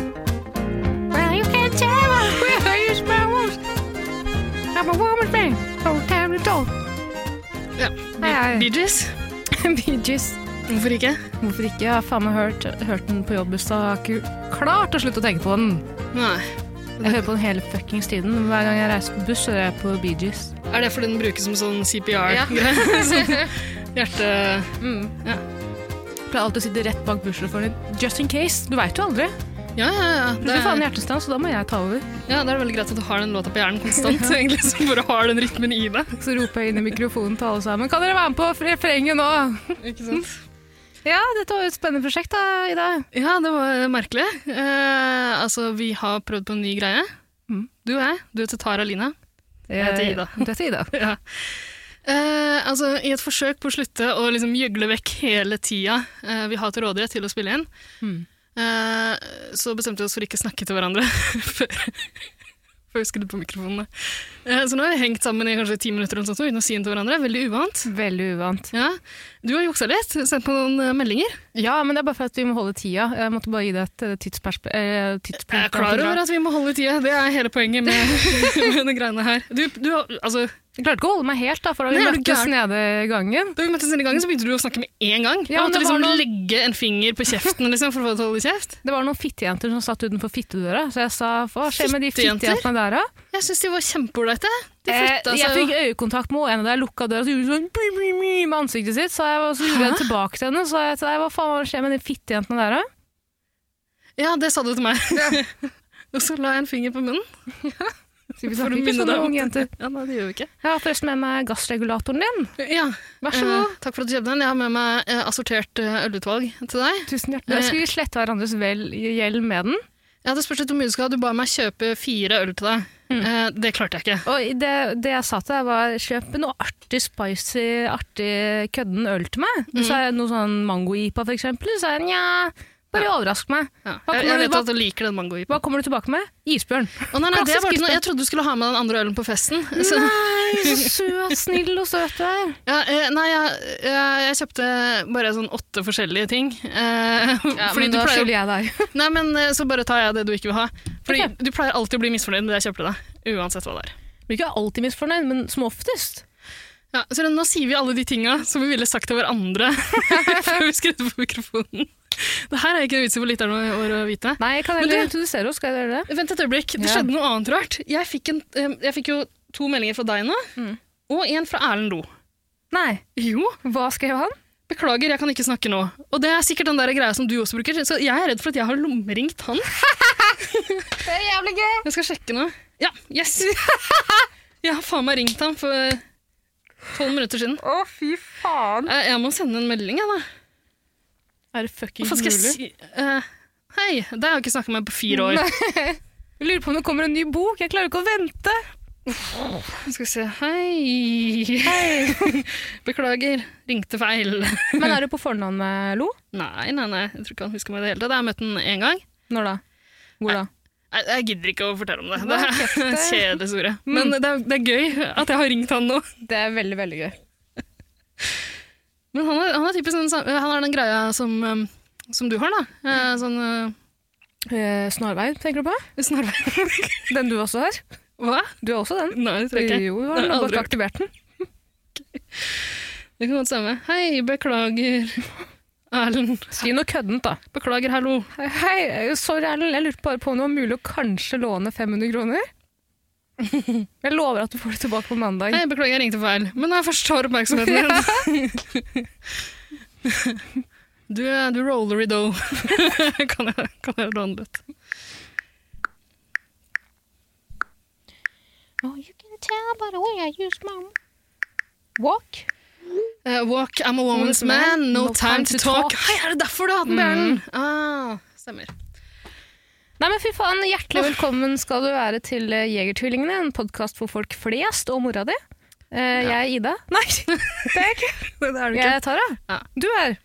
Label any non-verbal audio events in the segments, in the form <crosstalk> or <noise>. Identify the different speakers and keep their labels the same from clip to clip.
Speaker 1: Well, you can't tell. Well, I use my words. I'm a woman man from time to talk.
Speaker 2: Ja.
Speaker 1: Hei, hei.
Speaker 2: Bee Gees?
Speaker 1: <laughs> Bee Gees.
Speaker 2: Hvorfor ikke?
Speaker 1: Hvorfor ikke? Jeg har faen meg hørt, hørt den på jobbbussa. Jeg har ikke klart å slutte å tenke på den.
Speaker 2: Nei.
Speaker 1: Jeg hører på den hele fuckings tiden. Hver gang jeg reiser på buss, hører jeg på Bee Gees.
Speaker 2: Er det fordi den brukes som sånn CPR?
Speaker 1: Ja.
Speaker 2: sånn hjerte...
Speaker 1: <laughs> Mm.
Speaker 2: Ja.
Speaker 1: Pleier alltid å sitte rett bak bussjåføren din. Just in case. Du veit jo aldri.
Speaker 2: Ja, ja, ja. Det
Speaker 1: Plutselig får han
Speaker 2: er,
Speaker 1: hjertestans, så da må jeg ta over.
Speaker 2: ja, da er det veldig greit at du har den låta på hjernen
Speaker 1: <laughs>
Speaker 2: konstant, egentlig, som bare har den rytmen i deg.
Speaker 1: Så roper jeg inn i mikrofonen til alle sammen. Kan dere være med på refrenget nå?
Speaker 2: Ikke sant?
Speaker 1: Ja, dette var jo et spennende prosjekt da, Ida.
Speaker 2: Ja, det var merkelig. Eh, altså, vi har prøvd på en ny greie.
Speaker 1: Mm.
Speaker 2: Du og jeg. Du heter Tara Line. Jeg heter Ida.
Speaker 1: Du heter Ida.
Speaker 2: <laughs> Ja. Eh, altså, I et forsøk på å slutte å liksom gjøgle vekk hele tida eh, vi har til rådighet til å spille inn,
Speaker 1: Mm.
Speaker 2: eh, så bestemte vi oss for ikke å snakke til hverandre <laughs> før, før vi skrudde på mikrofonene. Eh, så nå har vi hengt sammen i kanskje ti minutter eller noe sånt, uten å si en til hverandre. Veldig uvant.
Speaker 1: Veldig uvant.
Speaker 2: Ja. Du har juksa litt, sendt på noen eh, meldinger.
Speaker 1: Ja, men det er bare for at vi må holde tida. Jeg måtte bare gi deg et eh, tidspers- eh, tidspunkt.
Speaker 2: Jeg er klar over at vi må holde tida, det er hele poenget med, <laughs> med de greiene her. Du, du, har- altså,
Speaker 1: Jeg klarte ikke å holde meg helt, da, for da vi
Speaker 2: Nei, er du
Speaker 1: møttes
Speaker 2: gæren?
Speaker 1: nede i gangen.
Speaker 2: Da vi møttes denne gangen, så begynte du å snakke med en gang.
Speaker 1: Ja,
Speaker 2: jeg
Speaker 1: men det
Speaker 2: måtte
Speaker 1: var
Speaker 2: liksom
Speaker 1: noe-
Speaker 2: legge en finger på kjeften liksom, for å få det til å holde kjeft.
Speaker 1: Det var noen fittejenter som satt utenfor fittedøra, så jeg sa hva skjer med de
Speaker 2: Fittejenter?
Speaker 1: fittejentene der, da?
Speaker 2: Jeg syns de var kjempeålreite. De flytta
Speaker 1: Eh, jeg
Speaker 2: seg
Speaker 1: fikk
Speaker 2: jo.
Speaker 1: øyekontakt med henne da jeg lukka døra, så gjorde hun sånn bli, bli, bli, med ansiktet sitt. Så jeg og så gjorde jeg det tilbake til henne, så sa jeg til deg hva faen hva skjer med de fittejentene der, da?
Speaker 2: Ja, det sa du til meg. <laughs> Og så la jeg en finger på munnen.
Speaker 1: Så vi
Speaker 2: For å
Speaker 1: snakker ikke
Speaker 2: minne
Speaker 1: sånn
Speaker 2: deg om
Speaker 1: unge jenter.
Speaker 2: Ja, nei, det gjør vi ikke.
Speaker 1: Jeg har forresten med meg gassregulatoren din.
Speaker 2: Ja,
Speaker 1: Vær så god.
Speaker 2: eh, takk for at du kjøpte den. Jeg har med meg eh, assortert eh, ølutvalg til deg.
Speaker 1: Tusen hjertelig. Da skal vi slette hverandres vel gjeld med den.
Speaker 2: Ja, Det spørs litt hvor mye du skal ha. Du ba meg kjøpe fire øl til deg.
Speaker 1: Mm.
Speaker 2: Eh, det klarte jeg ikke.
Speaker 1: Og det, det jeg sa til deg var kjøp noe artig, spicy, artig kødden øl til meg. Du sa noe sånn mango-ipa for eksempel. Så sa jeg nja, bare overrask meg.
Speaker 2: Ja.
Speaker 1: Hva
Speaker 2: Jeg,
Speaker 1: kommer
Speaker 2: jeg
Speaker 1: du-
Speaker 2: vet at du liker den mangojipa.
Speaker 1: Hva kommer du tilbake med? Isbjørn.
Speaker 2: Å, nei, nei, det
Speaker 1: Klassisk
Speaker 2: var ikke noe.
Speaker 1: isbjørn.
Speaker 2: Jeg trodde du skulle ha med den andre ølen på festen. Så,
Speaker 1: <laughs> Nei, så søt, snill og søt du er.
Speaker 2: ja, eh, nei, jeg, jeg, jeg kjøpte bare sånn åtte forskjellige ting. Eh, fordi du pleier å
Speaker 1: jeg deg. <laughs>
Speaker 2: Nei, men eh, så bare tar jeg det du ikke vil ha. Fordi
Speaker 1: Ok.
Speaker 2: du pleier alltid å bli misfornøyd med det jeg kjøper til deg. Uansett hva det er.
Speaker 1: Blir ikke alltid misfornøyd, men som oftest.
Speaker 2: Ja, så nå sier vi alle de tinga som vi ville sagt til
Speaker 1: <laughs>
Speaker 2: hverandre før vi skrudde på mikrofonen. Det her er ikke noe vits i for lytterne å- å vite.
Speaker 1: Nei, jeg kan
Speaker 2: Men
Speaker 1: heller
Speaker 2: du-
Speaker 1: introdusere oss, skal jeg gjøre det?
Speaker 2: Vent et øyeblikk, det
Speaker 1: Ja.
Speaker 2: skjedde noe annet rart. Jeg fikk, en, eh, jeg fikk jo to meldinger fra deg nå,
Speaker 1: Mm.
Speaker 2: og en fra Erlend Lo.
Speaker 1: Nei.
Speaker 2: Jo,
Speaker 1: Hva skrev han?
Speaker 2: beklager, jeg kan ikke snakke nå. Og det er sikkert den der greia som du også bruker, så jeg er redd for at jeg har lommeringt han.
Speaker 1: Det er jævlig gøy!
Speaker 2: Jeg skal sjekke nå. Ja, yes! Jeg har faen meg ringt han for tolv minutter siden.
Speaker 1: Å, fy faen.
Speaker 2: Eh, Jeg må sende en melding, jeg, da.
Speaker 1: Er det fucking
Speaker 2: Hva skal jeg
Speaker 1: mulig?
Speaker 2: si? Eh, hei, det har jeg ikke snakka med på fire år.
Speaker 1: Jeg lurer på om det kommer en ny bok. Jeg klarer ikke å vente.
Speaker 2: Skal vi se. Hei. Beklager, ringte feil.
Speaker 1: Men er du på fornavn med Lo?
Speaker 2: Nei, nei, nei, jeg tror ikke han husker meg i det hele tatt. Jeg har møtt han én gang.
Speaker 1: Når da? Hvor da?
Speaker 2: Jeg, jeg gidder ikke å fortelle om det. Det
Speaker 1: Nei,
Speaker 2: er <laughs> Mm. en
Speaker 1: kjeft,
Speaker 2: kjedelig historie. Men det er, det er gøy at jeg har ringt han nå.
Speaker 1: Det er veldig, veldig gøy.
Speaker 2: Men han er, han er typisk den, sam- han er den greia som, eh, som du har, da. Eh, Sånn eh,
Speaker 1: snarveier, tenker du på?
Speaker 2: snarvei. <laughs>
Speaker 1: Den du også har?
Speaker 2: Hva?
Speaker 1: Du har også den?
Speaker 2: Nei, det tror jeg ikke.
Speaker 1: Jo, du
Speaker 2: Det
Speaker 1: har
Speaker 2: har jeg
Speaker 1: bare
Speaker 2: aldri
Speaker 1: ikke
Speaker 2: hørt.
Speaker 1: aktivert den.
Speaker 2: Det kan godt stemme. Hei, beklager. <laughs> Erlend.
Speaker 1: Si noe køddent, da.
Speaker 2: Beklager, hallo.
Speaker 1: Hei, Hei, sorry, Erlend. Jeg lurte bare på om det var mulig å kanskje låne 500 <laughs> kroner? Jeg lover at du får det tilbake på mandag.
Speaker 2: Hei, beklager, jeg ringte feil. Men jeg forstår oppmerksomheten din. <laughs> du, er- du roller i dough. <laughs> kan jeg, kan jeg låne litt?
Speaker 1: Oh, you can tell by the way I use my walk.
Speaker 2: Eh, walk, I'm a woman's man, no, time, to talk. Hei, er det derfor du har hatt den bjørnen? Ah, stemmer.
Speaker 1: Nei, men fy faen, Hjertelig velkommen skal du være til eh, Jegertvillingene, en podkast for folk flest og mora di. Eh, Jeg er Ida. Nei, <laughs> det er jeg <laughs> ikke.
Speaker 2: Det er
Speaker 1: Jeg er Tara.
Speaker 2: Ja.
Speaker 1: Du er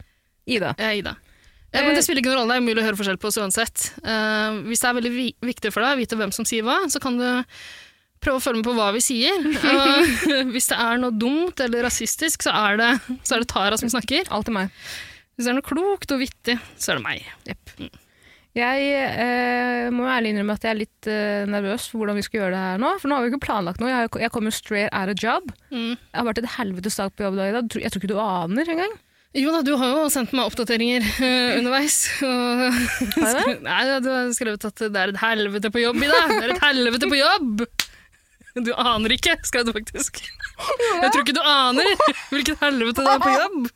Speaker 1: Ida.
Speaker 2: Jeg er Ida. Eh, men det spiller ikke noen rolle, det er umulig å høre forskjell på oss uansett. Eh, hvis det er veldig vi viktig for deg å vite hvem som sier hva, så kan du prøve å følge med på hva vi sier. Og <laughs> hvis det er noe dumt eller rasistisk, så er det, så er det Tara som snakker.
Speaker 1: Alt er meg.
Speaker 2: Hvis det er noe klokt og vittig, så er det meg.
Speaker 1: Jeg eh, må jo ærlig innrømme at jeg er litt eh, nervøs for hvordan vi skal gjøre det her nå. For nå har vi ikke planlagt noe. Jeg, har- jeg kommer jo straight out of job.
Speaker 2: Mm.
Speaker 1: Jeg har vært et helvetes dag på jobb i dag, Ida. Du- Jeg tror ikke du aner engang.
Speaker 2: Jo da, du har jo sendt meg oppdateringer eh, underveis. Og
Speaker 1: Har jeg det?
Speaker 2: Nei, ja, du har skrevet at det er et helvete på jobb i dag. Det er et helvete på jobb! Du aner ikke, skrev du faktisk. Jeg tror ikke du aner hvilket helvete det er på jobb.
Speaker 1: <laughs>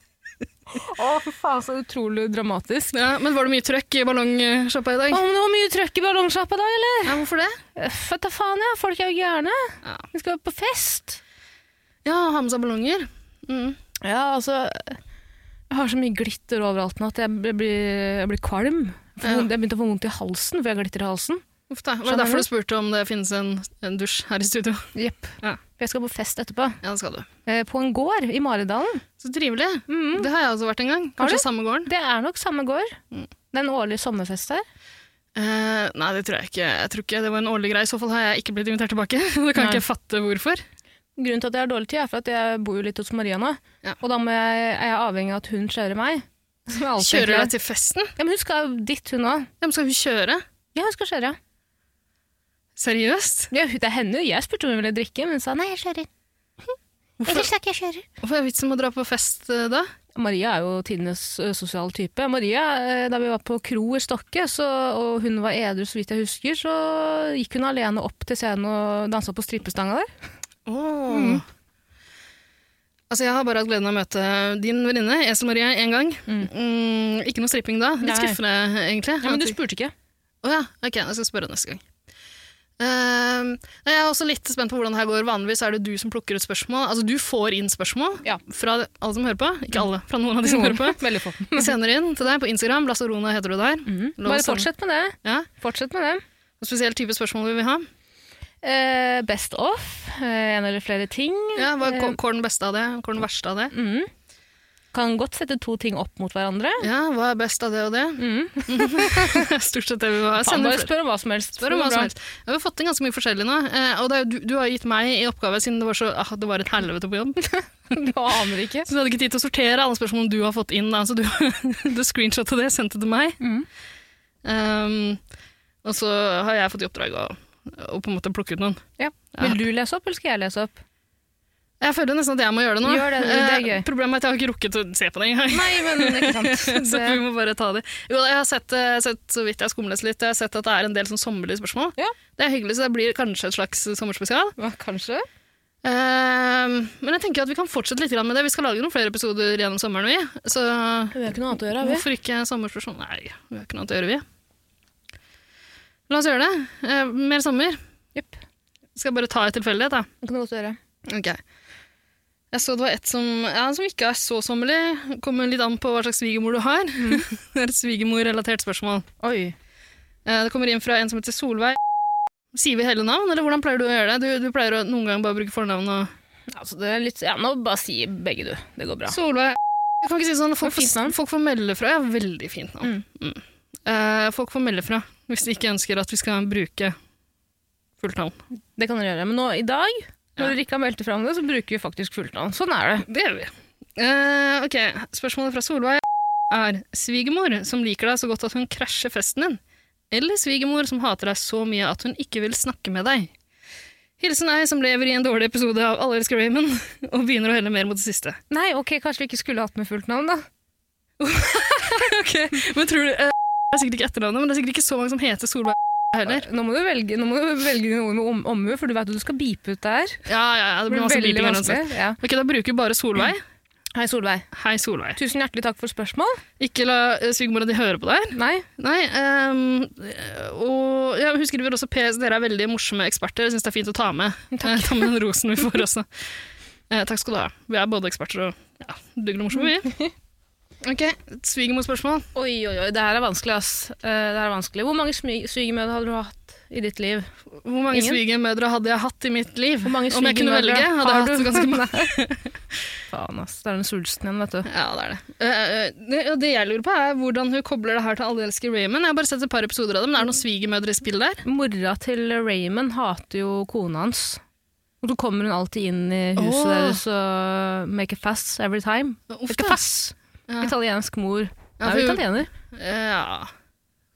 Speaker 1: Å, for faen, så utrolig dramatisk.
Speaker 2: Ja, men var det mye trøkk i ballongsjappa
Speaker 1: Å,
Speaker 2: i dag?
Speaker 1: men det var mye trøkk i ballongsjappa i dag, eller?
Speaker 2: Ja, hvorfor det?
Speaker 1: Fett da faen, ja. Folk er jo gærne.
Speaker 2: Ja.
Speaker 1: De skal jo på fest.
Speaker 2: Ja, ha med seg ballonger. Mm.
Speaker 1: Ja, altså Jeg har så mye glitter overalt nå at jeg blir, jeg blir kvalm. Jeg får
Speaker 2: Ja.
Speaker 1: vondt- Jeg begynte å få vondt i halsen, for jeg har glitter i halsen.
Speaker 2: Uff da, Var
Speaker 1: Skjønner
Speaker 2: det derfor
Speaker 1: du?
Speaker 2: du spurte om det finnes en, en dusj her i studio?
Speaker 1: Jepp.
Speaker 2: Ja.
Speaker 1: For jeg skal på fest etterpå.
Speaker 2: Ja, det skal du.
Speaker 1: Eh, På en gård i Maridalen.
Speaker 2: Så trivelig.
Speaker 1: Mhm.
Speaker 2: Det har jeg også vært en gang.
Speaker 1: Har du?
Speaker 2: Kanskje samme gården.
Speaker 1: Det er nok samme gård. Det er en årlig sommerfest her.
Speaker 2: Eh, nei, det tror jeg ikke. Jeg tror ikke det var en årlig greie. I så fall har jeg ikke blitt invitert tilbake. <laughs> Da kan
Speaker 1: Nei.
Speaker 2: jeg ikke fatte hvorfor.
Speaker 1: Grunnen til at jeg har dårlig tid, er for at jeg bor jo litt hos Maria nå.
Speaker 2: Ja.
Speaker 1: Og da må jeg, er jeg avhengig av at hun kjører meg. Som jeg alltid
Speaker 2: Kjører
Speaker 1: gjør.
Speaker 2: deg til festen?
Speaker 1: Ja, men hun skal jo dit, hun òg.
Speaker 2: Ja, men skal hun kjøre?
Speaker 1: Ja, hun skal kjøre.
Speaker 2: Seriøst?
Speaker 1: Ja, hun- det er henne. Jeg spurte om hun ville drikke, men hun sa nei, jeg <laughs> kjører. Ellers er ikke jeg kjører.
Speaker 2: Hvorfor er det vitsen med å dra på fest eh, da?
Speaker 1: Maria er jo tidenes ø, sosiale type. Maria, eh, Da vi var på kro i Stokke, så, og hun var edru så vidt jeg husker, så gikk hun alene opp til scenen og dansa på strippestanga der.
Speaker 2: Oh. Altså, Jeg har bare hatt gleden av å møte din venninne, Esel Marie, én gang.
Speaker 1: Mm.
Speaker 2: Mm, ikke noe stripping da.
Speaker 1: Nei.
Speaker 2: Litt skuffende, egentlig.
Speaker 1: spurte <laughs> ikke.
Speaker 2: Å ja, ok, jeg skal spørre neste gang. Ehm, nei, jeg er også litt spent på hvordan det her går. Vanligvis er det du som plukker ut spørsmål. Altså, du får inn spørsmål
Speaker 1: Ja. Mm.
Speaker 2: fra alle som hører på. Ikke alle, fra noen av
Speaker 1: <laughs>
Speaker 2: de som hører på.
Speaker 1: Veldig få.
Speaker 2: Vi sender inn til deg på Instagram. Lasarona heter du der.
Speaker 1: Mm.
Speaker 2: Lov å
Speaker 1: Bare
Speaker 2: sende.
Speaker 1: fortsett med det.
Speaker 2: Ja.
Speaker 1: Fortsett med det.
Speaker 2: Og spesiell type spørsmål vi vil ha.
Speaker 1: Eh, best off, eh, en eller flere ting.
Speaker 2: Ja, hva hva er den beste av det? Hva er den verste av det?
Speaker 1: Eh. Mm. Kan godt sette to ting opp mot hverandre.
Speaker 2: Ja, hva er best av det og det?
Speaker 1: Mm.
Speaker 2: <laughs> Stort sett det vi vil ha.
Speaker 1: Faen,
Speaker 2: Send inn
Speaker 1: bare
Speaker 2: flere.
Speaker 1: spør om hva som helst.
Speaker 2: Spør om
Speaker 1: Det
Speaker 2: hva
Speaker 1: går
Speaker 2: som
Speaker 1: bra.
Speaker 2: helst. Ja, vi har fått inn ganske mye forskjellig nå. eh, Og det er, jo- du, du har gitt meg i oppgave siden det var, så, ah, det var et helvete på jobb.
Speaker 1: <laughs>
Speaker 2: <laughs>
Speaker 1: Du aner ikke.
Speaker 2: Så du hadde ikke tid til å sortere alle spørsmålene du har fått inn. Da. Så du, <laughs> du screenshotet det, sendte det til meg.
Speaker 1: Mm.
Speaker 2: Um, og så har jeg fått i oppdrag å, å på en måte plukke ut noen.
Speaker 1: Ja.
Speaker 2: Ja.
Speaker 1: Vil du lese opp, eller skal jeg lese opp?
Speaker 2: Jeg føler nesten at jeg må gjøre det nå.
Speaker 1: Gjør det, det er
Speaker 2: Eh,
Speaker 1: gøy.
Speaker 2: Problemet er at jeg har ikke rukket å se på det engang.
Speaker 1: Nei, men ikke <laughs> sant.
Speaker 2: <laughs> Så vi må bare ta det. Jo, jeg har sett, eh, sett så vidt jeg skumles litt, jeg har sett at det er en del sånn sommerlige spørsmål.
Speaker 1: Ja.
Speaker 2: Det er hyggelig, så det blir kanskje et slags sommerspesial.
Speaker 1: Ja, kanskje.
Speaker 2: Ehm, men jeg tenker at vi kan fortsette litt grann med det. Vi skal lage noen flere episoder gjennom sommeren, vi. Så
Speaker 1: Vi har ikke noe annet å gjøre, har vi?
Speaker 2: hvorfor ikke sommerspørsmål? Nei, vi har ikke noe annet å gjøre, vi. La oss gjøre det. Eh, mer sommer.
Speaker 1: Jepp.
Speaker 2: Skal bare ta et tilfeldighet, da.
Speaker 1: Det kan du godt gjøre.
Speaker 2: Ok. Jeg så det var et som, ja, som ikke er så sommerlig. Kommer litt an på hva slags svigermor du har.
Speaker 1: Mm.
Speaker 2: <laughs> det er et svigermor-relatert spørsmål.
Speaker 1: Oi.
Speaker 2: Eh, Det kommer inn fra en som heter Solveig. Sier vi hele navn, eller hvordan pleier du å gjøre det? Du, du pleier å noen gang bare bruke fornavn og
Speaker 1: Altså, det er litt, ja, nå bare si begge, du. Det går bra.
Speaker 2: Solveig Jeg kan ikke si sånn. Folk,
Speaker 1: Det er fint
Speaker 2: får,
Speaker 1: navn.
Speaker 2: folk får melde fra. Ja, veldig fint navn. Mm. Eh, folk får melde fra hvis de ikke ønsker at vi skal bruke fullt navn.
Speaker 1: Det kan dere gjøre. Men nå, i dag,
Speaker 2: Ja.
Speaker 1: når Ulrikka meldte fram det, så bruker vi faktisk fullt navn. Sånn er det.
Speaker 2: Det gjør vi. Eh, ok, Spørsmålet fra Solveig er svigermor som liker deg så godt at hun krasjer festen din, eller svigermor som hater deg så mye at hun ikke vil snakke med deg? Hilsen ei som lever i en dårlig episode av Alle elsker Raymond, <laughs> og begynner å helle mer mot det siste.
Speaker 1: Nei, ok, kanskje vi ikke skulle hatt med fullt navn, da.
Speaker 2: Ok, men tror du, eh, Det er sikkert ikke etternavnet, men det er sikkert ikke så mange som heter Solveig heller.
Speaker 1: Nå må du velge, nå må du velge noe med om- omhu, for du vet at du skal bipe ut det her.
Speaker 2: Ja, ja, ja, det blir masse
Speaker 1: veldig
Speaker 2: beeping her. altså.
Speaker 1: vanskelig. Ja.
Speaker 2: Ok, Da bruker vi bare Solveig.
Speaker 1: Hei, Solveig.
Speaker 2: Hei, Solveig.
Speaker 1: Tusen hjertelig takk for spørsmål.
Speaker 2: Ikke la eh, svigermora di høre på det her.
Speaker 1: Nei,
Speaker 2: Nei, ehm, og ja, hun skriver også PS, dere er veldig morsomme eksperter. Jeg syns det er fint å ta med. Eh, ta med den rosen vi får også. Eh, takk skal du ha. Vi er både eksperter og ja, dugler morsomme, vi.
Speaker 1: <laughs>
Speaker 2: Ok, svigermorspørsmål.
Speaker 1: oi, oi, oi, det her er vanskelig, ass. Eh, Det her er vanskelig. Hvor mange smy- svigermødre hadde du hatt i ditt liv?
Speaker 2: Hvor mange
Speaker 1: Ingen?
Speaker 2: svigermødre hadde jeg hatt i mitt liv?
Speaker 1: Hvor mange
Speaker 2: Om jeg kunne
Speaker 1: svigermødre
Speaker 2: velge, hadde
Speaker 1: har
Speaker 2: jeg hatt
Speaker 1: du?
Speaker 2: ganske mange.
Speaker 1: <laughs> Faen, ass. Det er den sulsten igjen, vet du.
Speaker 2: Ja, det er det. Eh, eh, det. Og det jeg lurer på, er hvordan hun kobler det her til Alle elsker Raymond. Jeg har bare sett et par episoder av det, men er det noen svigermødre i spill der?
Speaker 1: Mora til Raymond hater jo kona hans. Og så kommer hun alltid inn i huset
Speaker 2: Åh.
Speaker 1: deres og make a fass every time.
Speaker 2: Uff
Speaker 1: Make a
Speaker 2: da.
Speaker 1: fass!
Speaker 2: Ja.
Speaker 1: Italiensk mor.
Speaker 2: Ja,
Speaker 1: er jo
Speaker 2: for-
Speaker 1: italiener.
Speaker 2: Ja.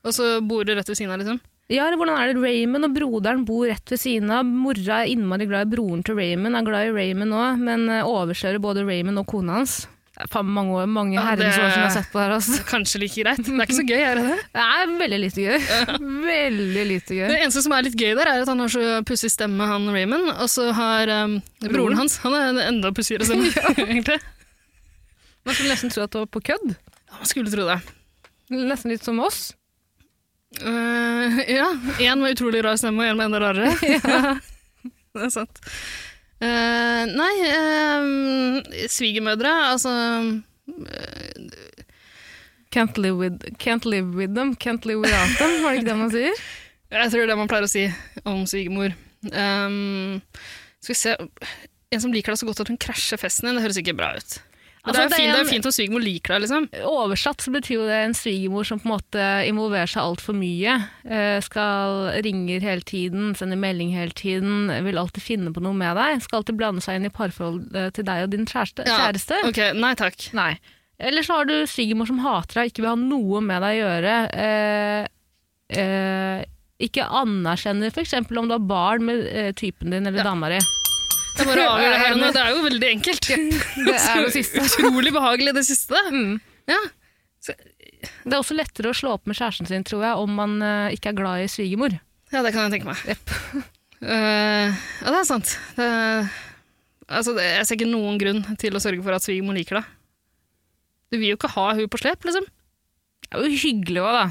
Speaker 2: Og så bor du rett ved siden av, liksom?
Speaker 1: Ja, eller hvordan er det? Raymond og broderen bor rett ved siden av. Mora er innmari glad i broren til Raymond, er glad i Raymond òg, men eh, overkjører både Raymond og kona hans. Det er faen mange, år, mange
Speaker 2: Ja,
Speaker 1: herrens
Speaker 2: det-
Speaker 1: år som jeg har sett på det her. Altså.
Speaker 2: <laughs> Kanskje like greit. Det er
Speaker 1: <laughs>
Speaker 2: ikke så gøy, er det det?
Speaker 1: Det er veldig lite gøy. <laughs> veldig lite gøy.
Speaker 2: Det eneste som er litt gøy der, er at han har så pussig stemme, han Raymond. Og så har um, broren hans Han har en enda pussigere stemme,
Speaker 1: <laughs>
Speaker 2: <laughs> egentlig.
Speaker 1: Man skulle nesten tro at det var på kødd.
Speaker 2: Ja, Man skulle tro det.
Speaker 1: Nesten litt som oss.
Speaker 2: Eh, ja. Én med utrolig rar stemme, og én med enda rarere.
Speaker 1: <laughs>
Speaker 2: <laughs> det er sant. Eh, nei, eh, svigermødre Altså eh,
Speaker 1: Can't live with, can't live with them, can't live without them, var det ikke det man sier?
Speaker 2: Jeg tror det er det man pleier å si om svigermor. Um, skal vi se En som liker deg så godt at hun krasjer festen din, det høres ikke bra ut. Men
Speaker 1: Altså,
Speaker 2: det, er
Speaker 1: det er
Speaker 2: jo fint, det er
Speaker 1: en-
Speaker 2: jo fint om svigermor liker deg, liksom.
Speaker 1: <laughs> Oversatt så betyr jo det en svigermor som på en måte involverer seg altfor mye. Eh, Skal ringer hele tiden, sender melding hele tiden, vil alltid finne på noe med deg. Skal alltid blande seg inn i parforholdet til deg og din kjæreste.
Speaker 2: Ja,
Speaker 1: kjæreste.
Speaker 2: Ok, Nei takk.
Speaker 1: Nei. Eller så har du svigermor som hater deg, ikke vil ha noe med deg å gjøre. Eh, eh, ikke anerkjenner f.eks. om du har barn med eh, typen din eller dama <laughs> di.
Speaker 2: Jeg bare <laughs> avgjør det her og nå.
Speaker 1: Enig.
Speaker 2: Det er jo veldig <laughs> enkelt.
Speaker 1: Det er det siste.
Speaker 2: Utrolig behagelig, det siste.
Speaker 1: Mm.
Speaker 2: Ja.
Speaker 1: Det er også lettere å slå opp med kjæresten sin, tror jeg, om man eh, ikke er glad i svigermor.
Speaker 2: ja, det kan jeg tenke meg. <laughs> Eh, ja, det er sant. Det, altså, det, jeg ser ikke noen grunn til å sørge for at svigermor liker deg. Du vil jo ikke ha hun på slep, liksom.
Speaker 1: Det er jo hyggelig òg, da.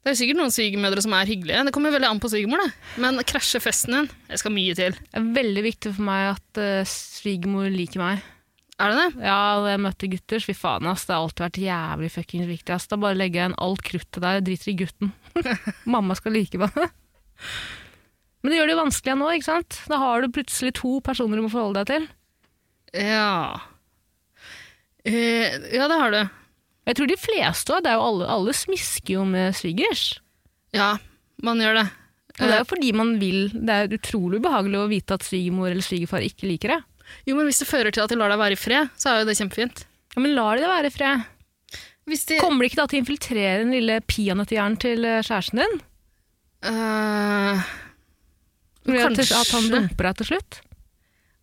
Speaker 2: Det er jo sikkert noen svigermødre som er hyggelige. Det kommer veldig an på svigermor, da. Men krasjer festen din? Det skal mye til.
Speaker 1: Det er veldig viktig for meg at eh, svigermor liker meg.
Speaker 2: Er det det?
Speaker 1: Ja, da jeg møtte gutter, så fy faen, ass. Det har alltid vært jævlig fuckings viktig, ass. Da bare legger jeg igjen alt kruttet der, jeg driter i gutten. <laughs> Mamma skal like meg. <laughs> Men det gjør det jo vanskelig nå, ikke sant? Da har du plutselig to personer du må forholde deg til.
Speaker 2: Ja. Eh, ja, det har du.
Speaker 1: Jeg tror de fleste òg. Alle, alle smisker jo med svigers.
Speaker 2: Ja, man gjør det.
Speaker 1: Og det er jo fordi man vil Det er utrolig ubehagelig å vite at svigermor eller svigerfar ikke liker det.
Speaker 2: Eh, Jo, men hvis det fører til at de lar deg være i fred, så er jo det kjempefint.
Speaker 1: Ja, Men lar de det være i fred.
Speaker 2: Hvis de
Speaker 1: Kommer de ikke da til å infiltrere den lille peanøtthjernen til eh, kjæresten din?
Speaker 2: Eh,
Speaker 1: Fordi at-
Speaker 2: Kanskje.
Speaker 1: At han dumper deg til slutt?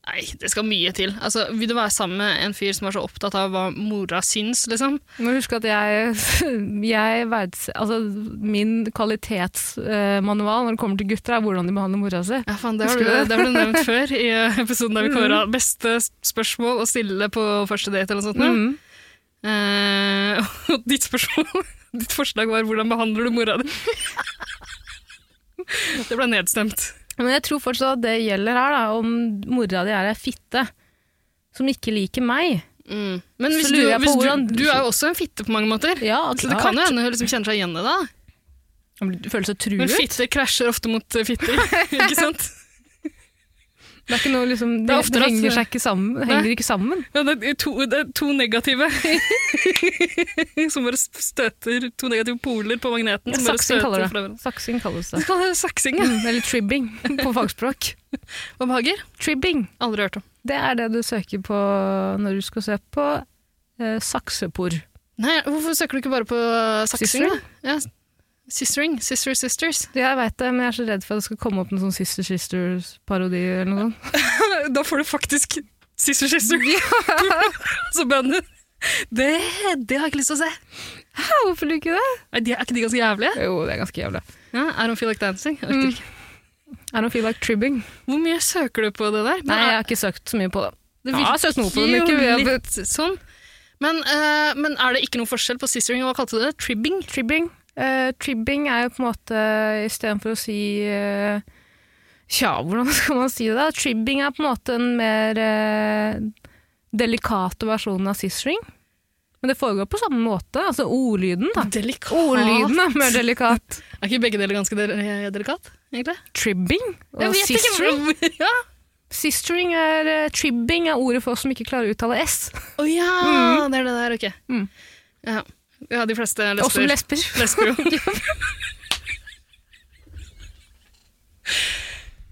Speaker 2: Nei, det skal mye til. Altså, vil du være sammen med en fyr som er så opptatt av hva mora syns, liksom?
Speaker 1: Må huske at jeg, <laughs> jeg verdse- altså, Min kvalitetsmanual når det kommer til gutter, er hvordan de behandler mora si.
Speaker 2: Ja, faen, det har,
Speaker 1: Husker
Speaker 2: du,
Speaker 1: du det? Mm.
Speaker 2: det har du nevnt før i eh,
Speaker 1: <laughs>
Speaker 2: episoden der vi kåra beste spørsmål å stille på første date eller noe sånt. nå.
Speaker 1: Mm.
Speaker 2: Eh, <laughs> og ditt spørsmål <laughs> Ditt forslag var 'hvordan behandler du mora di?' <laughs> det ble nedstemt.
Speaker 1: Men jeg tror fortsatt at det gjelder her, da, om mora di er ei fitte som ikke liker meg.
Speaker 2: Mm.
Speaker 1: Så
Speaker 2: Men hvis du,
Speaker 1: lurer jeg på
Speaker 2: hvis du,
Speaker 1: hvordan-
Speaker 2: du er jo også en fitte på mange måter.
Speaker 1: Ja,
Speaker 2: Så det kan jo hende hun liksom kjenner seg igjen i det. da.
Speaker 1: Du føler seg
Speaker 2: Men
Speaker 1: truet.
Speaker 2: fitte krasjer ofte mot eh, <laughs> fitter. ikke sant?
Speaker 1: Det er ikke noe liksom, det,
Speaker 2: Det er
Speaker 1: det
Speaker 2: oftere at-
Speaker 1: henger seg ikke sammen. Henger ikke sammen.
Speaker 2: Ja, det, er to, det er to negative <laughs> som bare støter To negative poler på magneten. som bare
Speaker 1: Saksing
Speaker 2: støter
Speaker 1: kaller
Speaker 2: fra
Speaker 1: det.
Speaker 2: hverandre.
Speaker 1: Saksing kalles
Speaker 2: Det
Speaker 1: det.
Speaker 2: kaller det saksing. ja.
Speaker 1: Mm, Eller <laughs> tribbing på fagspråk.
Speaker 2: Hva med hager?
Speaker 1: Tribbing,
Speaker 2: Aldri hørt om.
Speaker 1: det er det du søker på når du skal se på eh, saksepor.
Speaker 2: Nei, hvorfor søker du ikke bare på saksing?
Speaker 1: Sistering?
Speaker 2: da? Ja. Sistering. Sister Sisters.
Speaker 1: Jeg veit det, men jeg er så redd for at det skal komme opp en sånn Sister Sisters-parodi eller noe sånt.
Speaker 2: <laughs> Da får du faktisk Sister Sister. <laughs> Så bandet. Det, det har jeg ikke lyst til å se.
Speaker 1: Hæ, hvorfor liker du ikke det?
Speaker 2: Er, de, er ikke de ganske jævlige?
Speaker 1: Jo, det er ganske jævlig.
Speaker 2: Ja, Mm. I don't feel like dancing. Jeg orker ikke.
Speaker 1: I don't feel like tribbing.
Speaker 2: Hvor mye søker du på det der? Men
Speaker 1: Nei, jeg
Speaker 2: er,
Speaker 1: har ikke søkt så mye på det.
Speaker 2: Det
Speaker 1: Ja, jeg synes noe på den ikke,
Speaker 2: jo
Speaker 1: vi har-
Speaker 2: litt sånn. Men, eh, men er det ikke noe forskjell på sistering og hva kalte du det? Tribbing?
Speaker 1: Tribbing. Eh, tribbing er jo på en måte Istedenfor å si eh, Tja, hvordan <laughs> skal man si det? da? Tribbing er på en måte en mer eh, delikate versjon av sistering. Men det foregår på samme måte. Altså ordlyden, da.
Speaker 2: Delikat.
Speaker 1: Ordlyden er mer delikat.
Speaker 2: Er ikke begge deler ganske del- eh, delikat, egentlig?
Speaker 1: Tribbing og sistering.
Speaker 2: ikke hvor <laughs> ja.
Speaker 1: Sistering er eh, Tribbing er ordet for oss som ikke klarer å uttale S.
Speaker 2: Å ja, det er det der, ok.
Speaker 1: Mm.
Speaker 2: Ja. ja, de fleste
Speaker 1: Og som
Speaker 2: lesber.
Speaker 1: <laughs> lesber.
Speaker 2: lesber jo. <laughs>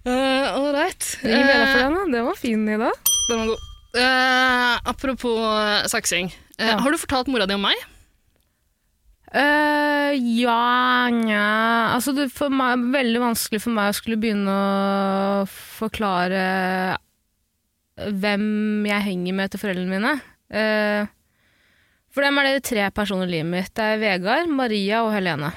Speaker 2: Eh, All right.
Speaker 1: Ring Vera for
Speaker 2: Eh,
Speaker 1: den, da. Den var fin i dag.
Speaker 2: den var god. Eh, apropos eh, saksing. Eh,
Speaker 1: Ja.
Speaker 2: Har du fortalt mora di om meg?
Speaker 1: Eh, ja, nja Altså, det for meg, er veldig vanskelig for meg å skulle begynne å forklare hvem jeg henger med til foreldrene mine. Eh, for dem er det tre personer i livet mitt. Det er Vegard, Maria og Helene.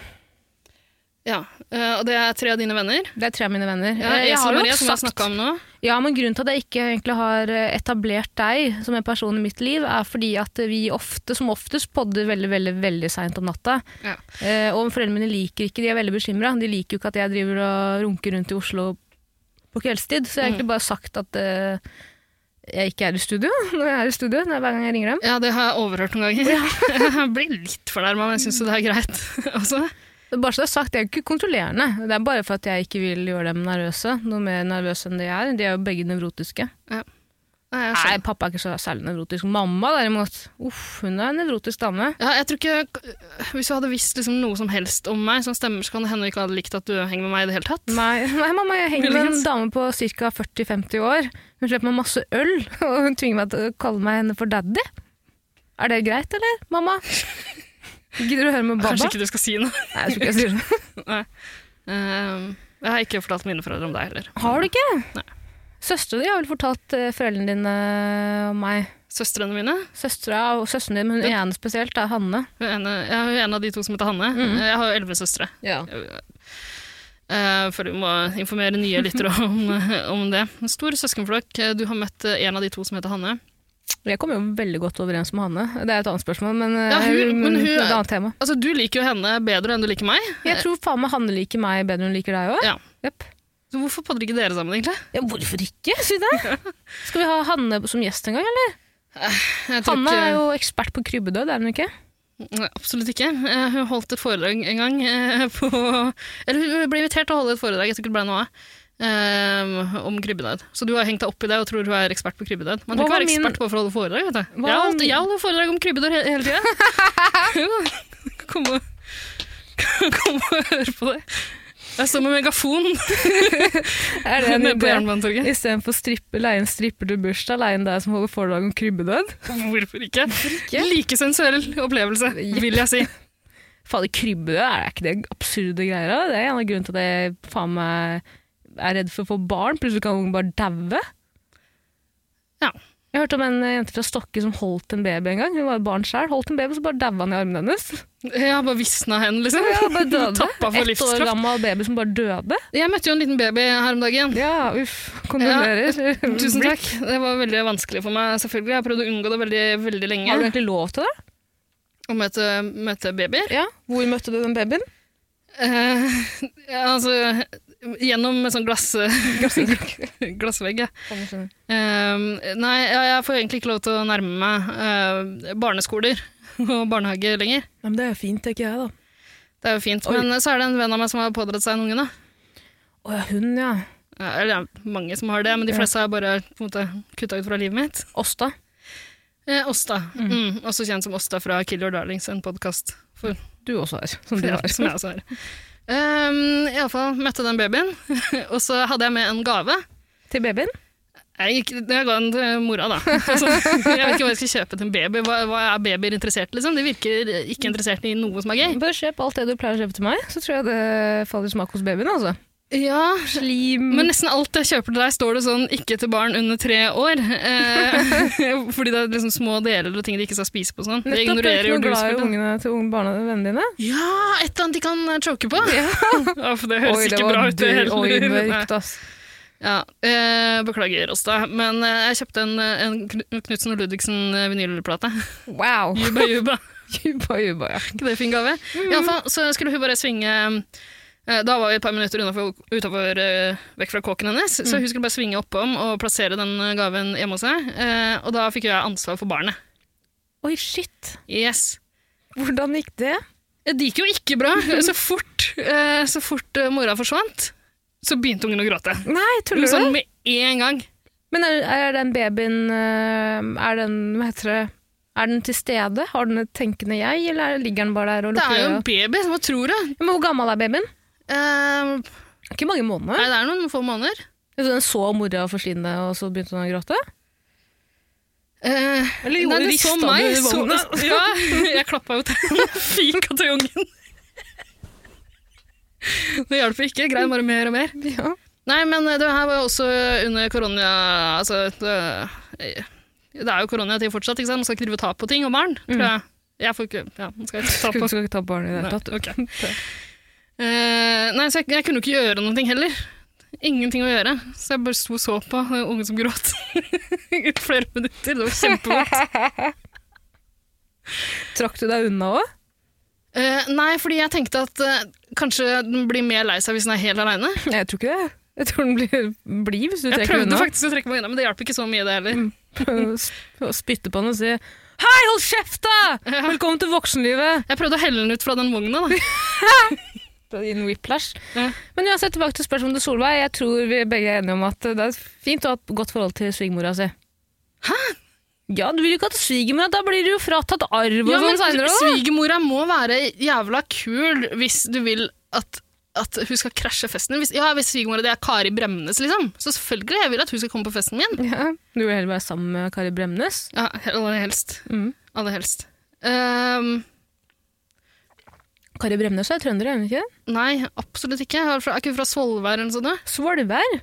Speaker 2: Ja, eh, og det er tre av dine venner.
Speaker 1: Det er tre av mine venner.
Speaker 2: Ja,
Speaker 1: Eh, jeg
Speaker 2: Else
Speaker 1: har jo
Speaker 2: Marie, som vi har
Speaker 1: sagt-
Speaker 2: snakket om nå.
Speaker 1: Ja, men grunnen til at jeg ikke egentlig har eh, etablert deg som en person i mitt liv, er fordi at vi ofte, som oftest, podder veldig, veldig, veldig seint om natta.
Speaker 2: Ja.
Speaker 1: Eh, og foreldrene mine liker ikke, de er veldig bekymra. De liker jo ikke at jeg driver og runker rundt i Oslo på kveldstid, så jeg har egentlig bare sagt at eh, jeg ikke er i studio <laughs> når jeg er i studio, når- hver gang jeg ringer dem.
Speaker 2: Ja, det har jeg overhørt noen ganger. <laughs> jeg blir litt fornærma, men jeg syns jo det er greit. <laughs> også.
Speaker 1: Men Bare så det er sagt, det er jo ikke kontrollerende. Det er bare for at jeg ikke vil gjøre dem nervøse. Noe mer nervøse enn de er. De er jo begge nevrotiske.
Speaker 2: Nei, jeg,
Speaker 1: Nei,
Speaker 2: skjønner.
Speaker 1: pappa er ikke så særlig nevrotisk. Mamma derimot, uff, hun er en nevrotisk dame.
Speaker 2: ja, jeg tror ikke Hvis du hadde visst liksom noe som helst om meg som stemmer, så kan det hende du ikke hadde likt at du henger med meg i det hele tatt.
Speaker 1: Nei, nei, mamma, jeg henger med en
Speaker 2: Muligens.
Speaker 1: dame på ca. 40-50 år. Hun slipper meg masse øl, <laughs> og hun tvinger meg til å kalle meg henne for daddy. Er det greit, eller, mamma? Gidder du å høre med
Speaker 2: <laughs> Kanskje
Speaker 1: babba?
Speaker 2: ikke du skal si noe.
Speaker 1: Nei, jeg tror ikke jeg sier det.
Speaker 2: Nei. Ehm, jeg har ikke fortalt mine foreldre om deg heller.
Speaker 1: Har du ikke?
Speaker 2: Nei.
Speaker 1: Søstera di har vel fortalt eh, foreldrene dine eh, om meg.
Speaker 2: Søstrene mine
Speaker 1: Søstera og søsteren din, men hun ene spesielt, er Hanne.
Speaker 2: Hun ene, Jeg har jo en av de to som heter Hanne.
Speaker 1: Mhm.
Speaker 2: Jeg har jo elleve søstre.
Speaker 1: Ja.
Speaker 2: Eh, for du må informere nye
Speaker 1: <laughs>
Speaker 2: lyttere om, eh, om det. En stor søskenflokk. eh, Du har møtt en av de to som heter Hanne.
Speaker 1: Jeg kommer jo veldig godt overens med Hanne. Det er et annet spørsmål, men, eh,
Speaker 2: Ja, hun- men hun
Speaker 1: det er
Speaker 2: er-
Speaker 1: et annet tema.
Speaker 2: Altså, Du liker jo henne bedre enn du liker meg.
Speaker 1: Jeg tror faen meg Hanne liker meg bedre enn hun liker deg òg.
Speaker 2: Ja. Så hvorfor podder ikke dere sammen, egentlig?
Speaker 1: Ja, hvorfor ikke? Si <laughs> det. Skal vi ha Hanne som gjest en gang, eller?
Speaker 2: Jeg tror
Speaker 1: Hanne
Speaker 2: ikke-
Speaker 1: er jo ekspert på krybbedød, er hun ikke?
Speaker 2: Nei, Absolutt ikke. Eh, Hun holdt et foredrag en gang eh, på Eller hun ble invitert til å holde et foredrag, jeg tror ikke det ble noe av. eh, om krybbedød. Så du har hengt deg opp i det og tror du er ekspert på krybbedød. Man
Speaker 1: Hva
Speaker 2: kan ikke
Speaker 1: var
Speaker 2: være
Speaker 1: min-
Speaker 2: ekspert på å holde foredrag. vet du.
Speaker 1: Hva
Speaker 2: Jeg
Speaker 1: var
Speaker 2: holder,
Speaker 1: min-
Speaker 2: jeg holder foredrag om krybbedød he
Speaker 1: <laughs>
Speaker 2: hele tida. Kom, og- kom og hør på det. Jeg står med megafon
Speaker 1: Er
Speaker 2: nede på Jernbanetorget.
Speaker 1: Istedenfor strippe, leie en stripper til bursdag, leie en deg som holder foredrag om krybbedød.
Speaker 2: Hvorfor ikke? Like sensuell opplevelse, vil jeg si.
Speaker 1: Fader, krybbedød, er ikke det absurde greier? da? Det er en av grunnene til at jeg faen meg er redd for å få barn. Plutselig kan ungen bare daue.
Speaker 2: Ja.
Speaker 1: Jeg hørte om en eh, jente fra Stokke som holdt en baby en gang. Hun var et barn sjøl. Holdt en baby, så bare daua han i armene hennes.
Speaker 2: Jeg har bare visna hen, liksom.
Speaker 1: Ja, bare døde.
Speaker 2: Tappa for
Speaker 1: Ett år
Speaker 2: livskraft.
Speaker 1: gammel baby som bare døde.
Speaker 2: Jeg møtte jo en liten baby her om
Speaker 1: <laughs>
Speaker 2: dagen.
Speaker 1: Ja, uff. Kondolerer. <laughs> Mm.
Speaker 2: Tusen takk. Det var veldig vanskelig for meg, selvfølgelig. Jeg har prøvd å unngå det veldig, veldig lenge.
Speaker 1: Har du egentlig lov til det?
Speaker 2: Å møte, møte babyer.
Speaker 1: Ja. Hvor møtte du den babyen?
Speaker 2: Eh, <laughs> ja, altså, gjennom en sånn glass, <laughs> glassvegg. ja. Eh, nei, ja, jeg får egentlig ikke lov til å nærme meg eh, barneskoler <laughs> og barnehage lenger.
Speaker 1: men det er jo fint, tenker jeg, da.
Speaker 2: Det er jo fint.
Speaker 1: Oi.
Speaker 2: Men eh, så er det en venn av meg som har pådratt seg en unge, da.
Speaker 1: Å ja, hun, ja.
Speaker 2: Ja, Eller ja, mange som har det, men de
Speaker 1: Ja.
Speaker 2: fleste har jeg bare på en måte kutta ut fra livet mitt.
Speaker 1: Åsta.
Speaker 2: Eh, Åsta. Mm. også kjent som Åsta fra Kill Your Darlings, en podkast for
Speaker 1: Du også har. Som du
Speaker 2: Ja,
Speaker 1: har.
Speaker 2: som jeg også har. Um, Iallfall møtte den babyen, <laughs> og så hadde jeg med en gave.
Speaker 1: Til babyen?
Speaker 2: Jeg, gikk, jeg ga den til mora, da. Altså, jeg vet ikke hva jeg skal kjøpe til en baby. Hva, hva er babyer interessert i? Liksom? De virker ikke interessert i noe som er gøy.
Speaker 1: Bare kjøp alt det du pleier å kjøpe til meg, så tror jeg det faller i smak hos babyen. altså.
Speaker 2: Ja,
Speaker 1: Slim
Speaker 2: men nesten alt jeg kjøper til deg, står det sånn 'ikke til barn under tre år'. Eh, <laughs> fordi det er liksom små deler og ting de ikke skal spise på. og Sånn. Det
Speaker 1: Nettopp, du er
Speaker 2: ignorerer
Speaker 1: ikke
Speaker 2: jo
Speaker 1: noe
Speaker 2: du.
Speaker 1: glad i
Speaker 2: selvfølgelig.
Speaker 1: ungene til unge barna vennene <laughs> dine.
Speaker 2: Ja, et eller annet de kan choke på. Ja, for det høres
Speaker 1: Oi, det
Speaker 2: ikke
Speaker 1: var
Speaker 2: bra ut.
Speaker 1: dyr-
Speaker 2: det
Speaker 1: Oi,
Speaker 2: heller. Nei.
Speaker 1: mørkt, ass.
Speaker 2: <laughs> Ja, eh, beklager oss da, men eh, jeg kjøpte en, en Knutsen og Ludvigsen eh, vinylplate. <laughs>
Speaker 1: Wow!
Speaker 2: Juba Juba,
Speaker 1: Juba, juba, ja.
Speaker 2: ikke det fin gave? I alle fall, så skulle hun bare svinge, eh, da var vi et par minutter utenfor, utenfor eh, vekk fra kåken hennes,
Speaker 1: Mm.
Speaker 2: så hun skulle bare svinge oppom og plassere den eh, gaven hjemme hos seg, eh, og da fikk jeg ansvar for barnet.
Speaker 1: Oi, shit!
Speaker 2: Yes.
Speaker 1: Hvordan gikk det?
Speaker 2: Det gikk jo ikke bra. Så fort, eh, så fort eh, mora forsvant, så begynte ungen å gråte.
Speaker 1: Nei, tuller du?
Speaker 2: Sånn med en gang.
Speaker 1: Men er, er den babyen øh, Er den, hva heter det Er den til stede? Har den et tenkende jeg, eller er- ligger den bare der og
Speaker 2: Det
Speaker 1: lukker
Speaker 2: er jo
Speaker 1: øya?
Speaker 2: en baby, hva tror du?
Speaker 1: Men hvor gammel er babyen?
Speaker 2: Eh,
Speaker 1: Ikke mange måneder.
Speaker 2: nei, det er noen få måneder.
Speaker 1: Så den så mora forsvinne, og så begynte hun å gråte?
Speaker 2: Eh,
Speaker 1: Eller
Speaker 2: nei, den så meg,
Speaker 1: i
Speaker 2: så,
Speaker 1: vogna?
Speaker 2: <laughs> ja, jeg klappa jo til fika til ungen. Det hjalp ikke. Grein bare mer og mer.
Speaker 1: <laughs> Ja.
Speaker 2: Nei, men eh, det her var jo også under korona Altså, det, eh, det er jo koronatid fortsatt, ikke sant? Man skal ikke drive og ta på ting og barn, tror jeg. Jeg får ikke Ja, man skal ikke ta
Speaker 1: Skal,
Speaker 2: på
Speaker 1: skal ikke ta barnet i det hele tatt.
Speaker 2: Nei, ok. Eh, nei, så jeg, jeg kunne jo ikke gjøre noe heller. Ingenting å gjøre. Så jeg bare sto og så på den ungen som gråt <laughs> i flere minutter. Det var kjempevondt.
Speaker 1: Trakk du deg unna òg?
Speaker 2: Eh, nei, fordi jeg tenkte at eh, kanskje den blir mer lei seg hvis den er helt aleine.
Speaker 1: Nei, jeg tror ikke det. Jeg tror den blir blid hvis du
Speaker 2: Jeg
Speaker 1: trekker
Speaker 2: prøvde
Speaker 1: unna.
Speaker 2: faktisk å trekke meg unna, men det hjalp ikke så mye, det heller.
Speaker 1: Og spytte på den og si 'Hei, hold kjeft, da!
Speaker 2: Ja.
Speaker 1: Velkommen til voksenlivet!'
Speaker 2: Jeg prøvde å helle den ut fra den vogna, da.
Speaker 1: Innen whiplash.
Speaker 2: Ja.
Speaker 1: Men uansett, tilbake til spørsmålet til Solveig. Jeg tror vi begge er enige om at det er fint å ha et godt forhold til svigermora si. Hæ? Ja, du vil jo ikke at svigermora Da blir du jo fratatt arv og
Speaker 2: Ja,
Speaker 1: sånn
Speaker 2: men
Speaker 1: seinere òg.
Speaker 2: svigermora må være jævla kul hvis du vil at, at hun skal krasje festen din. Hvis, ja, hvis svigermora di er Kari Bremnes, liksom, så selvfølgelig jeg vil at hun skal komme på festen min.
Speaker 1: Ja, du vil heller være sammen med Kari Bremnes.
Speaker 2: Ja, aller helst.
Speaker 1: Mm.
Speaker 2: Aller helst. Ehm,
Speaker 1: Kari Bremnes er trønder, er hun ikke?
Speaker 2: nei, absolutt ikke. Jeg Er fra- er ikke hun fra Svolvær eller noe sånt? da? <laughs>
Speaker 1: Svolvær.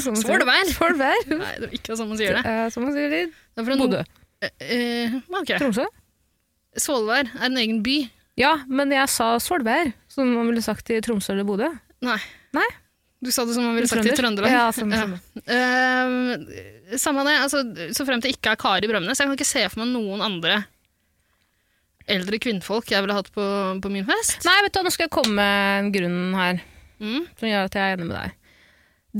Speaker 1: Sånn sier-
Speaker 2: Svolvær?
Speaker 1: Svolvær.
Speaker 2: Nei, det er ikke sånn man sier
Speaker 1: Det
Speaker 2: det.
Speaker 1: er Som man sier i
Speaker 2: det er fra
Speaker 1: Bodø.
Speaker 2: Uh, ok.
Speaker 1: Tromsø.
Speaker 2: Svolvær er en egen by.
Speaker 1: Ja, men jeg sa Svolvær, som man ville sagt i Tromsø eller Bodø.
Speaker 2: Nei.
Speaker 1: Nei.
Speaker 2: Du sa det som man ville sagt i
Speaker 1: Trønder.
Speaker 2: Trøndelag.
Speaker 1: Ja, sånn,
Speaker 2: Ja.
Speaker 1: sånn.
Speaker 2: Eh, samme det, altså, så frem til ikke er Kari Bremnes. Jeg kan ikke se for meg noen andre eldre kvinnfolk jeg ville hatt på, på min fest.
Speaker 1: Nei, vet du, hva, nå skal jeg komme med en grunn her.
Speaker 2: Mm.
Speaker 1: som gjør at jeg er enig med deg.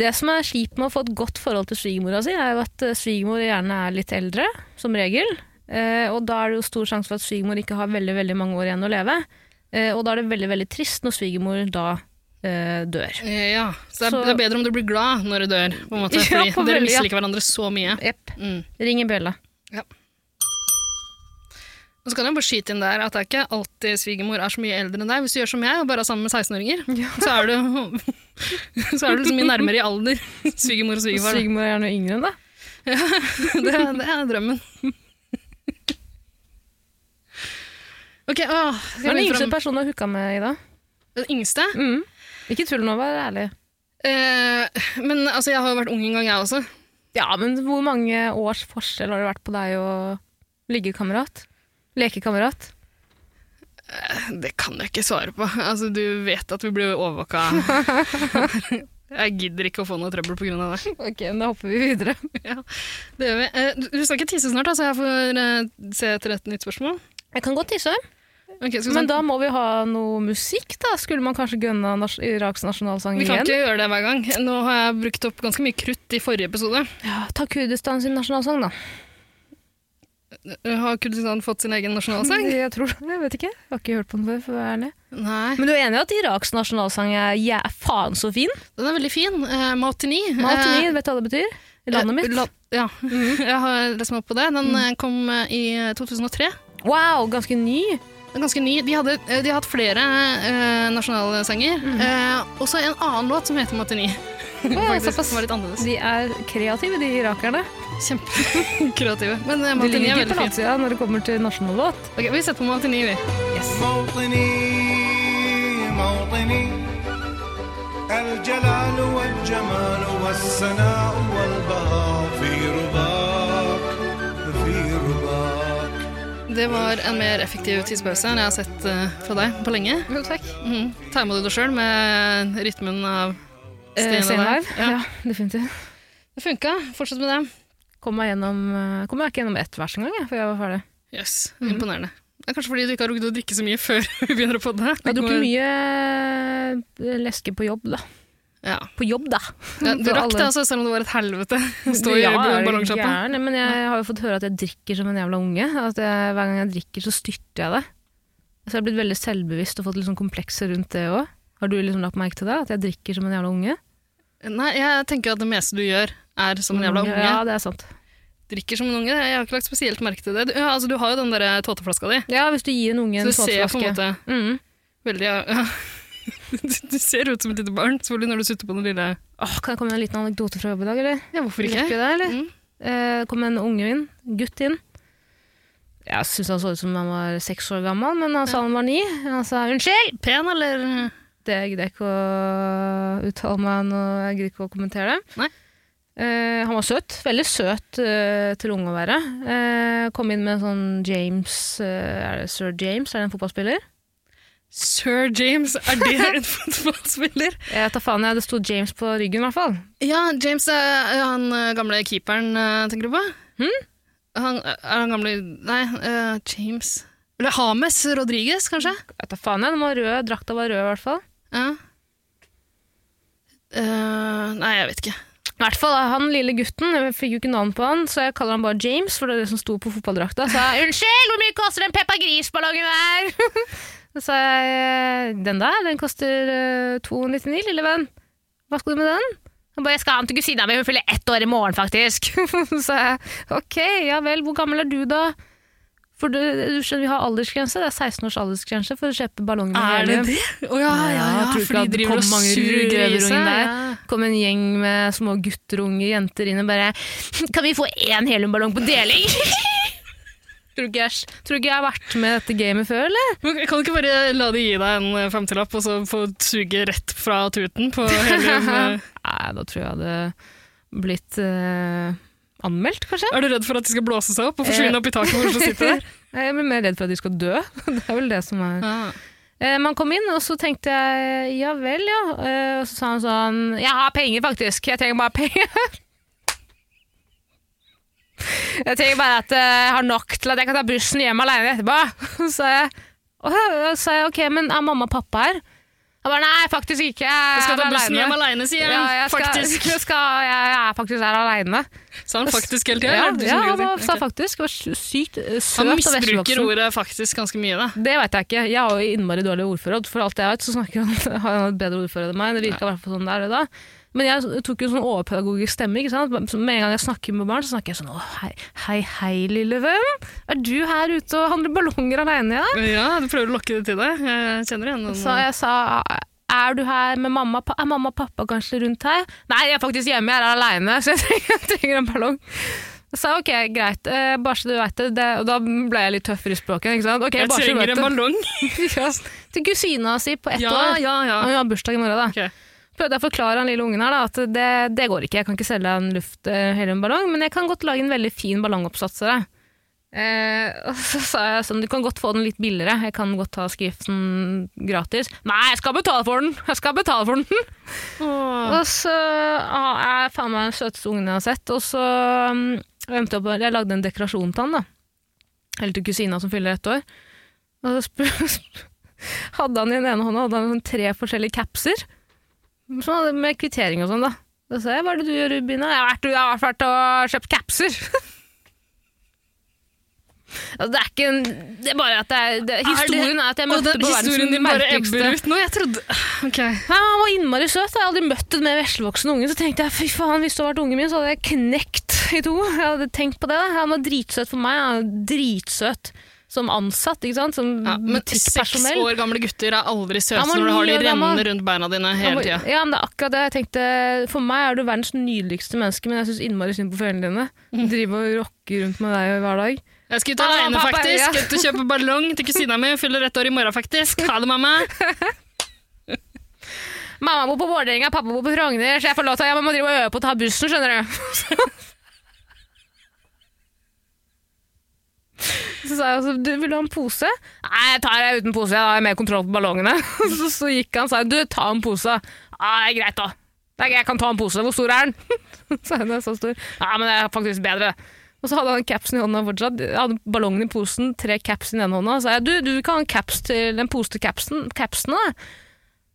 Speaker 1: Det som er kjipt med å få et godt forhold til svigermora si, er jo at eh, svigermor gjerne er litt eldre, som regel. Eh, og da er det jo stor sjanse for at svigermor ikke har veldig, veldig mange år igjen å leve. Eh, og da er det veldig, veldig trist når svigermor da eh, dør.
Speaker 2: Eh, ja, så det, er,
Speaker 1: Så-
Speaker 2: det er bedre om du blir glad når du dør, på en
Speaker 1: <laughs>
Speaker 2: måte,
Speaker 1: Ja,
Speaker 2: fordi
Speaker 1: på
Speaker 2: dere
Speaker 1: veldig, ja.
Speaker 2: misliker hverandre så mye.
Speaker 1: Jepp.
Speaker 2: Mm.
Speaker 1: Ring i bjella.
Speaker 2: Og så kan jeg bare skyte inn der at det er ikke alltid svigermor er så mye eldre enn deg. Hvis du gjør som jeg og bare er sammen med <laughs> 16-åringer, så er du, så er du <laughs> liksom mye nærmere i alder svigermor og svigerfar. da.
Speaker 1: Svigermor er gjerne yngre enn deg.
Speaker 2: Det, er- det er drømmen. <laughs> Ok, åh, skal
Speaker 1: Hva er den
Speaker 2: vi
Speaker 1: yngste
Speaker 2: fram-
Speaker 1: personen du har hooka med i dag?
Speaker 2: Den yngste?
Speaker 1: Mm. Ikke tull nå, vær ærlig.
Speaker 2: Eh, men altså, jeg har jo vært ung en gang, jeg også.
Speaker 1: Ja, men hvor mange års forskjell har det vært på deg og liggekamerat? Lekekamerat?
Speaker 2: Det kan jeg ikke svare på. Altså, du vet at vi blir overvåka. <laughs> Jeg gidder ikke å få noe trøbbel pga. det.
Speaker 1: <laughs> Ok, men da hopper vi videre.
Speaker 2: det gjør vi. Eh, du- du skal ikke tisse snart, da, så jeg får eh, se etter et nytt spørsmål.
Speaker 1: Jeg kan godt tisse.
Speaker 2: Ok, skal vi
Speaker 1: Men
Speaker 2: sånn-
Speaker 1: da må vi ha noe musikk, da. Skulle man kanskje gønne nas Iraks nasjonalsang
Speaker 2: vi kan
Speaker 1: igjen?
Speaker 2: ikke gjøre det hver gang. Nå har jeg brukt opp ganske mye krutt i forrige episode.
Speaker 1: Ja, ta Kurdistan sin nasjonalsang, da.
Speaker 2: Eh, Har Kurdistan fått sin egen
Speaker 1: <laughs>
Speaker 2: nasjonalsang?
Speaker 1: Jeg tror det, jeg vet ikke. Jeg har ikke hørt på den før, for å være ærlig.
Speaker 2: Nei.
Speaker 1: Men du er enig i at Iraks nasjonalsang er jæ- faen så fin?
Speaker 2: Den er veldig fin. Eh, Mautini.
Speaker 1: Mautini, vet du hva det betyr? I landet
Speaker 2: Eh,
Speaker 1: mitt. Mm.
Speaker 2: la- ja, Mhm. jeg har lest meg opp på det. Den eh, kom eh, i 2003.
Speaker 1: Wow, ganske ny.
Speaker 2: Den er Ganske ny. De, hadde, eh, de har hatt flere eh, nasjonalsanger. Eh, også en annen låt som heter Matini.
Speaker 1: Mm. Ja,
Speaker 2: <laughs> Faktisk,
Speaker 1: såpass.
Speaker 2: som var litt annerledes.
Speaker 1: De er kreative, de irakerne.
Speaker 2: Kjempekreative. Men eh,
Speaker 1: De
Speaker 2: Matini
Speaker 1: ligger ikke
Speaker 2: er
Speaker 1: på
Speaker 2: veldig fin.
Speaker 1: latsida når det kommer til nasjonallåt.
Speaker 2: Ok, vi setter på Matini, vi.
Speaker 3: موطني موطني الجلال والجمال والسناء والبهاء في رباك في رباك
Speaker 2: Det var en mer effektiv tidspause enn jeg har sett eh, fra deg på lenge.
Speaker 1: Jo, takk.
Speaker 2: Mm. Tegna du det sjøl med rytmen av
Speaker 1: Eh,
Speaker 2: Stay Alive.
Speaker 1: Alive.
Speaker 2: Ja.
Speaker 1: Ja, definitivt.
Speaker 2: Det funka. Fortsett med det.
Speaker 1: Kom meg, gjennom, eh, kom meg ikke gjennom ett vers engang, jeg, før jeg var ferdig.
Speaker 2: Jøss, imponerende. Det er kanskje fordi du ikke har rukket å drikke så mye før <laughs> vi begynner å podde.
Speaker 1: Jeg dukket mye eh, leske på jobb, da.
Speaker 2: Ja.
Speaker 1: På jobb, da!
Speaker 2: Ja, du
Speaker 1: Så
Speaker 2: rakk
Speaker 1: alle-
Speaker 2: det, altså, selv om det var et helvete <laughs> å stå i
Speaker 1: Ja, er du
Speaker 2: ballongsjappa.
Speaker 1: gæren? Men jeg har jo fått høre at jeg drikker som en jævla unge. At jeg, hver gang jeg drikker, så styrter jeg det. Så jeg har blitt veldig selvbevisst og fått litt sånn komplekser rundt det òg. Har du liksom lagt merke til det? At jeg drikker som en jævla unge?
Speaker 2: Nei, jeg tenker at det meste du gjør, er som en jævla unge.
Speaker 1: Ja, det er sant.
Speaker 2: Drikker som en unge. Jeg har ikke lagt spesielt merke til det. Du, ja, altså, du har jo den der tåteflaska di,
Speaker 1: Ja, hvis du gir en unge en
Speaker 2: så du ser på en
Speaker 1: tåteflaske.
Speaker 2: måte
Speaker 1: Mm.
Speaker 2: veldig ja. <laughs> du, du ser ut som et lite barn, selvfølgelig når du sutter på den lille
Speaker 1: Åh, kan jeg komme med en liten anekdote fra jobb i dag, eller?
Speaker 2: Ja, hvorfor ikke?
Speaker 1: Rekker vi det, eller?
Speaker 2: Mm.
Speaker 1: Eh, kom en unge inn, gutt inn. Jeg syntes han så ut som han var seks år gammel, men han sa han var ni. Han sa 'unnskyld'.
Speaker 2: Pen, eller
Speaker 1: Det gidder jeg ikke å uttale meg noe, jeg gidder ikke å kommentere det.
Speaker 2: Nei.
Speaker 1: Eh, han var søt. Veldig søt eh, til unge å være. Eh, kom inn med en sånn James eh, Er det Sir James? Er det en fotballspiller?
Speaker 2: Sir James, er det <laughs> en fotballspiller?
Speaker 1: Jeg tar faen, jeg. Det sto James på ryggen, i hvert fall.
Speaker 2: Ja, James er er han eh, gamle keeperen, eh, tenker du på? Han, er han gamle Nei, eh, James Eller Hames Rodriguez, kanskje?
Speaker 1: Jeg tar faen, jeg. Den var rød. Drakta var rød, i hvert fall.
Speaker 2: Ja. Eh, nei, jeg vet ikke.
Speaker 1: I hvert fall han lille gutten, jeg fikk jo ikke navn på han, så jeg kaller han bare James, for det er det som sto på fotballdrakta. Så jeg, unnskyld, hvor mye koster den Peppa Gris-ballongen der? <laughs> Så sa jeg, "Eh, den der, den koster eh, 299, lille venn. Hva skal du med den? Han bare, jeg skal ha den til kusina mi, hun fyller ett år i morgen faktisk. <laughs> Så sa jeg, ok, ja vel, hvor gammel er du da? For du, du skjønner, vi har aldersgrense, det er 16 års aldersgrense for å kjøpe ballonger med helium.
Speaker 2: det? Å ja, ja, ja,
Speaker 1: Ja, tror ikke
Speaker 2: for de
Speaker 1: at det
Speaker 2: driver og
Speaker 1: kom mange
Speaker 2: suger
Speaker 1: ruggrøverunger
Speaker 2: grise.
Speaker 1: der.
Speaker 2: Ja.
Speaker 1: kom en gjeng med små gutter og unge jenter inn og bare Kan vi få én heliumballong på deling? <laughs> tror, ikke jeg, tror ikke jeg har vært med i dette gamet før, eller?
Speaker 2: Men Kan du ikke bare la de gi deg en eh, femtilapp, og så få suge rett fra tuten på
Speaker 1: <laughs>
Speaker 2: helium? eh?
Speaker 1: Nei, da tror jeg jeg hadde blitt eh, anmeldt, kanskje.
Speaker 2: Er du redd for at de skal blåse seg opp og forsvinne opp i taket hvor Oslo
Speaker 1: <laughs>
Speaker 2: sitter der?
Speaker 1: Nei, Jeg blir mer redd for at de skal dø. <laughs> Det er vel det som er
Speaker 2: Ah.
Speaker 1: Eh, Man kom inn, og så tenkte jeg ja vel, ja. Eh, Og så sa han sånn Jeg har penger, faktisk. Jeg trenger bare penger. <laughs> Jeg trenger bare at eh, jeg har nok til at jeg kan ta bussen hjem alene etterpå. <laughs> Så sa jeg, «Åh», og så sa jeg ok, men er mamma og pappa her? Han bare nei, faktisk ikke. Jeg,
Speaker 2: Jeg skal ta
Speaker 1: er
Speaker 2: bussen
Speaker 1: alene.»
Speaker 2: hjem aleine, sier han.
Speaker 1: Ja, jeg, skal,
Speaker 2: Faktisk.
Speaker 1: Jeg, <laughs> skal, jeg, jeg er faktisk her aleine.
Speaker 2: Sa han faktisk hele tida?
Speaker 1: ja,
Speaker 2: eller? Du
Speaker 1: ja,
Speaker 2: som
Speaker 1: han
Speaker 2: ikke
Speaker 1: var-
Speaker 2: sier.
Speaker 1: sa
Speaker 2: Ok.
Speaker 1: faktisk. Var sy- sykt eh, søt
Speaker 2: Han
Speaker 1: og
Speaker 2: misbruker
Speaker 1: veslevoksen.
Speaker 2: ordet faktisk ganske mye, da.
Speaker 1: Det veit jeg ikke. Jeg har jo innmari dårlig ordforråd. For alt jeg vet, så snakker han, <laughs> har han et bedre ordforråd enn meg. Det virker i hvert fall sånn det er det da. Men jeg tok jo sånn overpedagogisk stemme. ikke sant? Så Med en gang jeg snakker med barn, så snakker jeg sånn Å, hei, hei, hei, lille venn. Er du her ute og handler ballonger aleine, ja?
Speaker 2: Ja, du prøver å lokke det til deg. Jeg kjenner igjen den.
Speaker 1: Så jeg sa er du her med mamma, og pa- er mamma og pappa kanskje rundt her? Nei, jeg er faktisk hjemme, jeg er aleine, så jeg <laughs> trenger, jeg trenger en ballong. Jeg sa ok, greit, eh, bare så du veit det, det. Og da ble jeg litt tøffere i språket. ikke sant? Ok,
Speaker 2: Jeg
Speaker 1: bare så du vet
Speaker 2: trenger en
Speaker 1: det.
Speaker 2: ballong.
Speaker 1: Ja, til kusina si på ett
Speaker 2: Ja,
Speaker 1: år.
Speaker 2: ja, ja.
Speaker 1: Og hun har bursdag i morgen, da.
Speaker 2: Ok.
Speaker 1: Prøvde jeg å forklare han lille ungen her da, at det, det går ikke, jeg kan ikke selge deg en luft eh, heliumballong, men jeg kan godt lage en veldig fin ballongoppsats til deg. Eh, og så sa jeg sånn, du kan godt få den litt billigere, jeg kan godt ta skriften gratis. Nei, jeg skal betale for den! Jeg skal betale for den!
Speaker 2: Åh.
Speaker 1: Og så ah, jeg er faen meg den søteste ungen jeg har sett, og så mm, jeg endte opp, jeg lagde en dekorasjon til han da, eller til kusina som fyller ett år, og så spør- <laughs> spør- hadde han i den ene hånda hadde han sånn tre forskjellige capser, som hadde med kvittering og sånn da. Da sa jeg, hva er det du gjør, Rubina? Jeg har vært, jeg har vært og kjøpt capser. <laughs> Altså, det er ikke en, det er bare at det er, det, historien er, at jeg
Speaker 2: Og
Speaker 1: møtte
Speaker 2: den
Speaker 1: på
Speaker 2: historien din
Speaker 1: verdens
Speaker 2: bare
Speaker 1: merkeligste.
Speaker 2: ebber ut nå. Jeg trodde Ok.
Speaker 1: Nei, men han var innmari søt. Jeg hadde aldri møtt en mer veslevoksen unge. Så tenkte jeg fy faen, hvis du hadde vært ungen min, så hadde jeg knekt i to. Jeg hadde tenkt på det. da. Han var dritsøt for meg. Han var dritsøt som ansatt, ikke sant? Som
Speaker 2: Ja, men seks
Speaker 1: butikkpersonell.
Speaker 2: år gamle gutter er aldri søte
Speaker 1: Han var
Speaker 2: når du har de
Speaker 1: ni år
Speaker 2: rennende
Speaker 1: gammel.
Speaker 2: rundt beina dine
Speaker 1: Han
Speaker 2: hele
Speaker 1: var-
Speaker 2: tida.
Speaker 1: Ja, men det er akkurat det. Jeg tenkte, For meg er du verdens nydeligste menneske, men jeg syns innmari synd på foreldrene dine. Du driver og rocker rundt med deg hver dag.
Speaker 2: Jeg skal ut
Speaker 1: Hallo,
Speaker 2: alene,
Speaker 1: pappa,
Speaker 2: faktisk.
Speaker 1: ja.
Speaker 2: Skal ut og kjøpe ballong til kusina mi. Hun fyller ett år i morgen, faktisk. Ha det, mamma. <laughs>
Speaker 1: Mamma bor på Vålerenga, pappa bor på Frogner, så jeg får lov til å jeg må drive og øve på å ta bussen, skjønner du. Så sa jeg altså, du, vil du ha en pose? Nei, jeg tar deg uten <laughs> pose, jeg har mer kontroll på ballongene. Så, så gikk han og sa, du, ta en pose. Ja, det er greit da. «Nei, Jeg kan ta en pose. Hvor stor er den? <laughs> Så er den så stor. Ja, men det er faktisk bedre. Og så hadde han capsen i hånda fortsatt. Jeg hadde ballongen i posen, tre caps i den hånda. Så sa jeg du, du kan ha en caps til en pose til capsen, capsene.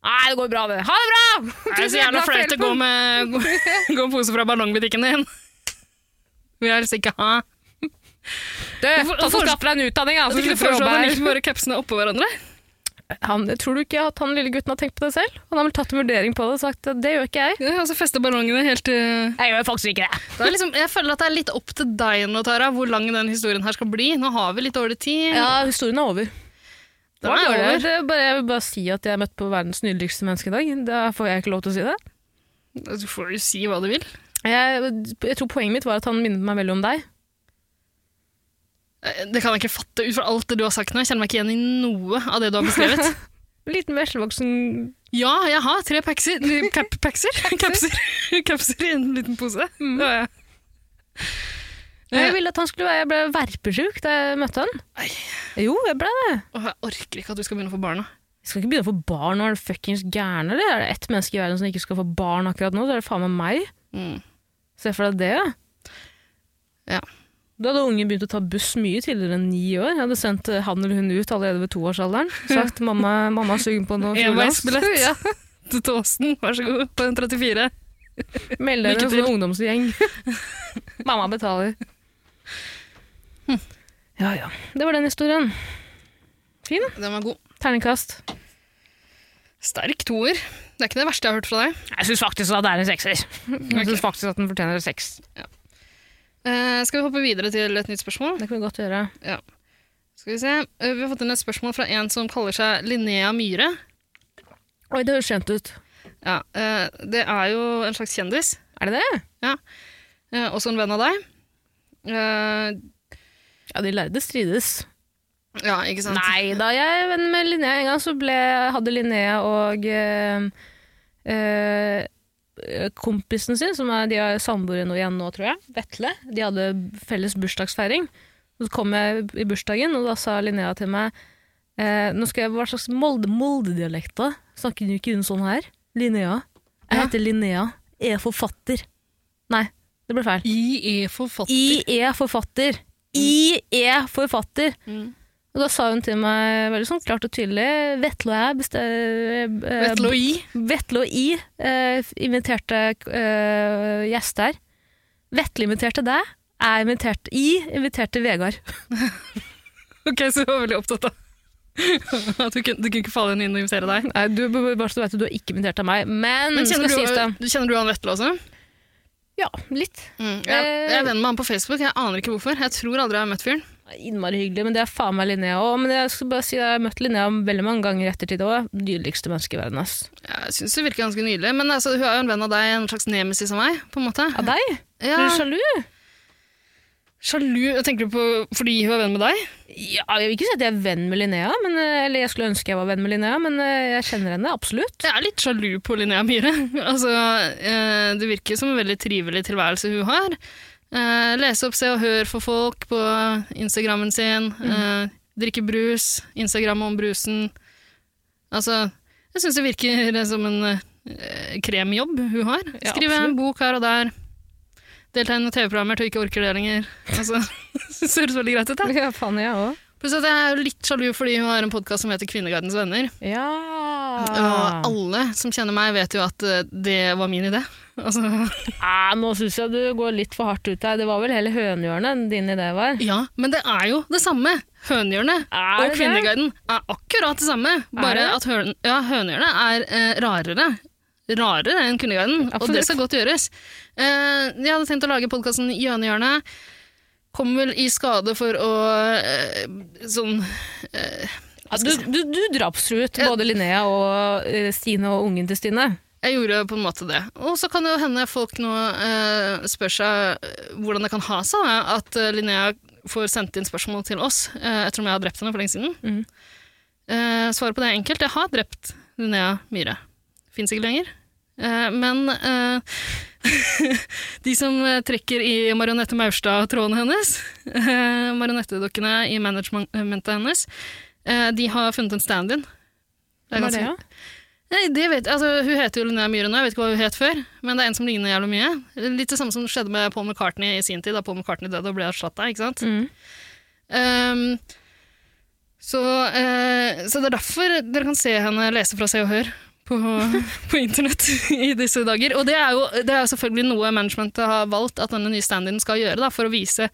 Speaker 1: Nei, det går bra, det. Ha det bra! <laughs>
Speaker 2: Det er så jævla flaut å gå med gå en pose fra ballongbutikken din. Vi helst ikke ha.
Speaker 1: Du,
Speaker 2: Hvorfor-
Speaker 1: ta så
Speaker 2: hvorfor-
Speaker 1: skaffe deg en utdanning, da.
Speaker 2: Jeg
Speaker 1: Så slipper
Speaker 2: tenker du
Speaker 1: du å
Speaker 2: foreslår
Speaker 1: jobbe
Speaker 2: at man
Speaker 1: her.
Speaker 2: ikke bare kapsene oppå hverandre.
Speaker 1: Han, tror du ikke at han lille gutten har tenkt på det selv? Han har vel tatt en vurdering på det og sagt at det gjør ikke jeg.
Speaker 2: Ja, og så fester altså ballongene helt til
Speaker 1: Jeg gjør faktisk ikke det.
Speaker 2: Det er liksom, jeg føler at det er litt opp til deg nå, Tara, hvor lang den historien her skal bli. Nå har vi litt dårlig tid.
Speaker 1: Ja, historien er over.
Speaker 2: Den er
Speaker 1: Det
Speaker 2: over.
Speaker 1: Det er bare, jeg vil bare si at jeg er møtt på verdens nydeligste menneske i dag. Da får jeg ikke lov til å si det.
Speaker 2: Du får jo si hva du vil.
Speaker 1: Jeg, jeg tror poenget mitt var at han minnet meg veldig om deg.
Speaker 2: Eh, Det kan jeg ikke fatte ut fra alt det du har sagt nå. Jeg kjenner meg ikke igjen i noe av det du har beskrevet. <laughs>
Speaker 1: Liten veslevoksen
Speaker 2: ja, jeg har tre packser. Cap packser? Kapser. <laughs> Kapser i en liten pose. Det har jeg. Eh,
Speaker 1: Jeg ville at han skulle være Jeg ble verpesjuk da jeg møtte han.
Speaker 2: Nei.
Speaker 1: Jo, jeg ble det.
Speaker 2: Åh, jeg orker ikke at du skal begynne å få barna.
Speaker 1: Jeg skal ikke begynne å få barn nå, er du fuckings gæren, eller? Er det ett menneske i verden som ikke skal få barn akkurat nå, så er det faen meg meg.
Speaker 2: Mm.
Speaker 1: Se for deg det, ja.
Speaker 2: Ja.
Speaker 1: Da hadde ungen begynt å ta buss mye tidligere enn ni år. Jeg hadde sendt eh, han eller hun ut allerede ved <laughs> toårsalderen. Sagt 'mamma, mamma er sugen på <laughs> noe
Speaker 2: Enveisbillett
Speaker 1: fugleost'. <laughs> Ja.
Speaker 2: til Tåsen, vær så god, på en 34.
Speaker 1: Meld deg inn i
Speaker 2: Lykke
Speaker 1: en
Speaker 2: til.
Speaker 1: sånn ungdomsgjeng. <laughs> mamma betaler. Ja ja. Det var den historien. Fin.
Speaker 2: Den var god.
Speaker 1: Terningkast.
Speaker 2: Sterk toer. Det er ikke det verste jeg har hørt fra deg.
Speaker 1: Jeg syns faktisk at det er en <laughs> sekser. Jeg syns faktisk at den fortjener en seks.
Speaker 2: Eh, skal vi hoppe videre til et nytt spørsmål?
Speaker 1: Det kan vi godt gjøre.
Speaker 2: Skal vi se. Eh, Vi har fått inn et spørsmål fra en som kaller seg Linnea Myhre.
Speaker 1: Oi, det høres kjent ut.
Speaker 2: Ja, eh, det er jo en slags kjendis,
Speaker 1: Er det det?
Speaker 2: eh, også en venn av deg. Eh,
Speaker 1: Ja, de lærde strides.
Speaker 2: ja, ikke sant?
Speaker 1: Nei, da jeg er venn med Linnea en gang, så ble, hadde Linnea og eh, eh, kompisen sin, som er, de er samboere nå igjen nå, tror jeg, Vetle, de hadde felles bursdagsfeiring. Så kom jeg i bursdagen, og da sa Linnea til meg eh, Nå skal jeg Hva slags Molde- Molde-dialekt, da? Snakker hun ikke hun sånn her? Linnea. Jeg
Speaker 2: Ja.
Speaker 1: heter Linnea. Jeg er forfatter. Nei, det ble feil.
Speaker 2: I er forfatter.
Speaker 1: I er forfatter. Mm. I er forfatter.
Speaker 2: Mm.
Speaker 1: Og da sa hun til meg veldig sånn klart og tydelig Vetle og jeg beste- eh,
Speaker 2: Vetle og I.
Speaker 1: Vetle og I eh, inviterte eh, gjester. Vetle inviterte deg. Jeg inviterte I inviterte Vegard.
Speaker 2: Ok, så jeg var veldig opptatt av <laughs> at du kunne, du kunne ikke falle henne inn og invitere deg.
Speaker 1: Nei, du, bare så du vet, du har ikke invitert av meg, men,
Speaker 2: Men kjenner
Speaker 1: skal
Speaker 2: du,
Speaker 1: sies det.
Speaker 2: kjenner du han Vetle også? Mm.
Speaker 1: Ja, litt.
Speaker 2: Jeg, jeg er venn med han på Facebook, jeg aner ikke hvorfor. Jeg tror aldri jeg har møtt fyren.
Speaker 1: Innmari hyggelig, men det er faen meg Linnea òg. Men jeg skal bare si at jeg har møtt Linnea veldig mange ganger i ettertid òg. Nydeligste menneske i verden, ass.
Speaker 2: Jeg syns hun virker ganske nydelig, men altså, hun er jo en venn av deg, en slags nemesis av meg, på en måte.
Speaker 1: Av deg?
Speaker 2: Ja,
Speaker 1: Er du sjalu?
Speaker 2: sjalu Tenker du på fordi hun er venn med deg?
Speaker 1: Ja, jeg vil ikke si at jeg er venn med Linnea, men, eh, eller jeg skulle ønske jeg var venn med Linnea, men eh, jeg kjenner henne absolutt.
Speaker 2: Jeg er litt sjalu på Linnea Myhre. <laughs> altså, eh, det virker som en veldig trivelig tilværelse hun har. Eh, lese opp Se og Hør for folk på Instagrammen sin. Eh, drikke brus. Instagram om brusen. Altså, jeg syns det virker som en eh, kremjobb hun har.
Speaker 1: Ja,
Speaker 2: Skrive en bok her og der. Delta i noen TV-programmer til hun ikke orker det lenger. Altså, <laughs> det høres veldig greit ut. da.
Speaker 1: <laughs> Ja, faen jeg òg.
Speaker 2: Pluss at jeg er jo litt sjalu fordi hun har en podkast som heter Kvinneguidens venner.
Speaker 1: Ja. Ah.
Speaker 2: Og alle som kjenner meg, vet jo at eh, det var min idé. <laughs> Altså,
Speaker 1: Ah, nå syns jeg du går litt for hardt ut her. Det var vel heller hønehjørnet din idé var?
Speaker 2: ja, men det er jo det samme. Hønehjørnet
Speaker 1: Er
Speaker 2: og
Speaker 1: det det?
Speaker 2: Kvinneguiden er akkurat det samme, bare
Speaker 1: det?
Speaker 2: at høn, ja, Hønehjørnet er eh, rarere. Rarere enn Kvinneguiden, og
Speaker 1: Absolutt.
Speaker 2: det skal godt gjøres. Eh, jeg hadde tenkt å lage podkasten Jønehjørnet. Kom vel i skade for å eh, sånn
Speaker 1: Ja, du du, du drapstruet både Linnea og eh, Stine og ungen til Stine.
Speaker 2: Jeg gjorde på en måte det. Og så kan det jo hende folk nå eh, spør seg eh, hvordan det kan ha seg da, at eh, Linnea får sendt inn spørsmål til oss eh, etter om jeg har drept henne for lenge siden.
Speaker 1: Mhm.
Speaker 2: Eh, svaret på det er enkelt. Jeg har drept Linnea Myhre. Fins ikke lenger. Eh, men eh, <laughs> de som eh, trekker i Marionette Maurstad-trådene hennes, eh, marionettedokkene i managementet hennes, eh, de har funnet en stand-in. Det
Speaker 1: Hva er det, ja?
Speaker 2: Nei, det vet jeg. Altså, hun heter jo Linnea Myhre nå, jeg vet ikke hva hun het før. Men det er en som ligner jævlig mye. Litt det samme som skjedde med Paul McCartney i sin tid, da Paul McCartney døde og ble erstatta, ikke sant.
Speaker 1: Mm.
Speaker 2: Ehm, så, eh, så det er derfor dere kan se henne lese fra Se og Hør på, <laughs> på internett i disse dager. Og det er jo det er jo selvfølgelig noe managementet har valgt at denne nye stand-in skal gjøre, da, for å vise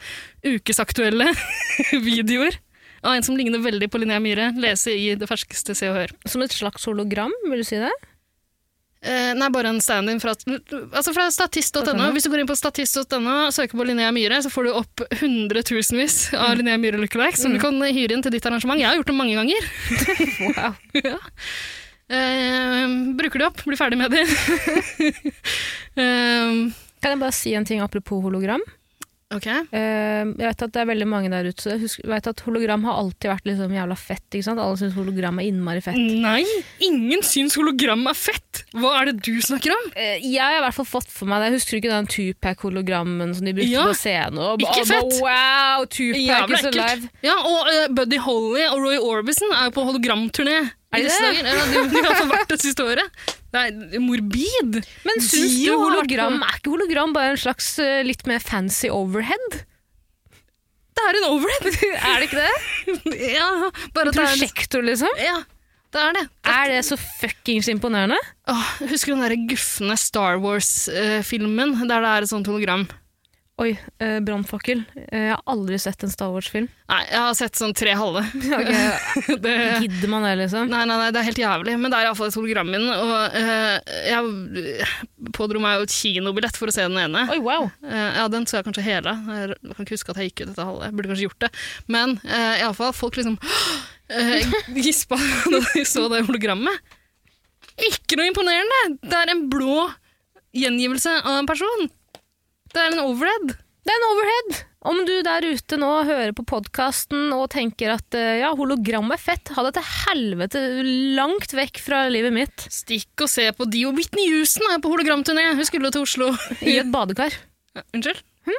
Speaker 2: ukesaktuelle <laughs> videoer av en som ligner veldig på Linnea Myhre, lese i det ferskeste Se og Hør.
Speaker 1: Som et slags hologram, vil du si det?
Speaker 2: Eh, nei, bare en stand-in fra, altså fra statist.no. Hvis du går inn på statist.no og søker på Linnea Myhre, så får du opp hundretusenvis av Linnea Myhre lookalikes som du kan hyre inn til ditt arrangement. Jeg har gjort det mange ganger. <laughs>
Speaker 1: Wow.
Speaker 2: ja. eh, bruker de opp, blir ferdig med de. <laughs> eh,
Speaker 1: Kan jeg bare si en ting apropos hologram?
Speaker 2: ok.
Speaker 1: Eh, jeg vet at det er veldig mange der ute, så jeg husker, vet at hologram har alltid vært liksom jævla fett. ikke sant? Alle syns hologram er innmari fett.
Speaker 2: Nei, ingen syns hologram er fett! Hva er det du snakker om?
Speaker 1: Eh, jeg har i hvert fall fått for meg det. Jeg husker du ikke den Tupac-hologrammen som de brukte
Speaker 2: Ja.
Speaker 1: på scenen? Og ba-
Speaker 2: Ikke fett!
Speaker 1: Wow, Tupac
Speaker 2: Jævla
Speaker 1: is alive!
Speaker 2: Ja, og eh, Buddy Holly og Roy Orbison er jo på hologramturné.
Speaker 1: Er
Speaker 2: i
Speaker 1: de
Speaker 2: disse
Speaker 1: det?
Speaker 2: dager. Ja, de, de har fått vært det siste året. Det er morbid.
Speaker 1: Men
Speaker 2: De
Speaker 1: syns du
Speaker 2: har vært
Speaker 1: hologram
Speaker 2: på-
Speaker 1: er ikke hologram bare en slags eh, litt mer fancy overhead?
Speaker 2: Det er en overhead.
Speaker 1: <laughs> Er det ikke det?
Speaker 2: ja, bare at det er
Speaker 1: Prosjektor, liksom?
Speaker 2: Ja, det er det.
Speaker 1: Er det så fuckings imponerende?
Speaker 2: Åh, husker du den der gufne Star Wars-filmen eh, der det er et sånt hologram?
Speaker 1: Oi, uh, brannfakkel. Eh, jeg har aldri sett en Star <laughs> Wars-film.
Speaker 2: Nei, jeg har sett sånn tre halve. det, nei,
Speaker 1: Gidder man <laughs> det, liksom?
Speaker 2: nei, nei, det er helt jævlig. Men det er iallfall et hologram i den, og eh, jeg pådro meg jo et kinobillett for å se den ene.
Speaker 1: Oi, wow.
Speaker 2: Eh, ja, den så jeg kanskje hele. Jeg kan ikke huske at jeg gikk ut dette halve. Jeg burde kanskje gjort det. Men uh, iallfall, folk liksom <gasps> eh, gispa <laughs> da de så det hologrammet. Ikke noe imponerende! Det er en blå gjengivelse av en person. Det er en overhead.
Speaker 1: Det er en overhead! Om du der ute nå hører på podkasten og tenker at eh, ja, hologram er fett, ha det til helvete langt vekk fra livet mitt.
Speaker 2: Stikk og se på de, og Whitney Houston er på hologramturné. Hun skulle jo til Oslo.
Speaker 1: I et badekar.
Speaker 2: Ja, Unnskyld? <laughs>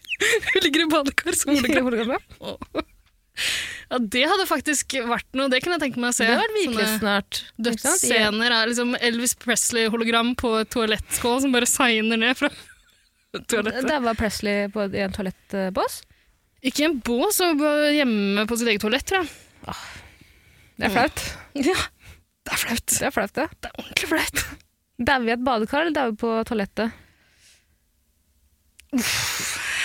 Speaker 2: Hun ligger i badekar som <laughs> hologram. Åh. Ja, det hadde faktisk vært noe. Det kunne jeg tenke meg å se.
Speaker 1: Det har vært virkelig
Speaker 2: Sånne-
Speaker 1: snart. ikke sant? I-
Speaker 2: Dødsscener er liksom Elvis Presley-hologram på et toalettskål som bare segner ned fra <laughs> toalettet.
Speaker 1: Der var Presley på i en toalettbås.
Speaker 2: Ikke en bås, og bare hjemme på sitt eget toalett, tror jeg.
Speaker 1: Det
Speaker 2: Mm.
Speaker 1: er flaut.
Speaker 2: Ja, det er flaut.
Speaker 1: Det er flaut, det.
Speaker 2: Det er ordentlig flaut.
Speaker 1: Dauer vi i et badekar, eller dauer vi på toalettet?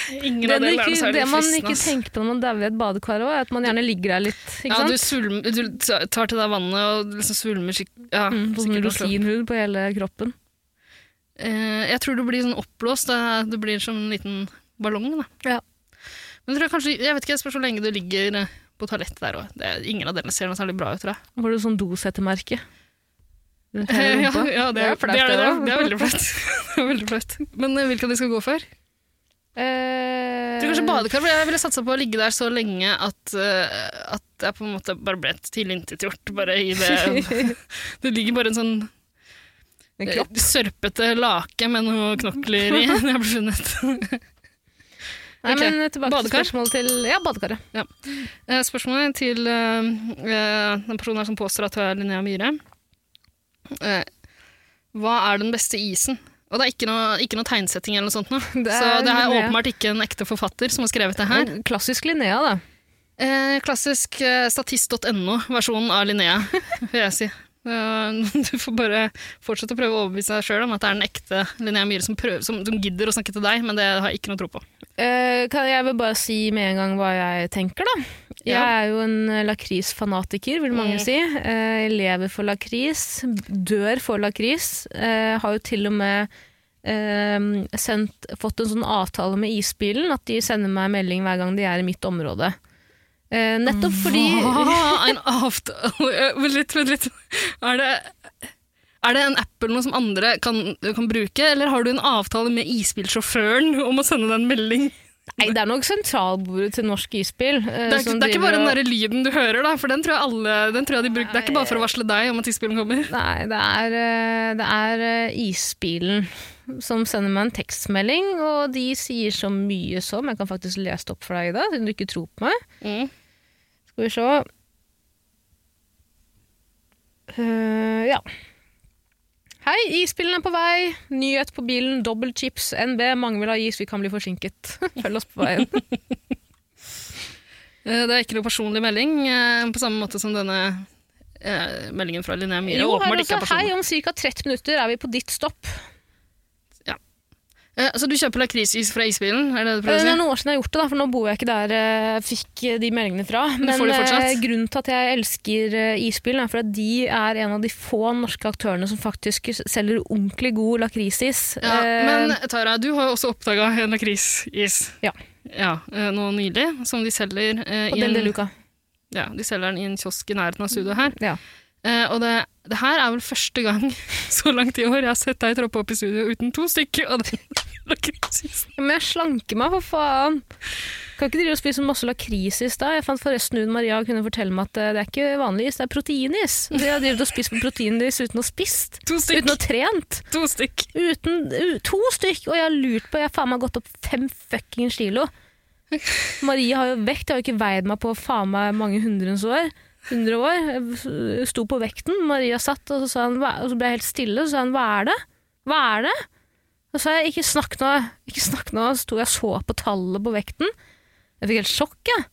Speaker 2: Ingen
Speaker 1: Det,
Speaker 2: av
Speaker 1: du
Speaker 2: delene er noe
Speaker 1: ikke, det
Speaker 2: særlig
Speaker 1: man
Speaker 2: fristende.
Speaker 1: ikke
Speaker 2: ass.
Speaker 1: tenker på når man dauer i et badekar, også, er at man gjerne ligger der litt. Ikke
Speaker 2: Ja, du,
Speaker 1: sant?
Speaker 2: svulm, du ta- tar til deg vannet og liksom svulmer skikkelig. Ja,
Speaker 1: Mm, på sånn
Speaker 2: sikkert også.
Speaker 1: rosinhud på hele kroppen.
Speaker 2: Eh, jeg tror du blir sånn oppblåst. da. Du blir som en liten ballong. Da.
Speaker 1: Ja.
Speaker 2: Men jeg, tror kanskje, jeg vet ikke, jeg spørs hvor lenge du ligger eh, på toalettet der òg. Ingen av delene ser noe særlig bra ut, tror jeg.
Speaker 1: Får du sånn dosettemerke?
Speaker 2: <laughs>
Speaker 1: Rundt hele
Speaker 2: Ja,
Speaker 1: rumpa.
Speaker 2: ja, det, er,
Speaker 1: flaut,
Speaker 2: det, er, det, er,
Speaker 1: også.
Speaker 2: det er veldig flaut. <laughs> Det er veldig flaut. Men eh, hvilken de skal gå for?
Speaker 1: Eh,
Speaker 2: Jeg tror
Speaker 1: <laughs>
Speaker 2: kanskje badekar, for jeg ville satsa på å ligge der så lenge at, eh, at jeg på en måte bare ble tilintetgjort. Bare i <laughs> det Det ligger bare en sånn
Speaker 1: En
Speaker 2: eh,
Speaker 1: kropp.
Speaker 2: sørpete lake med noen knokler i <laughs> når jeg ble funnet.
Speaker 1: Nei,
Speaker 2: Ok,
Speaker 1: men tilbake
Speaker 2: badekar.
Speaker 1: til spørsmålet til Ja, badekaret.
Speaker 2: Eh, Spørsmålet til eh, eh, den personen her som påstår at hun er Linnea Myhre. Eh, Hva er den beste isen? Og det er ikke noe, ikke noe tegnsetting eller noe sånt nå.
Speaker 1: Det
Speaker 2: så
Speaker 1: er
Speaker 2: det er
Speaker 1: Linnea.
Speaker 2: åpenbart ikke en ekte forfatter som har skrevet det her.
Speaker 1: En Klassisk Linnea, da.
Speaker 2: Eh, klassisk eh, statist.no-versjonen av Linnea, <laughs> vil jeg si. Eh, Du får bare fortsette å prøve å overbevise deg sjøl om at det er den ekte Linnea Myhre som, prøver, som, som gidder å snakke til deg, men det har jeg ikke noe tro på.
Speaker 1: Eh, kan jeg vil bare si med en gang hva jeg tenker, da. Jeg
Speaker 2: Ja.
Speaker 1: er jo en eh, lakrisfanatiker, vil mange
Speaker 2: Mm.
Speaker 1: si. Eh, jeg lever for lakris, dør for lakris. Eh, har jo til og med eh, sendt, fått en sånn avtale med Isbilen at de sender meg melding hver gang de er i mitt område. Eh, nettopp fordi
Speaker 2: Hva? En <laughs> avtale Eh, Vent litt, vent litt. Er det, er det en app eller noe som andre kan, kan bruke, eller har du en avtale med isbilsjåføren om å sende deg en melding?
Speaker 1: Nei, det er nok sentralbordet til Norsk Isbil. eh,
Speaker 2: Det er,
Speaker 1: som
Speaker 2: ikke- det er ikke
Speaker 1: driver
Speaker 2: bare den
Speaker 1: og-
Speaker 2: der lyden du hører, da, for den tror jeg alle den tror jeg de bruker. Det er ikke bare for å varsle deg om at isbilen kommer.
Speaker 1: Nei, det er, eh, det er eh, isbilen som sender meg en tekstmelding, og de sier så mye som Jeg kan faktisk lese det opp for deg, Ida, siden du ikke tror på meg.
Speaker 2: Mm.
Speaker 1: Skal vi se Eh, Ja. Hei, isbilen er på vei. Nyhet på bilen. Dobbel chips. NB. Mange vil ha is. Vi kan bli forsinket. <laughs> Følg oss på veien.
Speaker 2: <laughs> Eh, Det er ikke noe personlig melding, eh, på samme måte som denne eh, meldingen fra Linnea Myhre.
Speaker 1: Jo, her
Speaker 2: åpenbart ikke
Speaker 1: også.
Speaker 2: er
Speaker 1: Hei,
Speaker 2: personlig.
Speaker 1: om ca. 30 minutter er vi på ditt stopp.
Speaker 2: Eh, Så du kjøper lakrisis fra isbilen? Er det det du
Speaker 1: Det
Speaker 2: prøver å si?
Speaker 1: er noen år siden jeg har gjort det, da, for Eh, nå bor jeg ikke der eh, jeg fikk eh, de meldingene fra. Men
Speaker 2: får de fortsatt.
Speaker 1: eh, grunnen til at jeg elsker eh, isbilen, er for at de er en av de få norske aktørene som faktisk selger ordentlig god lakrisis.
Speaker 2: Ja,
Speaker 1: Eh,
Speaker 2: men Tara, du har jo også oppdaga en lakrisis.
Speaker 1: Ja.
Speaker 2: Ja, eh, Nå nylig, som de selger, eh,
Speaker 1: på
Speaker 2: i
Speaker 1: Del de
Speaker 2: en,
Speaker 1: Luca.
Speaker 2: ja, de selger den i en kiosk i nærheten av studioet her.
Speaker 1: Ja.
Speaker 2: Eh, og det, det her er vel første gang <laughs> så langt i år jeg har sett deg troppe opp i studio uten to stykker av <laughs> den lakrissisen.
Speaker 1: Men jeg slanker meg, for faen! Kan ikke drive og spise masse lakrisis da? Jeg fant forresten ut Maria kunne fortelle meg at eh, det er ikke vanlig is, det er proteinis. Så jeg har drevet og spist på proteinis uten å ha spist.
Speaker 2: To stykk!
Speaker 1: Uten å ha trent.
Speaker 2: To stykk.
Speaker 1: Uten, u, to stykk, og jeg har lurt på Jeg har faen meg gått opp fem fucking
Speaker 2: <laughs>
Speaker 1: kilo. Marie har jo vekt. Jeg har jo ikke veid meg på faen meg mange hundrens år. 100 år. Jeg sto på vekten, Maria satt, og så, sa han, hva- og så ble jeg helt stille. Og så sa han 'hva er det?' Hva er det? Og så sa jeg 'ikke snakk nå', ikke snakk nå. Så sto jeg og så på tallet på vekten. Jeg fikk helt sjokk, jeg.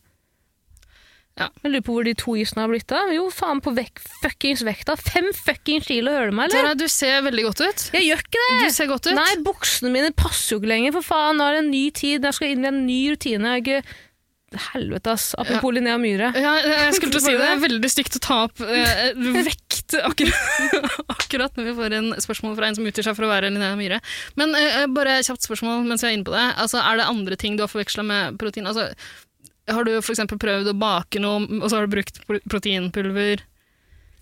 Speaker 2: Ja.
Speaker 1: Jeg lurer på hvor de to isene har blitt av. Jo, faen på vek fuckings vekta. Fem fuckings kilo, hører du meg, eller?
Speaker 2: Tara, du ser veldig godt ut.
Speaker 1: Jeg gjør ikke det!
Speaker 2: Du ser godt ut.
Speaker 1: Nei, buksene mine passer jo ikke lenger, for faen. Nå er det en ny tid, jeg skal inn i en ny rutine. Jeg er ikke... Helvete, ass. Apropos Linnea Myhre.
Speaker 2: Ja, jeg skulle til å si
Speaker 1: Var
Speaker 2: det.
Speaker 1: det
Speaker 2: Det er veldig stygt å ta opp eh, vekt akkurat, <laughs> akkurat når vi får en spørsmål fra en som utgir seg for å være Linnea Myhre. Men eh, bare kjapt spørsmål mens jeg er inne på det. Altså, er det andre ting du har forveksla med protein? Altså, har du f.eks. prøvd å bake noe, og så har du brukt pro- proteinpulver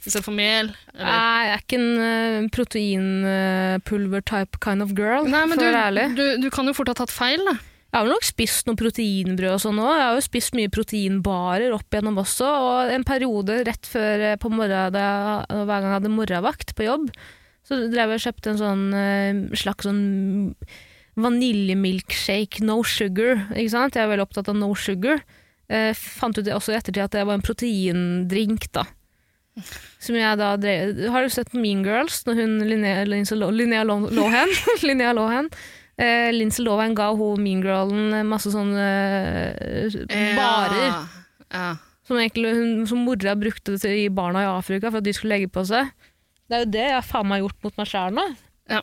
Speaker 2: istedenfor mel? Eller?
Speaker 1: Nei, jeg er ikke en eh, proteinpulver-type kind of girl,
Speaker 2: Nei, men
Speaker 1: for
Speaker 2: du,
Speaker 1: å være ærlig.
Speaker 2: du, du kan jo fort ha tatt feil, da.
Speaker 1: Jeg har vel nok spist noe proteinbrød og sånn òg. Jeg har jo spist mye proteinbarer opp igjennom også. Og en periode rett før eh, på morgenen, da jeg, hver gang jeg hadde morgenvakt på jobb, så drev jeg og kjøpte en sånn eh, slags sånn vaniljemilkshake, no sugar. Ikke sant? Jeg er veldig opptatt av no sugar. Eh, fant ut det også i ettertid at det var en proteindrink, da. Som jeg da drev Har du sett på Mean Girls, når hun Linnea, Lindsay Lo- Linnea Lo- Lohan <laughs> Linnea Lohan Eh, Lindsay Lohan ga hun Mean Girlen masse sånne eh, barer
Speaker 2: Ja.
Speaker 1: som, egentlig, hun, som mora brukte til i barna i Afrika for at de skulle legge på seg. Det er jo det jeg faen meg har gjort mot meg sjæl nå.
Speaker 2: Ja.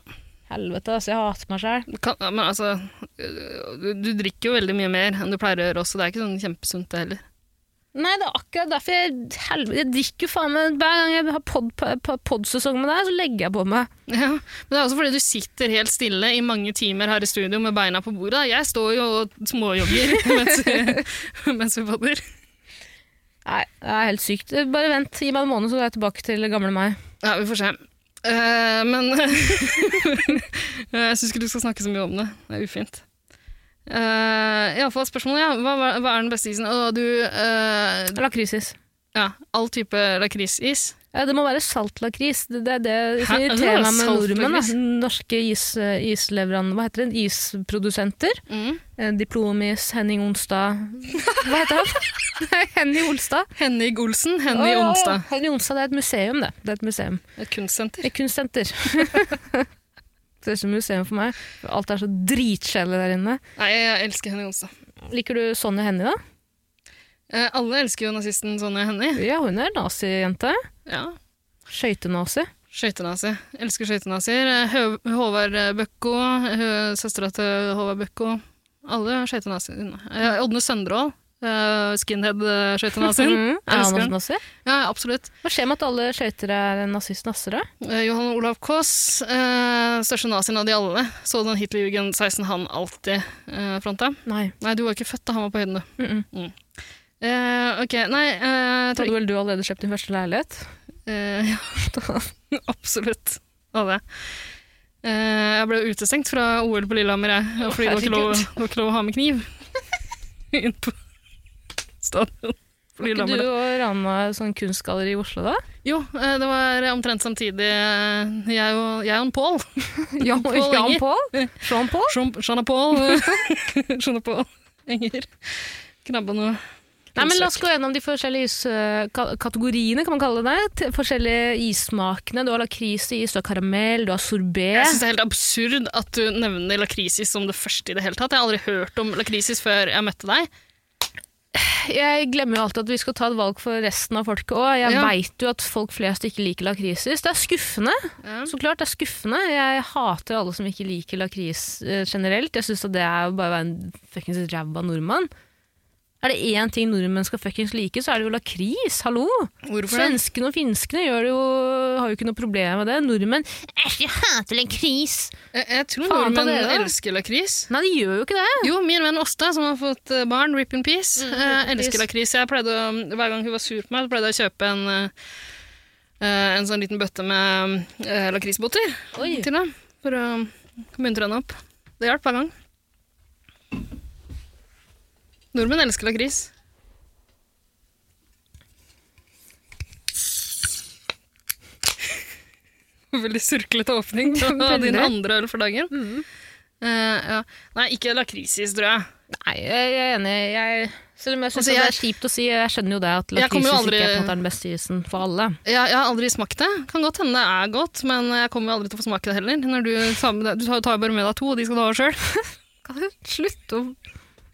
Speaker 1: Helvete, altså. Jeg hater meg sjæl.
Speaker 2: Kan, ja, men altså, øh, du, du drikker jo veldig mye mer enn du pleier å gjøre også. Det er ikke sånn kjempesunt, det heller.
Speaker 1: Nei, det er akkurat derfor jeg, helvete, jeg drikker jo faen meg Hver gang jeg har pod- po- po- podsesong med deg, så legger jeg på meg.
Speaker 2: Ja, men det er også fordi du sitter helt stille i mange timer her i studio med beina på bordet. da. Jeg står jo og småjogger <laughs> mens, mens vi podder.
Speaker 1: Nei, det er helt sykt. Bare vent, gi meg en måned, så er jeg tilbake til gamle meg.
Speaker 2: Ja, vi får se. Eh, men <laughs> jeg syns ikke du skal snakke så mye om det. Det er ufint. Uh, Iallfall spørsmålet, ja. Hva, hva- hva er den beste isen? Og du eh,
Speaker 1: Lakrisis.
Speaker 2: Ja, all type lakrisis.
Speaker 1: Ja, det må være saltlakris. Det, det er det som
Speaker 2: Hæ?
Speaker 1: irriterer
Speaker 2: Altså,
Speaker 1: meg med nordmenn. Da.
Speaker 2: saltlakris?
Speaker 1: Norske is, isleveran... Hva heter det? Isprodusenter.
Speaker 2: Mm.
Speaker 1: Eh, Diplomis, Henning
Speaker 2: <laughs>
Speaker 1: Onstad Hva heter han? Nei, Henny Olstad.
Speaker 2: Henning Olsen, Henny
Speaker 1: Å, ja,
Speaker 2: Onsdag.
Speaker 1: Henny Onstad, det er et museum, det. Det er et museum.
Speaker 2: Et kunstsenter.
Speaker 1: Et
Speaker 2: <laughs>
Speaker 1: kunstsenter. det er som museum for meg. Alt er så dritkjedelig der inne.
Speaker 2: Nei, jeg elsker Henny Onsdag.
Speaker 1: Liker du Sonja Hennie, da?
Speaker 2: Eh, alle elsker jo nazisten Sonja Henny.
Speaker 1: Ja, hun er nazijente.
Speaker 2: Ja.
Speaker 1: Skøytenazi.
Speaker 2: Skøytenazi. Elsker skøytenazier. Eh, Hø Håvard eh, Bøkko, hø- søstera til Håvard Bøkko. Alle er skøytenazier. Eh, Ådne Søndrål. eh, Skinhead-skøytenazien.
Speaker 1: <laughs> Mm. Er han også
Speaker 2: Elsker han.
Speaker 1: nazi?
Speaker 2: Ja, absolutt.
Speaker 1: Hva skjer med at alle skøyter er nazist-nassere?
Speaker 2: Eh, Johan Olav Kaas, eh, største nazien av de alle. Så den Hitlerjugend 16 han alltid eh, fronta.
Speaker 1: Nei.
Speaker 2: Nei, du var ikke født da han var på høyden, du.
Speaker 1: Mm -mm.
Speaker 2: Eh, ok, nei eh, jeg
Speaker 1: Da
Speaker 2: tror
Speaker 1: hadde vel du allerede kjøpt din første leilighet?
Speaker 2: Eh, <laughs> ja, absolutt. Av det. Eh, jeg ble jo utestengt fra OL på Lillehammer, jeg. Fordi det var ikke lov, det var ikke lov å ha med kniv <laughs> inn på stadion på
Speaker 1: Ikke du
Speaker 2: Lillehammer.
Speaker 1: og Rana sånn kunstgalleri i Oslo, da?
Speaker 2: Jo, eh, det var omtrent samtidig eh, jeg og, jeg og en Pål.
Speaker 1: Jan
Speaker 2: Paul Enger.
Speaker 1: Paul? Sean Paul?
Speaker 2: <laughs> Jean- Jean-Paul Jean-Paul Enger. Knabba noe
Speaker 1: Nei, men La oss gå gjennom de forskjellige iskategoriene, kan man kalle det. det, Til forskjellige issmakene. Du har lakrisis, du har karamell, du har
Speaker 2: Jeg
Speaker 1: sorbé.
Speaker 2: synes det er helt absurd at du nevner lakrisis som det første i det hele tatt. Jeg har aldri hørt om lakrisis før jeg møtte deg.
Speaker 1: Jeg glemmer jo alltid at vi skal ta et valg for resten av folket òg. Jeg
Speaker 2: Ja.
Speaker 1: vet veit jo at folk flest ikke liker lakrisis. Det er skuffende. Så klart, det er skuffende. Jeg hater alle som ikke liker lakris eh, generelt. Jeg syns det er jo bare å være en fuckings ræva nordmann. Er det én ting nordmenn skal fuckings like, så er det jo lakris. Hallo!
Speaker 2: Hvorfor det?
Speaker 1: Svenskene og finskene gjør det jo, har jo ikke noe problem med det. Nordmenn Æsj, jeg hater lakris!
Speaker 2: Jeg, jeg tror
Speaker 1: Faen ta
Speaker 2: nordmenn
Speaker 1: dere, da.
Speaker 2: elsker lakris.
Speaker 1: Nei, de gjør jo ikke det.
Speaker 2: Jo, min venn Åsta, som har fått eh, barn, rip in peace, eh,
Speaker 1: Mm, in peace.
Speaker 2: elsker lakris. Jeg pleide å, Hver gang hun var sur på meg, så pleide jeg å kjøpe en, eh, eh, en sånn liten bøtte med eh, lakrisboter
Speaker 1: Oi.
Speaker 2: til henne. For å muntre henne opp. Det hjalp hver gang. Nordmenn elsker lakris. <laughs> Veldig surklete åpning <laughs> på din
Speaker 1: Veldig.
Speaker 2: andre øl for dagen. Eh, ja. Nei, ikke lakrisis, tror jeg.
Speaker 1: Nei, jeg er enig. Jeg, selv om jeg syns
Speaker 2: Altså,
Speaker 1: det
Speaker 2: jeg-
Speaker 1: er kjipt å si, jeg skjønner jo det at
Speaker 2: Jeg kommer
Speaker 1: lakrisis
Speaker 2: jo
Speaker 1: ikke er,
Speaker 2: aldri-
Speaker 1: på en måte, er den beste isen for alle.
Speaker 2: Jeg, jeg har aldri smakt det. Kan godt hende det er godt, men jeg kommer jo aldri til å få smake det heller. Når du, tar med deg, du tar jo bare med deg to, og de skal du ha sjøl. <laughs>
Speaker 1: Kan du slutte å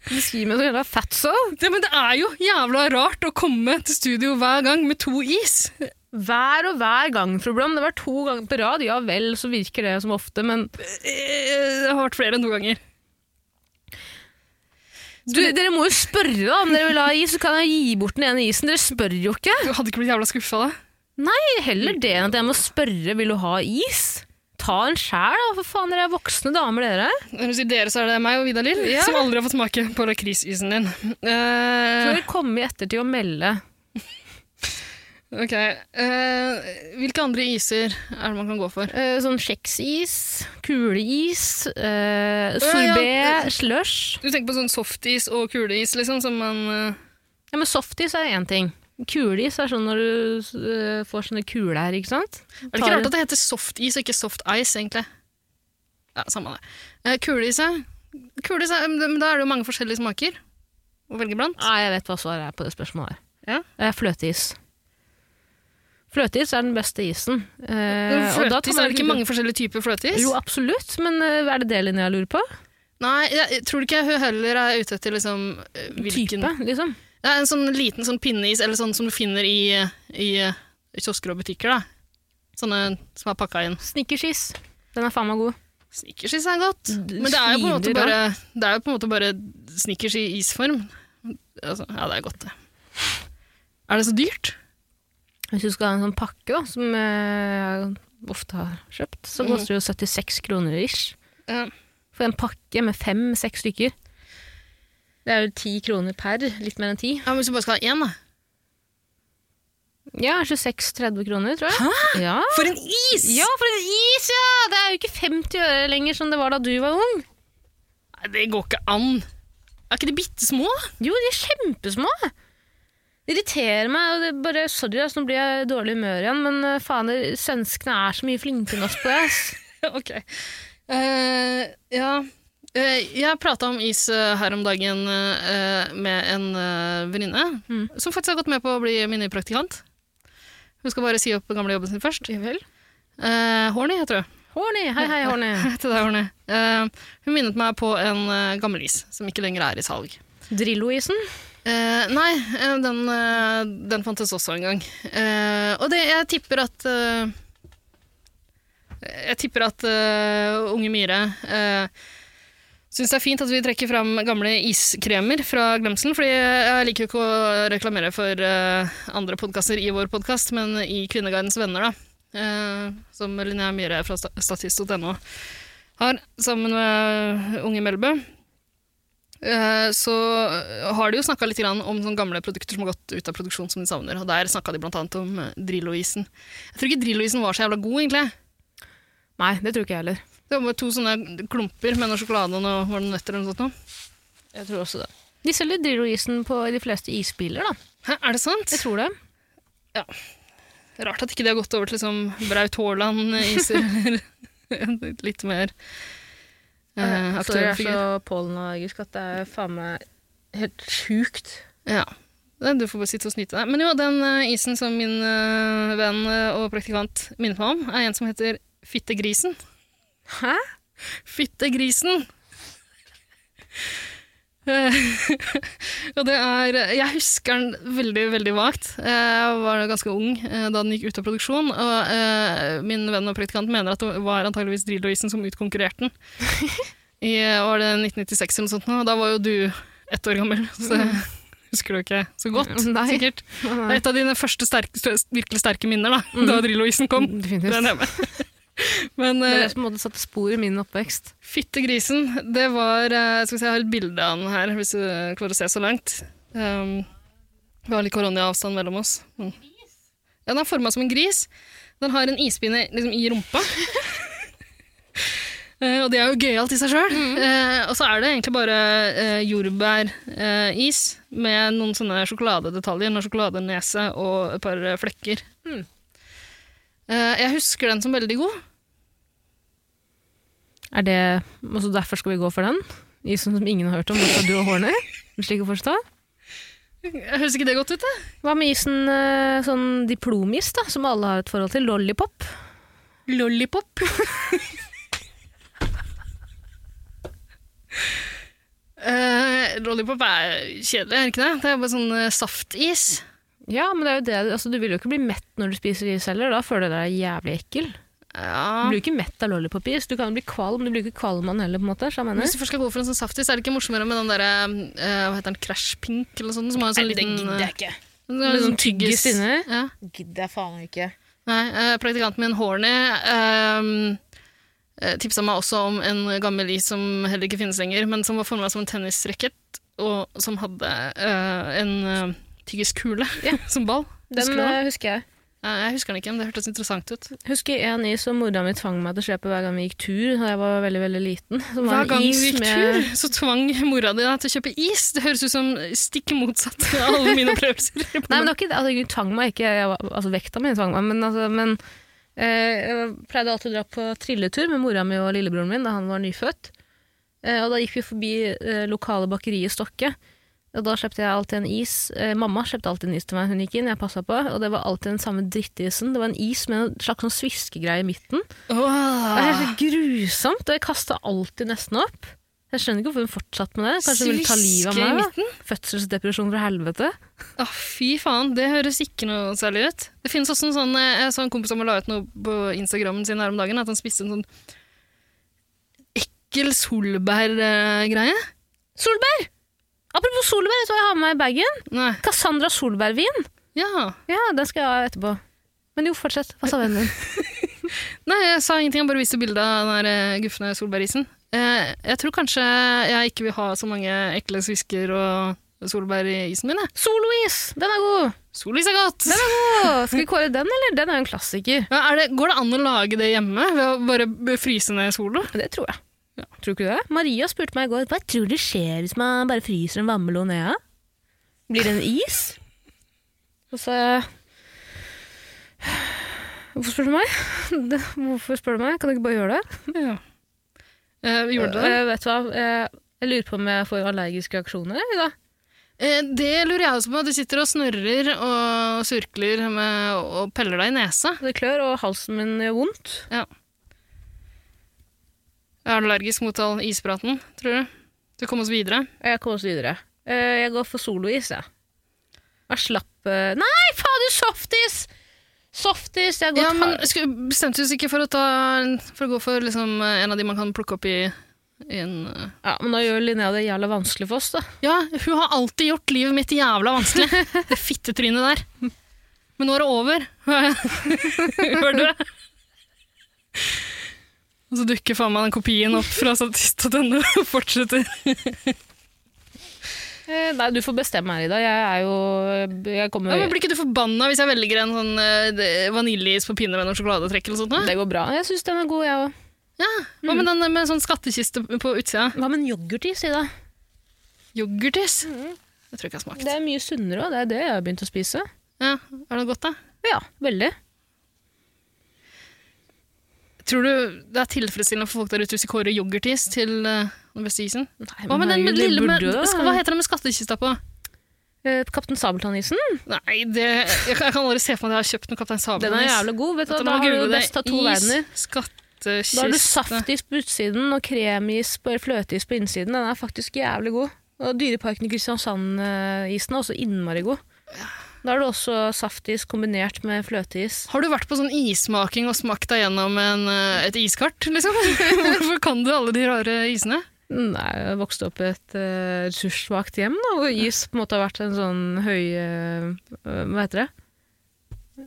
Speaker 1: beskrive meg som jævla fatso?
Speaker 2: Ja, men det er jo jævla rart å komme til studio hver gang med to is. Eh,
Speaker 1: Hver og hver gang, fru Blom. Det var to ganger på rad. Ja vel, så virker det som ofte, men
Speaker 2: Eh, Det har vært flere enn to ganger.
Speaker 1: du, Dere må jo spørre, da. Om dere vil ha is, så kan jeg gi bort den ene isen. Dere spør jo ikke.
Speaker 2: Du <laughs> hadde ikke blitt jævla skuffa da?
Speaker 1: Heller det enn at jeg må spørre vil du ha is. Ta en sjæl, da. For faen, dere er voksne damer, dere.
Speaker 2: Når du sier dere, så er det meg og Vidar Lill,
Speaker 1: Ja.
Speaker 2: som aldri har fått smake på lakrisisen din.
Speaker 1: Så
Speaker 2: Eh,
Speaker 1: dere komme i ettertid og melde.
Speaker 2: ok. Eh, hvilke andre iser er det man kan gå for?
Speaker 1: Eh, sånn kjeksis, kuleis, eh,
Speaker 2: Ja,
Speaker 1: sorbé,
Speaker 2: ja.
Speaker 1: slush.
Speaker 2: Du tenker på sånn softis og kuleis, liksom, som man eh,
Speaker 1: Ja, men softis er én ting. Kuleis er sånn når du eh, får sånne kuler, ikke sant?
Speaker 2: Er det ikke rart at det heter softis og ikke soft ice, egentlig? Ja, samme det. Eh, Kuleis, ja. Kuleis, er- men da er det jo mange forskjellige smaker å velge blant.
Speaker 1: Nei, jeg vet hva svaret er på det spørsmålet her.
Speaker 2: Ja.
Speaker 1: Eh, fløteis. Fløteis er den beste isen. Eh,
Speaker 2: Men
Speaker 1: og da tar
Speaker 2: fløtis,
Speaker 1: man
Speaker 2: er det ikke mange forskjellige typer fløtis?
Speaker 1: Jo, absolutt, men eh, er det det Linja jeg lurer på?
Speaker 2: Nei, jeg jeg tror ikke hun heller er ute etter liksom eh, hvilken
Speaker 1: Type, liksom.
Speaker 2: Ja, en sånn liten sånn pinneis, eller sånn som du finner i, eh, i, eh, i kiosker og butikker, da. Sånne som er pakka inn.
Speaker 1: Snickersis. Den er faen meg god.
Speaker 2: Snickers is er godt.
Speaker 1: D-
Speaker 2: Men det er jo på en måte
Speaker 1: sviner, da.
Speaker 2: bare, det er jo på en måte bare Snickers i isform. Altså, ja, det er godt, det. Er det så dyrt?
Speaker 1: Hvis du skal ha en sånn pakke, da, som eh, jeg ofte har kjøpt, så
Speaker 2: Mhm.
Speaker 1: koster det jo 76 kroner ish.
Speaker 2: Ja.
Speaker 1: For en pakke med fem-seks stykker. Det er jo ti kroner per. Litt mer enn ti.
Speaker 2: men Hvis du bare skal ha én, da.
Speaker 1: Ja, 26-30 kroner, tror jeg. Hæ? Ja.
Speaker 2: For en is!
Speaker 1: ja, for en is, ja! Det er jo ikke 50 øre lenger som det var da du var ung.
Speaker 2: Nei, det går ikke an. Er ikke de bitte små?
Speaker 1: Jo, de er kjempesmå. Det irriterer meg. og det er bare, Sorry, ass, nå blir jeg i dårlig humør igjen, men eh, faen, dere- svenskene er så mye flinkere enn oss på det. ass.
Speaker 2: <laughs> ok. Eh, ja. Eh, jeg prata om is eh, her om dagen eh, med en uh, venninne
Speaker 1: Mm.
Speaker 2: som faktisk har gått med på å bli minnepraktikant. Hun skal bare si opp gamle jobben sin først. Eh, Horny heter hun. <laughs>
Speaker 1: Horny. Hei, hei, Horny.
Speaker 2: til deg, Arne. Eh, hun minnet meg på en eh, gammel is som ikke lenger er i salg.
Speaker 1: <laughs> Drillo-isen.
Speaker 2: Eh, nei, eh, den, eh, den fantes også en gang. Eh, og det, jeg tipper at eh, Jeg tipper at eh, Unge Myhre uh, syns det er fint at vi trekker fram gamle iskremer fra glemselen. Fordi jeg liker jo ikke å reklamere for eh, andre podkaster i vår podkast, men i Kvinneguidens venner, da. eh, som Linnea Myhre fra sta- statist.no har, sammen med Unge Melbø. Eh, så har de jo snakka litt grann om sånne gamle produkter som har gått ut av produksjon som de savner. Og der snakka de blant annet om eh, Drillo-isen. Jeg tror ikke Drillo-isen var så jævla god, egentlig.
Speaker 1: Nei, det tror ikke jeg heller.
Speaker 2: Det var bare to sånne klumper med noe sjokolade og noe var det nøtter eller noe sånt. nå.
Speaker 1: Jeg tror også det. De selger Drillo-isen på de fleste isbiler, da.
Speaker 2: Hæ, er det sant?
Speaker 1: Jeg tror det.
Speaker 2: Rart at ikke de har gått over til liksom
Speaker 1: <laughs>
Speaker 2: Braut Haaland-iser eller <laughs> en litt mer
Speaker 1: Eh,
Speaker 2: eh,
Speaker 1: Sorry,
Speaker 2: aktuell
Speaker 1: jeg er
Speaker 2: figur.
Speaker 1: så pollenallergisk at det er faen meg helt sjukt.
Speaker 2: Ja. Det- Du får bare sitte og snyte deg. Men jo, den eh, isen som min eh, venn eh, og praktikant minnet meg om, er en som heter Fittegrisen.
Speaker 1: Hæ?
Speaker 2: Fittegrisen! <laughs> Eh, og det er Jeg husker den veldig, veldig vagt. Eh, Jeg var ganske ung eh, da den gikk ut av produksjon, og eh, min venn og praktikant mener at det var antageligvis Drillo-isen som
Speaker 1: <laughs>
Speaker 2: utkonkurrerte den. I eh, var det 1996 eller noe sånt, nå, og da var jo du ett år gammel, så husker du ikke så godt,
Speaker 1: Mm. Nei.
Speaker 2: sikkert. Det er et av dine første sterke, stø- virkelig sterke minner da,
Speaker 1: Mm.
Speaker 2: da Drillo-isen kom. Det
Speaker 1: Definitivt.
Speaker 2: er
Speaker 1: Det
Speaker 2: nemme. <laughs> Men
Speaker 1: er
Speaker 2: eh,
Speaker 1: det som på en måte satte spor i min oppvekst.
Speaker 2: Fittegrisen, det var eh, Skal vi se, jeg har et bilde av den her, hvis du klarer å se så langt. Um, vi har litt koronaavstand mellom oss. Mm. Ja, den er forma som en gris. Den har en ispinne liksom, i rumpa. Eh, og det er jo gøyalt i seg sjøl. og så er det egentlig bare uh, jordbæris med noen sånne sjokoladedetaljer. En sjokoladenese og et par eh, flekker.
Speaker 1: Mm.
Speaker 2: Eh, jeg husker den som veldig god.
Speaker 1: Er det, og så derfor skal vi gå for den? Isen som ingen har hørt om, bortsett fra du og Horny? Slik å forstå.
Speaker 2: Høres ikke det godt ut, da?
Speaker 1: Hva med isen eh, sånn diplomis, da, som alle har et forhold til? Lollipop?
Speaker 2: Lollipop. <laughs> Eh, lollipop er kjedelig, er det ikke det? Det er bare sånn eh, saftis.
Speaker 1: Ja, men det er jo det, altså, du vil jo ikke bli mett når du spiser is heller. Da føler du deg jævlig ekkel. Du
Speaker 2: Ja.
Speaker 1: blir jo ikke mett av lollipop-is. Du kan jo bli kvalm, men du blir jo ikke kvalm av den heller. på en måte, så jeg mener.
Speaker 2: Hvis du først skal gå for en sånn saftis, er det ikke morsommere med den der eh, hva heter den, Crash Pink eller noe sånt? Som har en sånn liten, eh,
Speaker 4: ikke.
Speaker 2: en sånn
Speaker 1: Med sånn tyggis inni.
Speaker 2: Ja.
Speaker 4: Gidder jeg faen ikke.
Speaker 2: Nei, eh, praktikanten min, Horny, uh, tipsa meg også om en gammel is som heller ikke finnes lenger, men som var forma som en tennisracket, og som hadde eh, en eh, tyggiskule <laughs> som ball. Husker du
Speaker 1: Den
Speaker 2: det?
Speaker 1: eh, husker jeg.
Speaker 2: Eh, jeg husker den ikke, men det hørtes interessant ut.
Speaker 1: Husker en is som mora mi tvang meg til å kjøpe hver gang vi gikk tur da jeg var veldig veldig liten. Som var
Speaker 2: Hver
Speaker 1: en
Speaker 2: gang vi
Speaker 1: is
Speaker 2: gikk
Speaker 1: med-
Speaker 2: tur, så tvang mora di deg til å kjøpe is. Det høres ut som stikk motsatt av alle mine opplevelser.
Speaker 1: <laughs> Nei, men det var ikke det. Altså, hun tvang meg ikke. Jeg var, altså, vekta mi tvang meg, men, altså, men eh, jeg pleide alltid å dra på trilletur med mora mi og lillebroren min da han var nyfødt. Eh, og da gikk vi forbi eh, lokale bakeriet Stokke. Og da kjøpte jeg alltid en is. Eh, mamma kjøpte alltid en is til meg. Hun gikk inn, jeg passa på. Og det var alltid den samme drittisen. Det var en is med en slags sånn sviskegreie i midten. Det var
Speaker 2: Åh,
Speaker 1: helt grusomt, og jeg kasta alltid nesten opp. Jeg skjønner ikke hvorfor hun fortsatte med det. Kanskje hun ville ta livet av
Speaker 2: sviske i
Speaker 1: meg?
Speaker 2: midten?
Speaker 1: da? Fødselsdepresjon fra helvete.
Speaker 2: Å, fy faen, det høres ikke noe særlig ut. Det finnes også en sånn, eh, jeg så en kompis som la ut noe på Instagrammen sin her om dagen, at han spiste en sånn ekkel eh, solbær-greie.
Speaker 1: Solbær! Apropos solbær, vet du hva jeg har med meg i bagen?
Speaker 2: Nei,
Speaker 1: Cassandra solbærvin.
Speaker 2: ja.
Speaker 1: Ja, den skal jeg ha etterpå. Men jo, fortsett. Hva sa vennen din?
Speaker 2: Nei, jeg sa ingenting, jeg bare viste bildet av den der eh, gufne solbærisen. Eh, jeg tror kanskje jeg ikke vil ha så mange ekle svisker og solbær i isen min, jeg.
Speaker 1: Solois! Den er god!
Speaker 2: Solis er godt!
Speaker 1: Den er god! Skal vi kåre den, eller? Den er jo en klassiker.
Speaker 2: Ja, er det, går det an å lage det hjemme ved å bare b- fryse ned solo?
Speaker 1: Det tror jeg. Tror ikke du det? Maria spurte meg i går hva tror du skjer hvis man bare fryser en vannmelon ned. Blir det en is? Og så sa jeg Hvorfor spør du meg? Det, hvorfor spør du meg? Kan du ikke bare gjøre det?
Speaker 2: Ja. Eh, gjorde du det?
Speaker 1: Eh, vet du hva? Eh, jeg lurer på om jeg får allergiske reaksjoner i dag.
Speaker 2: Eh, Det lurer jeg også på. Du sitter og snørrer og surkler med, og peller deg i nesa.
Speaker 1: Det klør, og halsen min gjør vondt.
Speaker 2: Er du allergisk mot all ispraten, tror du? Skal vi komme oss videre?
Speaker 1: Og jeg kommer oss videre. Eh, jeg går for solois, jeg. Jeg slapp eh, Nei, fader, softis! Softis! Jeg har gått
Speaker 2: Ja, men
Speaker 1: hard-
Speaker 2: sku- Bestemte du oss ikke for å, ta, for å gå for liksom, eh, en av de man kan plukke opp i, i en eh.
Speaker 1: ja, men nå gjør Linnea det jævla vanskelig for oss, da.
Speaker 2: Ja, hun har alltid gjort livet mitt jævla
Speaker 1: <laughs>
Speaker 2: vanskelig. Det fittetrynet der. Men nå er det over. <laughs> Hør du? Og så dukker faen meg den kopien opp fra statist og denne og fortsetter.
Speaker 1: Eh, nei, du får bestemme her, Ida. Jeg er jo eh, Jeg kommer
Speaker 2: Ja, men blir ikke du forbanna hvis jeg velger en sånn eh, det- vaniljeis på pinne med noe sjokoladetrekk? eller sånt? da?
Speaker 1: Det Mm. går bra. Jeg syns den er god, jeg òg.
Speaker 2: Ja. Hva med den med sånn skattkiste på utsida?
Speaker 1: Hva med en yoghurtis, Ida?
Speaker 2: Yoghurtis? Jeg tror ikke jeg har
Speaker 1: Mm.
Speaker 2: smakt.
Speaker 1: Det er mye sunnere òg. Det er det jeg har begynt å spise.
Speaker 2: Ja. Er det godt, da?
Speaker 1: Ja, veldig.
Speaker 2: Tror du det er tilfredsstillende for folk der ute hvis de kårer yoghurtis til eh, den beste isen?
Speaker 1: Nei,
Speaker 2: Hva med den med
Speaker 1: herregud,
Speaker 2: lille
Speaker 1: det
Speaker 2: med,
Speaker 1: burde jo
Speaker 2: Hva heter den med skattkista på?
Speaker 1: Eh, Kaptein Sabeltann-isen.
Speaker 2: Nei, det, jeg, kan- jeg kan aldri se for meg at jeg har kjøpt noe Kaptein Sabeltann.
Speaker 1: Den er jævlig god. vet du. Da har du best av to verdener.
Speaker 2: Is, skattkiste
Speaker 1: Da har du saftis på utsiden og kremis på, eller fløteis på innsiden. Den er faktisk jævlig god. Og Dyreparken i Kristiansand-isen er også innmari god. Da har du også saftis kombinert med fløteis.
Speaker 2: Har du vært på sånn issmaking og smakt deg gjennom en, eh, et iskart, liksom? <laughs> Hvorfor kan du alle de rare isene?
Speaker 1: Nei, jeg vokste opp i et eh, ressurssvakt hjem, da, hvor is på en måte har vært en sånn høy eh, Hva heter det?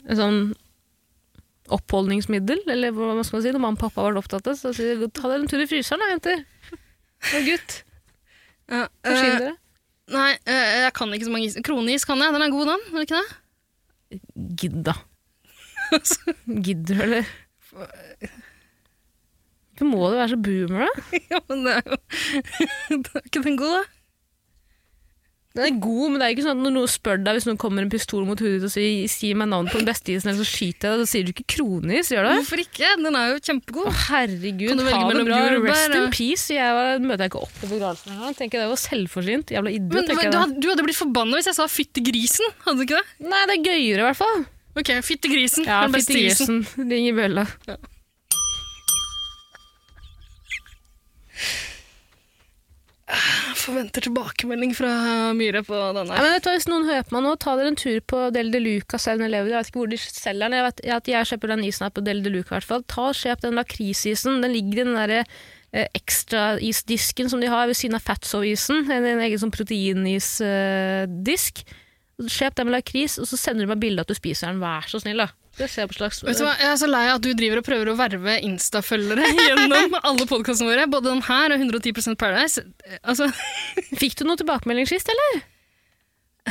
Speaker 1: En sånn oppholdningsmiddel, eller hva man skal si. Når mamma og pappa har vært opptatt av det, så sier de ta dere en tur i fryseren da, jenter. Og gutt,
Speaker 2: Ja,
Speaker 1: forsyn dere.
Speaker 2: Eh, nei, eh, jeg kan ikke så mange is. Kroneis kan jeg, den er god den, er det ikke det?
Speaker 1: Gidd, da. <laughs> Gidder du, eller? Hvorfor må du være så boomer, da?
Speaker 2: ja, men det er jo...
Speaker 1: <laughs>
Speaker 2: det er ikke den god da?
Speaker 1: Den er god, men det er ikke sånn at når noen spør deg hvis noen kommer en pistol mot hodet ditt og sier si meg navnet på den beste isen, eller så skyter jeg deg, så sier du ikke kronis, gjør du?
Speaker 2: Hvorfor ikke? Den er
Speaker 1: Å,
Speaker 2: jo kjempegod.
Speaker 1: herregud,
Speaker 2: Kan du velge
Speaker 1: ha det
Speaker 2: mellom
Speaker 1: bra.
Speaker 2: jordbær
Speaker 1: Rest in
Speaker 2: og-
Speaker 1: peace. sier Jeg var, møter jeg ikke opp på begravelsen engang. Tenker jeg det var selvforsynt. Jævla idiot,
Speaker 2: Men,
Speaker 1: tenker
Speaker 2: du,
Speaker 1: jeg da.
Speaker 2: hadde, du hadde blitt forbannet hvis jeg sa fyttegrisen, hadde du ikke det?
Speaker 1: Nei, det er gøyere i hvert fall.
Speaker 2: Ok, fyttegrisen,
Speaker 1: Ja,
Speaker 2: den beste isen.
Speaker 1: Fittegrisen ringer bjella.
Speaker 2: Jeg forventer tilbakemelding fra Myhre på
Speaker 1: Nei,
Speaker 2: denne.
Speaker 1: men vet du hva, Hvis noen hører på meg nå, ta dere en tur på Del de Luca 7-Eleven. Jeg vet ikke hvor de selger den. Jeg vet at jeg kjøper den isen her på Del de Luca. i hvert fall. Ta og Kjøp den lakrisisen. Den ligger i den derre eh, ekstraisdisken som de har ved siden av Fatso-isen. En, en egen sånn proteinisdisk. Kjøp den med lakris, og så sender du meg bilde av at du spiser den. Vær så snill, da. Skal jeg se på slags...
Speaker 2: Vet du hva, Jeg er så lei av at du driver og prøver å verve Insta-følgere <laughs> gjennom alle podkastene våre. Både den her og 110 Paradise. Altså,
Speaker 1: Fikk du noen tilbakemelding sist, eller?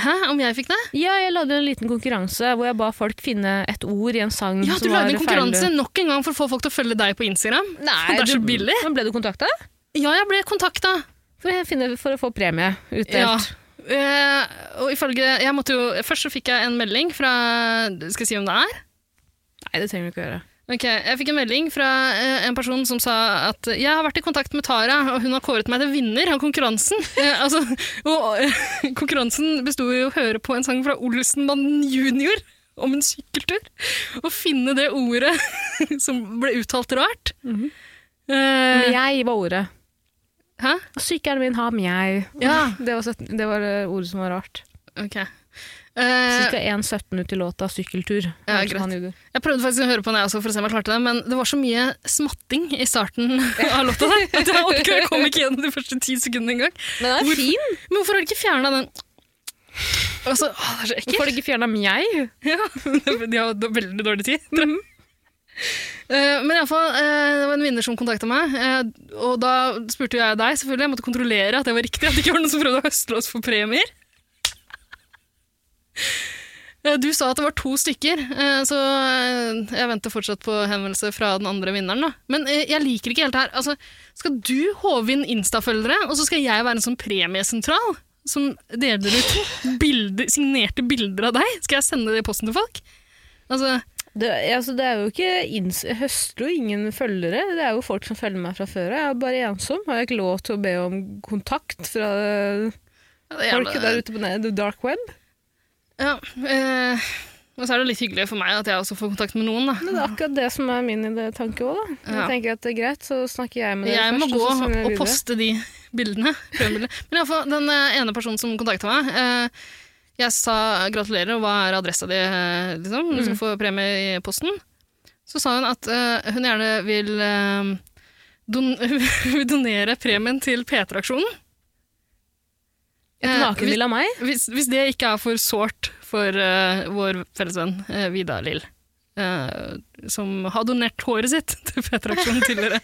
Speaker 2: Hæ, om jeg fikk det?
Speaker 1: Ja, jeg lagde en liten konkurranse hvor jeg ba folk finne et ord i en sang
Speaker 2: Ja, Du
Speaker 1: som var
Speaker 2: lagde en konkurranse
Speaker 1: feil.
Speaker 2: nok en gang for å få folk til å følge deg på Instagram.
Speaker 1: Nei,
Speaker 2: Det er så
Speaker 1: du-
Speaker 2: billig.
Speaker 1: Men ble du kontakta?
Speaker 2: Ja, jeg ble kontakta.
Speaker 1: For å, finne, for å få premie utdelt.
Speaker 2: Ja. Eh, og ifølge jeg måtte jo, Først så fikk jeg en melding fra Skal jeg si hvem det er?
Speaker 1: Nei, det trenger du ikke å gjøre.
Speaker 2: Ok, Jeg fikk en melding fra eh, en person som sa at jeg har vært i kontakt med Tara, og hun har kåret meg til vinner av konkurransen. <laughs> Eh, altså, og eh, <laughs> konkurransen besto i å høre på en sang fra Olsenmannen junior om en sykkeltur, og finne det ordet <laughs> som ble uttalt rart. Eh,
Speaker 1: Mjei var ordet.
Speaker 2: hæ?
Speaker 1: Sykkelen min har mjau.
Speaker 2: Ja.
Speaker 1: Det var, 17, det var eh, ordet som var rart.
Speaker 2: Ok.
Speaker 1: Så
Speaker 2: Eh,
Speaker 1: skal 1.17 ut i låta 'Sykkeltur'.
Speaker 2: Ja,
Speaker 1: som
Speaker 2: greit.
Speaker 1: han gjorde.
Speaker 2: Jeg prøvde faktisk å høre på den jeg også, for å se om jeg klarte det, men det var så mye smatting i starten <laughs> av låta der, at jeg orker jeg kom ikke gjennom de første ti sekundene engang.
Speaker 1: Men den er fin!
Speaker 2: Men hvorfor har de ikke fjerna den altså, å, Det er så
Speaker 1: Hvorfor har
Speaker 2: ekkelt.
Speaker 1: du ikke fjerna mjau?
Speaker 2: Ja, <laughs> de har d- veldig dårlig tid. tror jeg. Mhm. Eh, men iallfall, uh, det var en vinner som kontakta meg, eh, og da spurte jeg deg, selvfølgelig. Jeg måtte kontrollere at det var riktig, at det ikke var noen som prøvde å høsle oss for premier. Eh, Du sa at det var to stykker, eh, så eh, jeg venter fortsatt på henvendelse fra den andre vinneren. Da. Men eh, jeg liker ikke helt det her. Altså, skal du håve inn Insta-følgere, og så skal jeg være en sånn premiesentral som deler ut bilder, signerte bilder av deg? Skal jeg sende det i posten til folk? Altså,
Speaker 1: Det, altså, det er jo ikke ins jeg høster jo ingen følgere. Det er jo folk som følger meg fra før. Jeg er bare ensom. Har jeg ikke lov til å be om kontakt fra eh, folk der ute på ne- the dark web?
Speaker 2: Ja, eh, og så er det litt hyggelig for meg at jeg også får kontakt med noen.
Speaker 1: Men
Speaker 2: Da.
Speaker 1: det er akkurat det som er min idé- tanke òg, da. Jeg
Speaker 2: Ja.
Speaker 1: tenker at det er greit, så snakker jeg med dere
Speaker 2: Jeg må
Speaker 1: først.
Speaker 2: gå
Speaker 1: så sender jeg
Speaker 2: og
Speaker 1: videre.
Speaker 2: poste de bildene. prøvebildene. Men iallfall, den eh, ene personen som kontakta meg eh, Jeg sa gratulerer, og hva er adressa di? eh, Liksom?
Speaker 1: Mm.
Speaker 2: Du skal få premie i posten. Så sa hun at eh, hun gjerne vil eh, don <laughs> vil donere premien til P3-aksjonen.
Speaker 1: Et
Speaker 2: Eh,
Speaker 1: nakenbilde av meg?
Speaker 2: Hvis, hvis det ikke er for sårt for eh, vår fellesvenn uh, Vidar Lill, eh, som har donert håret sitt <laughs> til P3-aksjonen tidligere,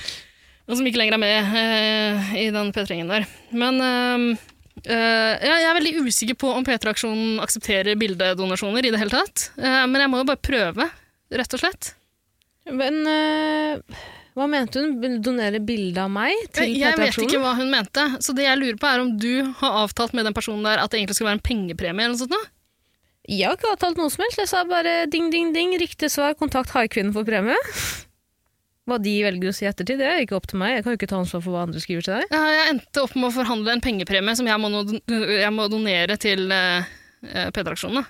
Speaker 2: <laughs> og som ikke lenger er med eh, i den P3-gjengen der. Men eh, eh, ja, jeg er veldig usikker på om P3-aksjonen aksepterer bildedonasjoner i det hele tatt, eh, men jeg må jo bare prøve, rett og slett.
Speaker 1: Men eh, hva mente hun? Donere bilde av meg til
Speaker 2: Jeg, jeg vet ikke
Speaker 1: P3-aksjonen?
Speaker 2: hva hun mente, så det jeg lurer på er om du har avtalt med den personen der at det egentlig skulle være en pengepremie eller noe sånt nå?
Speaker 1: Jeg har ikke avtalt noe som helst. Jeg sa bare ding, ding, ding, riktig svar, kontakt haikvinnen for premie. Hva de velger å si i ettertid, det er ikke opp til meg. Jeg kan jo ikke ta ansvar for hva andre skriver til deg.
Speaker 2: Ja, Jeg endte opp med å forhandle en pengepremie som jeg må, no- jeg må donere til eh, eh, P3-aksjonene.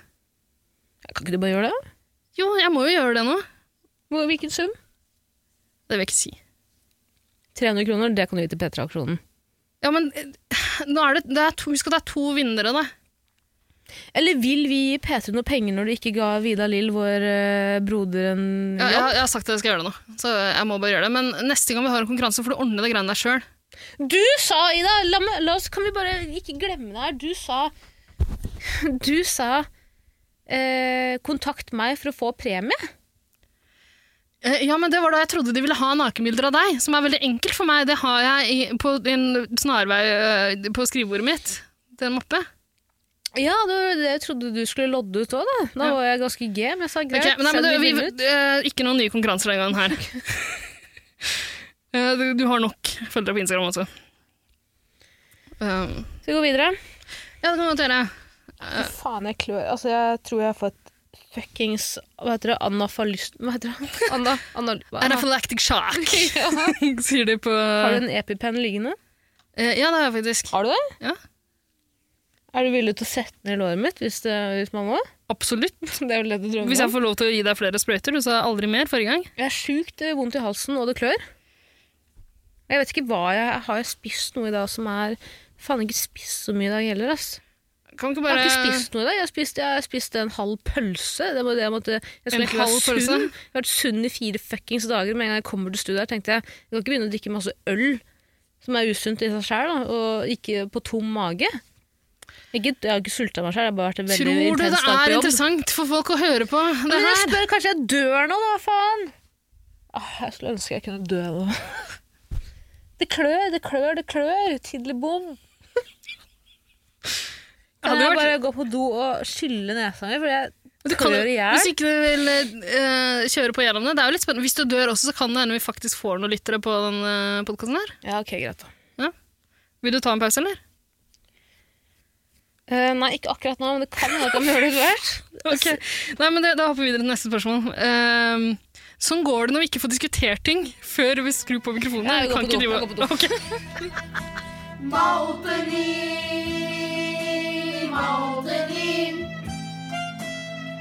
Speaker 1: Kan ikke du bare gjøre det?
Speaker 2: Jo, jeg må jo gjøre det nå.
Speaker 1: Hvor- Hvilken sum?
Speaker 2: Det vil jeg ikke si.
Speaker 1: 300 kroner, det kan du gi til P3-aksjonen.
Speaker 2: Ja, men eh, nå er det, det er to, husk at det er to vinnere, da.
Speaker 1: Eller vil vi gi P3 noe penger når du ikke ga Vida Lill, vår eh, broder, en
Speaker 2: Ja,
Speaker 1: jobb?
Speaker 2: jeg, jeg har sagt at jeg skal gjøre det nå, så jeg må bare gjøre det. Men neste gang vi har en konkurranse, får du ordne det greiene der sjøl.
Speaker 1: Du sa, Ida, la, meg- la oss, kan vi bare ikke glemme det her. Du sa <laughs> Du sa eh, 'kontakt meg for å få premie'.
Speaker 2: Eh, Ja, men det var da jeg trodde de ville ha nakenbilder av deg, som er veldig enkelt for meg. Det har jeg i, på en snarvei eh, på skrivebordet mitt. Det er en mappe.
Speaker 1: Ja, det var det jeg trodde du skulle lodde ut òg, da. Da
Speaker 2: Ja.
Speaker 1: var jeg ganske g, men jeg sa greit.
Speaker 2: Ok, men nei, men
Speaker 1: send
Speaker 2: du, vi,
Speaker 1: bildene ut.
Speaker 2: eh, ikke noen nye konkurranser den gangen her. <laughs> Eh, du, du har nok følgere på Instagram også. Eh,
Speaker 1: Skal vi gå videre?
Speaker 2: ja, det kan vi godt gjøre.
Speaker 1: Fy faen, jeg klør. Altså, jeg tror jeg har fått fuckings Hva heter det? Anafalyst... Hva heter det? <laughs> Anna, anna, hva?
Speaker 2: Anaphylactic
Speaker 1: <laughs>
Speaker 2: shock, <laughs> sier de på
Speaker 1: Har du en EpiPen liggende?
Speaker 2: Eh, Ja, det har jeg faktisk.
Speaker 1: Har du det?
Speaker 2: Ja.
Speaker 1: Er du villig til å sette den i låret mitt hvis, det, hvis man må?
Speaker 2: Absolutt.
Speaker 1: <laughs> Det er vel det du drømmer
Speaker 2: Hvis jeg får lov til å gi deg flere sprøyter, du sa aldri mer forrige gang.
Speaker 1: Jeg er sjukt eh, vondt i halsen, og det klør. Jeg vet ikke hva jeg Har jeg spist noe i dag som er Faen, ikke spist så mye i dag heller, ass.
Speaker 2: Kan vi
Speaker 1: Jeg
Speaker 2: ikke bare...
Speaker 1: har ikke spist noe i dag. Jeg har spist, jeg har spist en halv pølse. Det var det jeg måtte Jeg skulle
Speaker 2: En
Speaker 1: ikke
Speaker 2: halv
Speaker 1: være
Speaker 2: pølse?
Speaker 1: sunn. Jeg har vært sunn i fire fuckings dager. Med en gang jeg kommer til studiet her, tenkte jeg jeg kan ikke begynne å drikke masse øl som er usunt i seg sjæl, og ikke på tom mage. Ikke, jeg har ikke sulta meg sjæl, jeg har bare vært en veldig
Speaker 2: Tror du det
Speaker 1: intens dag
Speaker 2: er
Speaker 1: på jobb.
Speaker 2: interessant for folk å høre på det
Speaker 1: Men jeg
Speaker 2: her?
Speaker 1: spør, kanskje jeg dør nå, da, faen? Åh, jeg skulle ønske jeg kunne dø nå. <laughs> Det klør, det klør, det klør. Tidlig bom.
Speaker 2: Ja,
Speaker 1: Kan
Speaker 2: det
Speaker 1: jeg
Speaker 2: <laughs> hadde vært-
Speaker 1: bare gå på do og skylle nesa mi? For jeg
Speaker 2: Du kan,
Speaker 1: klør i hjel.
Speaker 2: hvis ikke du vil eh, kjøre på gjennom det. Det er jo litt spennende. Hvis du dør også, så kan det hende vi faktisk får noen lyttere på den uh, podkasten her.
Speaker 1: Ja, ok, greit da.
Speaker 2: Vil du ta en pause, eller?
Speaker 1: Eh, nei, ikke akkurat nå, men det kan hende at jeg må gjøre det etter
Speaker 2: <laughs>
Speaker 1: hvert.
Speaker 2: Ok. Nei, men det, Da hopper vi videre til neste spørsmål. Ehm, sånn går det når vi ikke får diskutert ting før vi skrur på mikrofonen.
Speaker 1: Ja, jeg
Speaker 2: vi
Speaker 1: går
Speaker 2: kan
Speaker 1: på do,
Speaker 2: ikke drive
Speaker 1: jeg går på do.
Speaker 2: <laughs> Ok.
Speaker 4: موطني موطني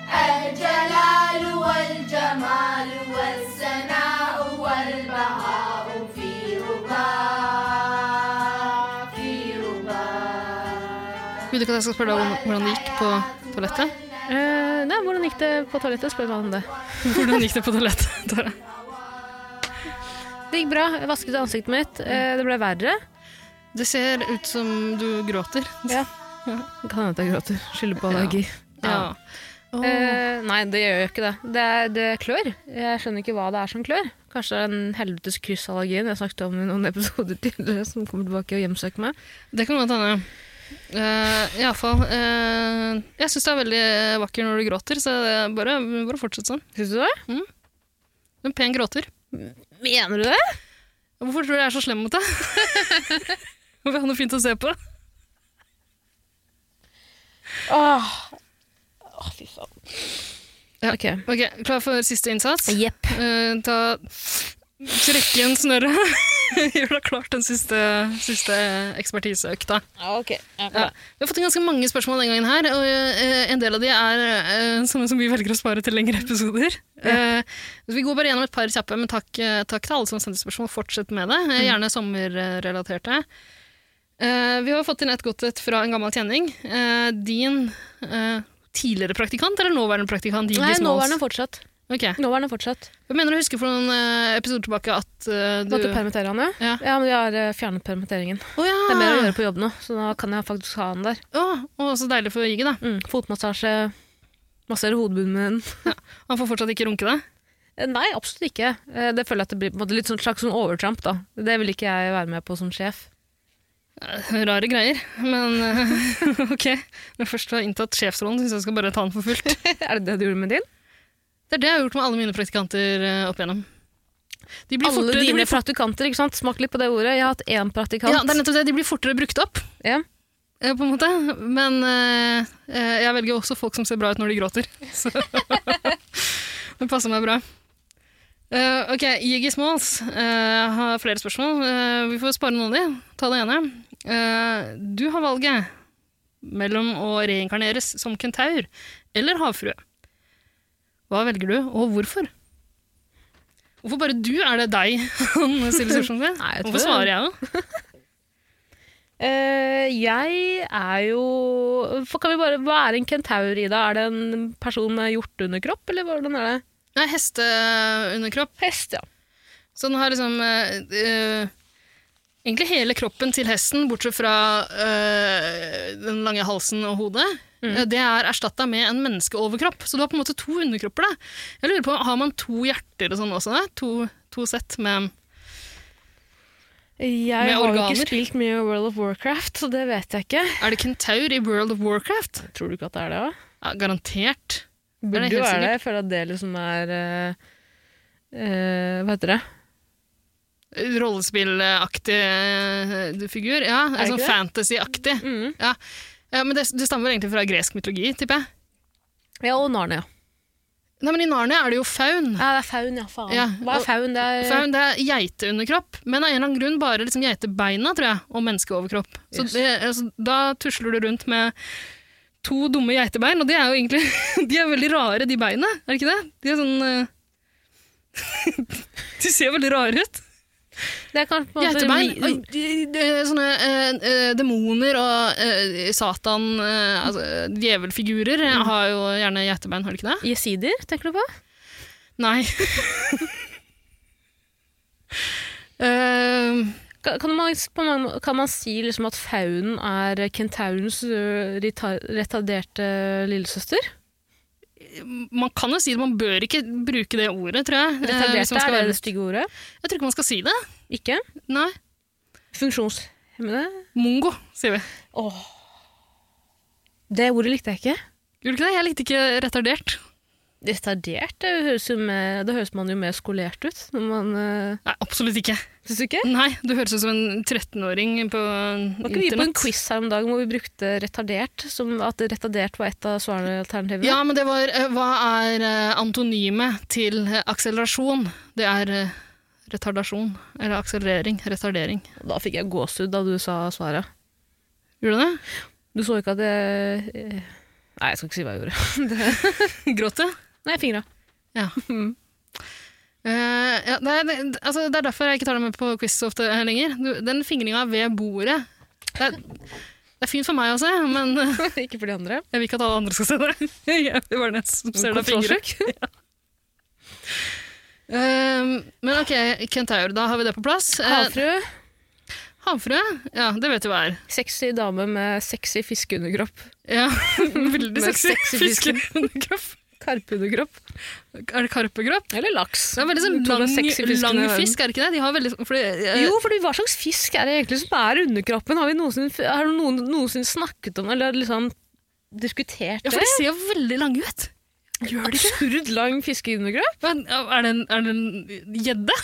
Speaker 4: الجلال والجمال والسناء والبهاء في رباك في رباك
Speaker 2: Vil du ikke at jeg skal spørre deg om hvordan det gikk på toalettet?
Speaker 1: Eh, nei, hvordan gikk det på toalettet? Spør meg om det.
Speaker 2: Hvordan gikk det på toalettet? <laughs> Tara?
Speaker 1: Det gikk bra. Jeg vasket ansiktet mitt. Eh, det ble verre.
Speaker 2: Det ser ut som du gråter.
Speaker 1: Ja. Kan hende at jeg gråter. Skylder på allergi.
Speaker 2: Ja. Åh.
Speaker 1: Eh, nei, det gjør jo ikke det. Det, er, det klør. Jeg skjønner ikke hva det er som klør. Kanskje det er den helvetes kryssallergien jeg snakket om i noen <laughs> episoder tidligere, som kommer tilbake og hjemsøker meg.
Speaker 2: Det kan godt hende. Uh, Iallfall. Uh, jeg syns det er veldig vakker når du gråter, så det er bare, bare fortsett sånn.
Speaker 1: Syns du det?
Speaker 2: Du er en pen gråter.
Speaker 1: Mener du det?
Speaker 2: Hvorfor tror du jeg er så slem mot deg? <laughs> Må vi ha noe fint å se på?
Speaker 1: Åh, Åh, fy faen.
Speaker 2: Ja.
Speaker 1: Ok.
Speaker 2: Ok, Klar for siste innsats?
Speaker 1: Jepp.
Speaker 2: Eh, ta Trekke igjen snørret. <laughs> Gjør deg klart den siste, siste ekspertiseøkta.
Speaker 1: Ok.
Speaker 2: Ja. Vi har fått inn ganske mange spørsmål den gangen her, og eh, en del av de er eh, sånne som vi velger å spare til lengre episoder. Eh, vi går bare gjennom et par kjappe, men takk, eh, takk til alle som sendte spørsmål. Fortsett med det, eh,
Speaker 1: Mm.
Speaker 2: gjerne sommerrelaterte. Eh, vi har fått inn et godt et fra en gammel kjenning. Eh, din eh, tidligere praktikant, eller nåværende praktikant? Gigi
Speaker 1: Nei,
Speaker 2: Smalls?
Speaker 1: nåværende fortsatt.
Speaker 2: Ok.
Speaker 1: Nåværende fortsatt.
Speaker 2: Jeg mener å huske for noen eh, episoder tilbake at eh, du
Speaker 1: Måtte permittere han, ja.
Speaker 2: Ja. Ah.
Speaker 1: ja. men jeg har eh, fjernet permitteringen.
Speaker 2: Å ja!
Speaker 1: Det er mer å gjøre på jobb nå, så da kan jeg faktisk ha han der.
Speaker 2: Å, å, så deilig for Jigge, da.
Speaker 1: Mm. Fotmassasje, massere hodebunnen.
Speaker 2: Han får fortsatt ikke runke deg.
Speaker 1: Eh, Nei, absolutt ikke. Eh, Det føler jeg at det blir på en måte, litt sånn slags sånn overtramp, da. Det vil ikke jeg være med på som sjef.
Speaker 2: Eh, Rare greier, men eh, <laughs> ok. Når jeg først har inntatt sjefsrollen, syns jeg skal bare ta den for fullt.
Speaker 1: er det det du gjorde med din?
Speaker 2: Det er det jeg har gjort med alle mine praktikanter eh, opp igjennom. De blir
Speaker 1: Alle
Speaker 2: fortere, de
Speaker 1: dine
Speaker 2: blir fort-
Speaker 1: praktikanter, ikke sant? Smak litt på det ordet. Jeg har hatt én praktikant.
Speaker 2: ja, det er nettopp det. De blir fortere brukt opp,
Speaker 1: Ja.
Speaker 2: eh, på en måte. Men eh, eh, jeg <laughs> velger også folk som ser bra ut når de gråter. Så det passer meg bra. Eh, ok, Jiggy Smalls eh, har flere spørsmål. Eh, vi får spare noen av de. Ta det ene. Eh, du har valget mellom å reinkarneres som kentaur eller havfrue. Hva velger du, og hvorfor? Hvorfor bare du? Er det deg <laughs> han stiller spørsmål til?
Speaker 1: Nei, jeg tror
Speaker 2: Hvorfor
Speaker 1: det.
Speaker 2: svarer jeg òg?
Speaker 1: Eh, jeg er jo for kan vi bare, Hva er en kentaur, Ida? Er det en person med hjorteunderkropp, eller hvordan er det?
Speaker 2: Nei, hesteunderkropp.
Speaker 1: Hest, ja.
Speaker 2: Så den har liksom eh, eh, Egentlig hele kroppen til hesten, bortsett fra eh, den lange halsen og hodet.
Speaker 1: Mm.
Speaker 2: eh, Det er erstatta med en menneskeoverkropp, så du har på en måte to underkropper. Da. Jeg lurer på, Har man to hjerter og sånn også? Da? To, to sett med
Speaker 1: Jeg har
Speaker 2: Med
Speaker 1: jo
Speaker 2: organer.
Speaker 1: ikke spilt mye World of Warcraft, så det vet jeg ikke.
Speaker 2: Er det kentaur i World of Warcraft?
Speaker 1: Tror du ikke at det er det, da?
Speaker 2: Ja, garantert.
Speaker 1: Burde
Speaker 2: det
Speaker 1: jo
Speaker 2: helt
Speaker 1: være det.
Speaker 2: sikkert?
Speaker 1: Jeg føler at det liksom er eh, eh, Hva heter det?
Speaker 2: Rollespillaktig eh, figur. Ja,
Speaker 1: det ikke
Speaker 2: sånn
Speaker 1: det?
Speaker 2: fantasyaktig. Ja. ja, Men det, det stammer egentlig fra gresk mytologi, tipper jeg.
Speaker 1: Ja, og Narnia.
Speaker 2: Nei, men I Narnia er det jo faun.
Speaker 1: Ja, det er faun, ja. Faen.
Speaker 2: Ja,
Speaker 1: Hva
Speaker 2: og-
Speaker 1: er faun? Det er
Speaker 2: Faun, det er geiteunderkropp, men av en eller annen grunn bare liksom geitebeina, tror jeg, og menneskeoverkropp. Så
Speaker 1: Yes.
Speaker 2: det, altså, da tusler du rundt med to dumme geitebein, og det er jo egentlig <laughs> De er veldig rare, de beina, er det ikke det? De er sånn eh, <laughs> De ser veldig rare ut.
Speaker 1: Det er kanskje på en måte
Speaker 2: Geitebein.
Speaker 1: ri-
Speaker 2: Oi, de, de, er sånne eh, eh, demoner og eh, Satan, eh, altså, eh, djevelfigurer, eh, har jo gjerne geitebein, har de ikke det?
Speaker 1: Jesidier, tenker du på?
Speaker 2: Nei. <laughs> Eh,
Speaker 1: Kan kan man, på mange, kan man si liksom at faunen er kentaurens ø, rita- retarderte lillesøster?
Speaker 2: man kan jo si det, man bør ikke bruke det ordet, tror jeg. Eh, hvis
Speaker 1: Retarderte,
Speaker 2: man skal
Speaker 1: er
Speaker 2: være-
Speaker 1: det det stygge ordet?
Speaker 2: Jeg tror ikke man skal si det.
Speaker 1: Ikke?
Speaker 2: Nei.
Speaker 1: Funksjonshemmede?
Speaker 2: Mongo, sier vi.
Speaker 1: Åh. Det ordet likte jeg ikke.
Speaker 2: Gjorde du ikke det? Jeg likte ikke retardert.
Speaker 1: Retardert, det høres, jo mer- da høres man jo mer skolert ut. Når man, ø,
Speaker 2: Nei, absolutt ikke.
Speaker 1: synes du ikke?
Speaker 2: Nei, du høres ut som en 13-åring på
Speaker 1: Var ikke vi på en
Speaker 2: internett.
Speaker 1: quiz her om dagen hvor vi brukte retardert, som at retardert var et av svarene alternativene?
Speaker 2: Ja, men det var eh, Hva er eh, antonymet til eh, akselerasjon? Det er eh, retardasjon. Eller akselerering. Retardering.
Speaker 1: Da fikk jeg gåsehud da du sa svaret.
Speaker 2: Gjorde du det?
Speaker 1: Du så ikke at jeg eh, Nei, jeg skal ikke si hva jeg gjorde. <laughs>
Speaker 2: Gråt du?
Speaker 1: Nei, fingra. <laughs>
Speaker 2: Ja. Eh, ja, det, er, det, altså, det er derfor jeg ikke tar deg med på quiz så ofte lenger. Du, den fingringa ved bordet det er, det er fint for meg å se, men eh,
Speaker 1: ikke for de andre.
Speaker 2: jeg vil ikke at alle andre skal se det. <laughs> Jeg vil bare nett som ser deg fingre. Eh, men ok, kentaur, da har vi det på plass. Eh,
Speaker 1: Havfrue.
Speaker 2: havfrue, ja, det vet du hva er.
Speaker 1: Sexy dame med sexy fiskeunderkropp.
Speaker 2: Ja, <laughs> veldig
Speaker 1: Med
Speaker 2: sexy
Speaker 1: sexy fisken.
Speaker 2: fiskeunderkropp.
Speaker 1: Karpeunderkropp.
Speaker 2: <laughs> Er det karpegråp?
Speaker 1: Eller laks.
Speaker 2: Det er veldig sånn
Speaker 1: To av de
Speaker 2: lang,
Speaker 1: sexy fiskene i
Speaker 2: lang
Speaker 1: verden.
Speaker 2: fisk, er det ikke det? De har veldig, fordi, eh,
Speaker 1: Jo, fordi hva slags fisk er det egentlig som er underkroppen? Har vi noensinne, har noen noensinne snakket om eller liksom diskutert
Speaker 2: ja, for de ser jo veldig lange ut.
Speaker 1: Gjør det Absurd lang fiskeunderkropp.
Speaker 2: Men, Er det en- er det en gjedde?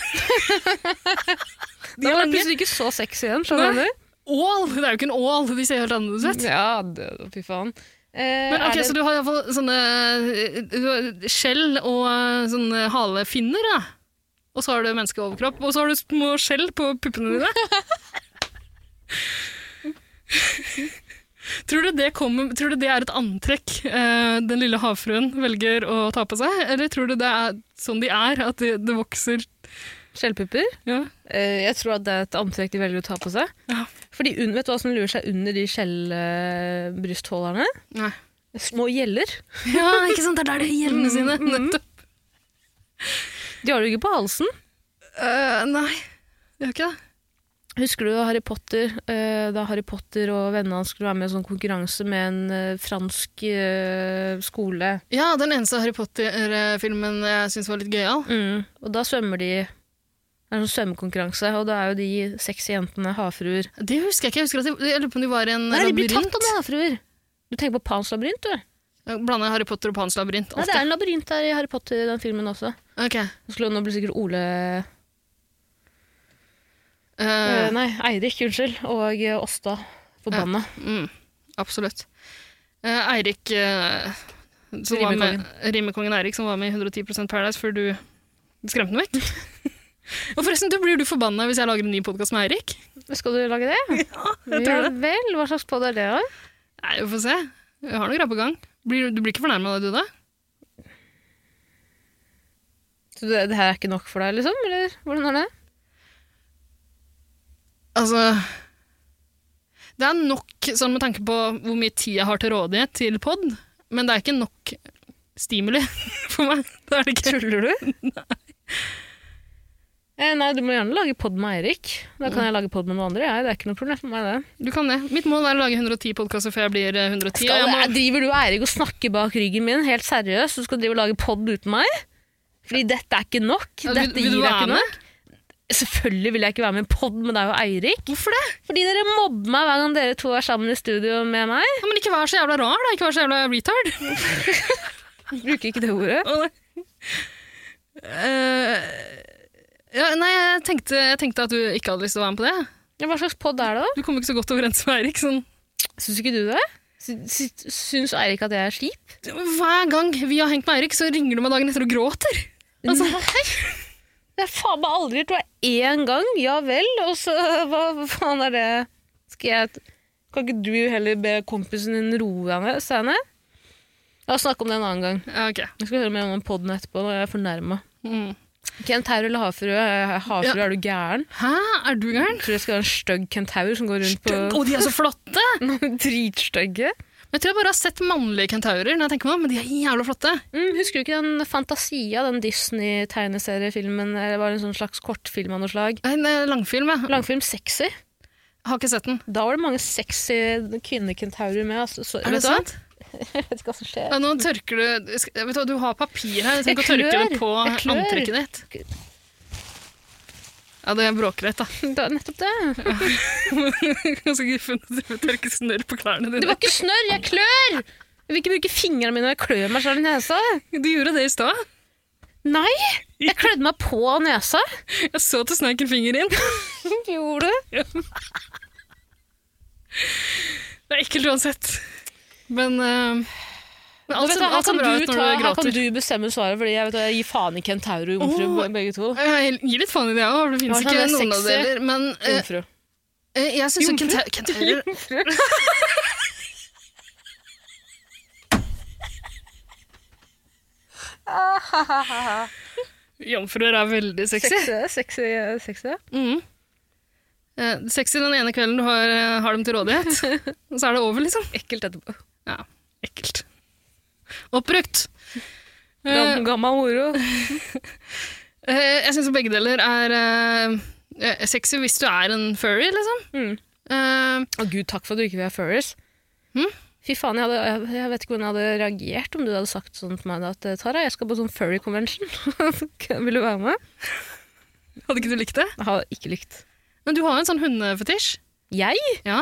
Speaker 2: <laughs>
Speaker 1: De er
Speaker 2: er lange.
Speaker 1: plutselig ikke så sexy igjen, skjønner
Speaker 2: Nei.
Speaker 1: du?
Speaker 2: Ål! Det er jo ikke en ål, de ser helt annerledes ut.
Speaker 1: Ja, det, fy faen. Eh,
Speaker 2: Men ok,
Speaker 1: er det-
Speaker 2: Så du har iallfall sånne eh, du har skjell og eh, sånne halefinner, da. Og så har du menneskeoverkropp, og så har du små skjell på puppene dine. <laughs> tror, du det kommer, tror du det er et antrekk eh, den lille havfruen velger å ta på seg? Eller tror du det er sånn de er, at det, det vokser
Speaker 1: Skjellpupper?
Speaker 2: ja.
Speaker 1: Eh, jeg tror at det er et antrekk de velger å ta på seg.
Speaker 2: Ja.
Speaker 1: Fordi un, Vet du hva som lurer seg under de skjellbrystholderne?
Speaker 2: Nei.
Speaker 1: Små gjeller.
Speaker 2: ja, ikke sant? Det er der de har gjellene sine. Nettopp.
Speaker 1: De har du ikke på halsen.
Speaker 2: Eh, nei, det gjør ikke det.
Speaker 1: Husker du Harry Potter? eh, da Harry Potter og vennene hans skulle være med i en sånn konkurranse med en eh, fransk eh, skole.
Speaker 2: Ja, den eneste Harry Potter-filmen jeg syns var litt gøyal.
Speaker 1: Og da svømmer de Det er en sånn svømmekonkurranse, og da er jo de sexy jentene havfruer.
Speaker 2: Det husker jeg ikke. Jeg husker at de, jeg lurer på om de var i en
Speaker 1: Nei, de blir
Speaker 2: labyrint.
Speaker 1: tatt av med havfruer! Du tenker på Pans labyrint, du? Nei,
Speaker 2: Jeg blander Harry Potter og Pans labyrint.
Speaker 1: det
Speaker 2: Ofte.
Speaker 1: er en labyrint der i Harry Potter, den filmen også.
Speaker 2: Ok.
Speaker 1: Nå skulle- Nå blir sikkert Ole Eh,
Speaker 2: Eh,
Speaker 1: nei, Eirik, unnskyld. Og eh, Åsta. Forbanna.
Speaker 2: mm, absolutt. Eh, Eirik eh, som var med, Rimekongen Eirik, som var med i 110 Paradise før du Du skremte meg vekk. <laughs> Og forresten, du blir du forbanna hvis jeg lager en ny podkast med Eirik?
Speaker 1: Skal du lage det? Ja,
Speaker 2: jeg tror det.
Speaker 1: vel. Hva slags pod er det? da?
Speaker 2: Nei, vi får se. Jeg har noe greier på gang. Blir, du blir ikke fornærma av det, du da?
Speaker 1: Så det, det her er ikke nok for deg, liksom? Eller hvordan er det?
Speaker 2: Altså Det er nok, sånn med tanke på hvor mye tid jeg har til rådighet til pod, men det er ikke nok stimuli <laughs> for meg. Det er det ikke.
Speaker 1: Tuller du? <laughs> Nei. Eh, nei, du må gjerne lage pod med Eirik. Da kan jeg lage pod med noen andre. Jeg. Det er ikke noe problem for meg, det.
Speaker 2: Du kan det. Mitt mål er å lage 110 podkaster før jeg blir eh, 110. og jeg må,
Speaker 1: driver du og Eirik og snakker bak ryggen min, helt seriøst? Du skal drive og lage pod uten meg? Fordi dette er ikke nok.
Speaker 2: Ja,
Speaker 1: Dette
Speaker 2: vil, vil
Speaker 1: gir
Speaker 2: du
Speaker 1: deg
Speaker 2: være
Speaker 1: ikke
Speaker 2: med?
Speaker 1: nok. Selvfølgelig vil jeg ikke være med i pod med deg og Eirik.
Speaker 2: Hvorfor det?
Speaker 1: Fordi dere mobber meg hver gang dere to er sammen i studio med meg.
Speaker 2: Ja, men ikke vær så jævla rar, da. Ikke vær så jævla retard.
Speaker 1: <laughs> Bruker ikke det ordet.
Speaker 2: Å, nei. Eh, ja, nei, jeg tenkte, jeg tenkte at du ikke hadde lyst til å være med på det.
Speaker 1: Ja, hva slags pod er det, da?
Speaker 2: Du kommer ikke så godt overens med Eirik. Sånn.
Speaker 1: Syns ikke du det? Sy- sy- Syns Eirik at jeg er slip?
Speaker 2: Hver gang vi har hengt med Eirik, så ringer du meg dagen etter og gråter. Altså,
Speaker 1: Nei! Det er faen meg aldri gjort. Det var én gang, ja vel, og så hva, hva faen er det Skal jeg Kan ikke du heller be kompisen din roe deg ned, seg ned? La oss snakke om det en annen gang.
Speaker 2: ja, ok.
Speaker 1: Jeg skal høre mer om den podden etterpå når jeg er fornærma.
Speaker 2: Mm.
Speaker 1: Kentaur eller havfrue? Eh, Havfrue, er du gæren?
Speaker 2: Hæ, er du gæren?
Speaker 1: Tror du jeg skal være en stygg kentaur som går rundt
Speaker 2: Å, de er så flotte!
Speaker 1: på <laughs> dritstygge?
Speaker 2: Men jeg tror jeg bare har sett mannlige kentaurer, når jeg tenker meg om, men de er jævla flotte.
Speaker 1: Mm, husker du ikke den Fantasia, den Disney-tegneseriefilmen? eller Det var en sånn slags kortfilm av noe slag.
Speaker 2: En eh, langfilm, jeg.
Speaker 1: Langfilm sexy.
Speaker 2: Har ikke sett den.
Speaker 1: Da var det mange sexy kvinnekentaurer med. Altså, så,
Speaker 2: Er det
Speaker 1: vet du hva?
Speaker 2: sant?
Speaker 1: Jeg vet ikke hva som skjer.
Speaker 2: Ja, nå tørker du sk- Vet du hva, du har papir her. Jeg tenker å
Speaker 1: Jeg
Speaker 2: tørke det
Speaker 1: klør.
Speaker 2: på
Speaker 1: Jeg klør.
Speaker 2: antrekket ditt. Ja, det er bråkrett, da. <laughs>
Speaker 1: Det var nettopp det.
Speaker 2: Ganske guffen å drive og tørke snørr på klærne
Speaker 1: Det
Speaker 2: dine.
Speaker 1: var ikke snørr, jeg klør! Jeg vil ikke bruke fingrene mine når jeg klør meg selv i nesa.
Speaker 2: Du gjorde det i stad.
Speaker 1: Nei! Jeg klødde meg på
Speaker 2: <laughs>
Speaker 1: nesa.
Speaker 2: Jeg så at du sneik en finger inn.
Speaker 1: Gjorde du?
Speaker 2: Det er ekkelt uansett. Men, eh, men alt,
Speaker 1: Vet du,
Speaker 2: ser-
Speaker 1: hva, her,
Speaker 2: alt ser
Speaker 1: kan
Speaker 2: bra
Speaker 1: du
Speaker 2: ut når
Speaker 1: ta,
Speaker 2: du
Speaker 1: her kan
Speaker 2: gråter.
Speaker 1: du bestemme svaret, fordi jeg, vet, at jeg gir faen i kentaur og jomfru,
Speaker 2: Åh.
Speaker 1: be- begge to.
Speaker 2: Jeg gir litt faen i det òg. Det fins
Speaker 1: Hva er
Speaker 2: ikke
Speaker 1: sånn
Speaker 2: noen av
Speaker 1: sexy?
Speaker 2: deler. Men eh,
Speaker 1: Jomfru.
Speaker 2: eh, jeg syns jo kenta- kentaurer <laughs> Jomfruer er veldig sexy.
Speaker 1: sexy, sexy.
Speaker 2: Mm. Eh, sexy den ene kvelden du har, eh, har dem til rådighet, <laughs> og så er det over, liksom.
Speaker 1: Ekkelt etterpå.
Speaker 2: Ja, ekkelt. Oppbrukt. Eh,
Speaker 1: Gammel, gammel moro.
Speaker 2: eh, jeg syns begge deler er eh, eh, sexy hvis du er en furry, liksom.
Speaker 1: Mm.
Speaker 2: Eh,
Speaker 1: Å gud, takk for at du ikke vil ha furries.
Speaker 2: Hm?
Speaker 1: Fy faen, jeg, hadde, jeg, jeg vet ikke hvordan jeg hadde reagert om du hadde sagt sånn til meg da, at Tara, jeg skal på sånn furry convention. <laughs> vil du være med?
Speaker 2: hadde ikke du likt det?
Speaker 1: Jeg har ikke likt.
Speaker 2: Men du har jo en sånn hundefetisj.
Speaker 1: Jeg?
Speaker 2: Ja.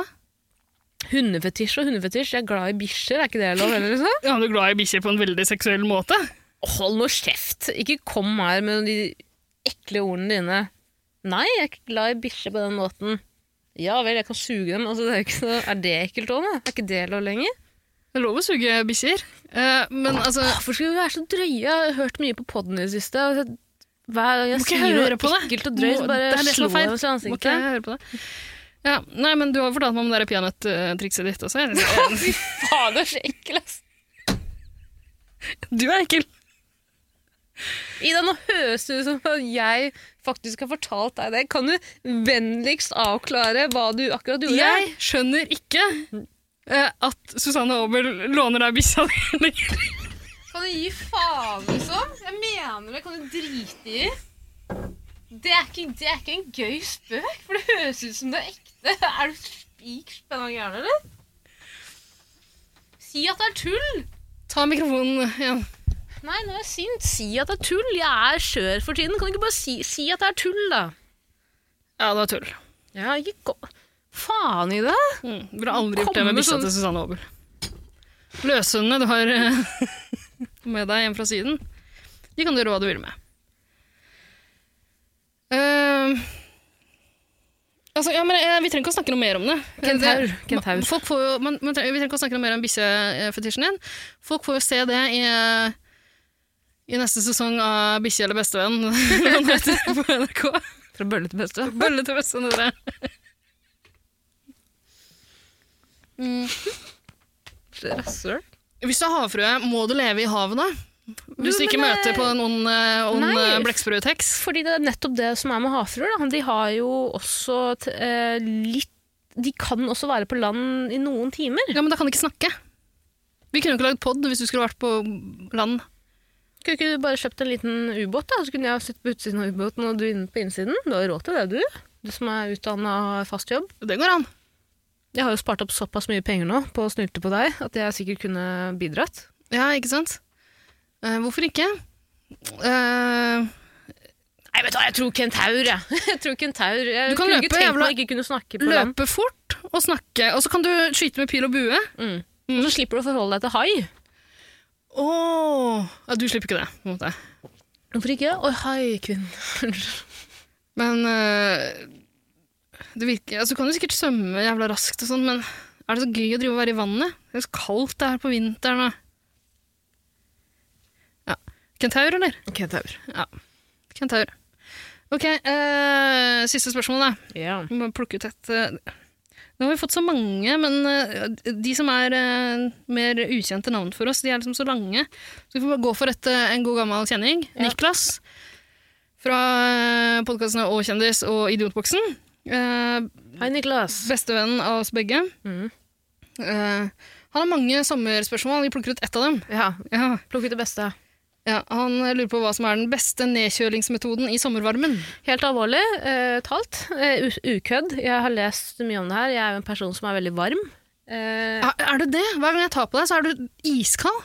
Speaker 1: Hundefetisj og hundefetisj. Jeg er glad i bikkjer, er ikke det lov? Eller, liksom?
Speaker 2: ja, du er glad i bikkjer på en veldig seksuell måte.
Speaker 1: Hold nå kjeft! Ikke kom her med de ekle ordene dine. Nei, jeg er ikke glad i bikkjer på den måten. Ja vel, jeg kan suge dem. Altså, det er, jo ikke så, er det ekkelt òg, da? Er ikke det lov lenger?
Speaker 2: Det er lov å suge bikkjer. Eh, men altså
Speaker 1: Hvorfor skal vi være så drøye? Jeg har hørt mye på podden i det siste. og jeg- Hver gang jeg
Speaker 2: Må ikke
Speaker 1: sier noe
Speaker 2: høre på det.
Speaker 1: ekkelt og drøyt, så
Speaker 2: Må- det
Speaker 1: bare
Speaker 2: er det som er
Speaker 1: slår
Speaker 2: feil.
Speaker 1: jeg oss i
Speaker 2: Må ikke jeg
Speaker 1: ansiktet.
Speaker 2: høre på det. Ja, nei, men du har fortalt meg om det der peanøtt-trikset ditt også.
Speaker 1: <laughs> <laughs> Faen, du er så ekkel, ass.
Speaker 2: Du er ekkel.
Speaker 1: Ida, nå høres det ut som at jeg faktisk har fortalt deg det. Kan du vennligst avklare hva du akkurat gjorde?
Speaker 2: Jeg skjønner ikke eh, at Susanne Aabel låner deg bikkja di <laughs> lenger.
Speaker 1: Kan du gi faen, liksom? Jeg mener det. Kan du drite i? Det er ikke, det er ikke en gøy spøk, for det høres ut som det er ekte. Er du spik spenna gæren, eller? Si at det er tull!
Speaker 2: Ta mikrofonen igjen.
Speaker 1: Nei, nå er jeg sint. Si at det er tull. Jeg er skjør for tiden. Kan du ikke bare si, si at det er tull, da?
Speaker 2: Ja, det var tull.
Speaker 1: Ja, ikke gå... Faen i det.
Speaker 2: Mm. Du Burde aldri gjort det
Speaker 1: Komme
Speaker 2: med bikkja
Speaker 1: sånn-
Speaker 2: til Susanne Aabel. Løshundene du har eh, <laughs> med deg hjem fra Syden, de kan du gjøre hva du vil med. Eh, altså, ja, men, eh, vi trenger ikke å snakke noe mer om det. Eh,
Speaker 1: Kentaur,
Speaker 2: Det-
Speaker 1: kentaur.
Speaker 2: ma- Folk får jo, man, man, trenger- vi trenger ikke å snakke noe mer om bikkjefetisjen din. Folk får jo se det i eh, I neste sesong av Bikkje eller bestevenn, <laughs> som det heter på NRK.
Speaker 1: Fra bølle til beste.
Speaker 2: Bølle til bestevenn, dere.
Speaker 1: Rasshøl.
Speaker 2: Hvis du er havfrue, må du leve i havet da? Hvis du
Speaker 1: men
Speaker 2: ikke
Speaker 1: det-
Speaker 2: møter på en ond, eh, ond
Speaker 1: Nei.
Speaker 2: eh, blekkspruteks?
Speaker 1: Fordi det er nettopp det som er med havfruer. da. De har jo også t eh, litt De kan også være på land i noen timer.
Speaker 2: Ja, men da kan de ikke snakke. Vi kunne jo ikke lagd pod hvis du skulle vært på land.
Speaker 1: Kunne ikke du bare kjøpt en liten ubåt, da? Så kunne jeg sittet på utsiden av ubåten og du inne på innsiden. Du har jo råd til det, du. Du som er utdanna og har fast jobb.
Speaker 2: Det går an.
Speaker 1: Jeg har jo spart opp såpass mye penger nå på å snylte på deg at jeg sikkert kunne bidratt.
Speaker 2: Ja, ikke sant? Eh, hvorfor ikke? Eh,
Speaker 1: Nei, vet du hva, jeg tror kentaur, jeg. <laughs> Jeg tror kentaur. Jeg
Speaker 2: Du kan
Speaker 1: kunne
Speaker 2: løpe,
Speaker 1: ikke tenkt
Speaker 2: jævla-
Speaker 1: meg ikke kunne snakke på land.
Speaker 2: løpe fort og snakke, og så kan du skyte med pil og bue.
Speaker 1: Mm. Og så slipper du å forholde deg til hai.
Speaker 2: Åh! Ja, du slipper ikke det, på en måte.
Speaker 1: Hvorfor ikke? Oi, <laughs> haikvinnen.
Speaker 2: Men eh, det virker, altså, du kan jo sikkert svømme jævla raskt og sånn, men er det så gøy å drive og være i vannet? Det er så kaldt det er på vinteren. Og... Ja. Kentaur, eller?
Speaker 1: Kentaur.
Speaker 2: Kentaur. Ok, eh, siste spørsmål da.
Speaker 1: Ja.
Speaker 2: Vi må plukke ut et. eh, Nå har vi fått så mange, men eh, de som er eh, mer ukjente navn for oss, de er liksom så lange. Så vi får bare gå for et, eh, en god gammel kjenning.
Speaker 1: Ja.
Speaker 2: Niklas fra eh, podkastene Å kjendis og Idiotboksen. Eh,
Speaker 1: Hei, Niklas.
Speaker 2: Bestevennen av oss begge.
Speaker 1: Mhm.
Speaker 2: Eh, han har mange sommerspørsmål, vi plukker ut ett av dem.
Speaker 1: Ja,
Speaker 2: Ja.
Speaker 1: plukk ut det beste.
Speaker 2: Ja, han lurer på hva som er den beste nedkjølingsmetoden i sommervarmen.
Speaker 1: Helt alvorlig eh, talt. Eh, u- ukødd. Jeg har lest mye om det her. Jeg er jo en person som er veldig varm. Eh,
Speaker 2: Er, er det det? Hver gang jeg tar på deg, så er du iskald?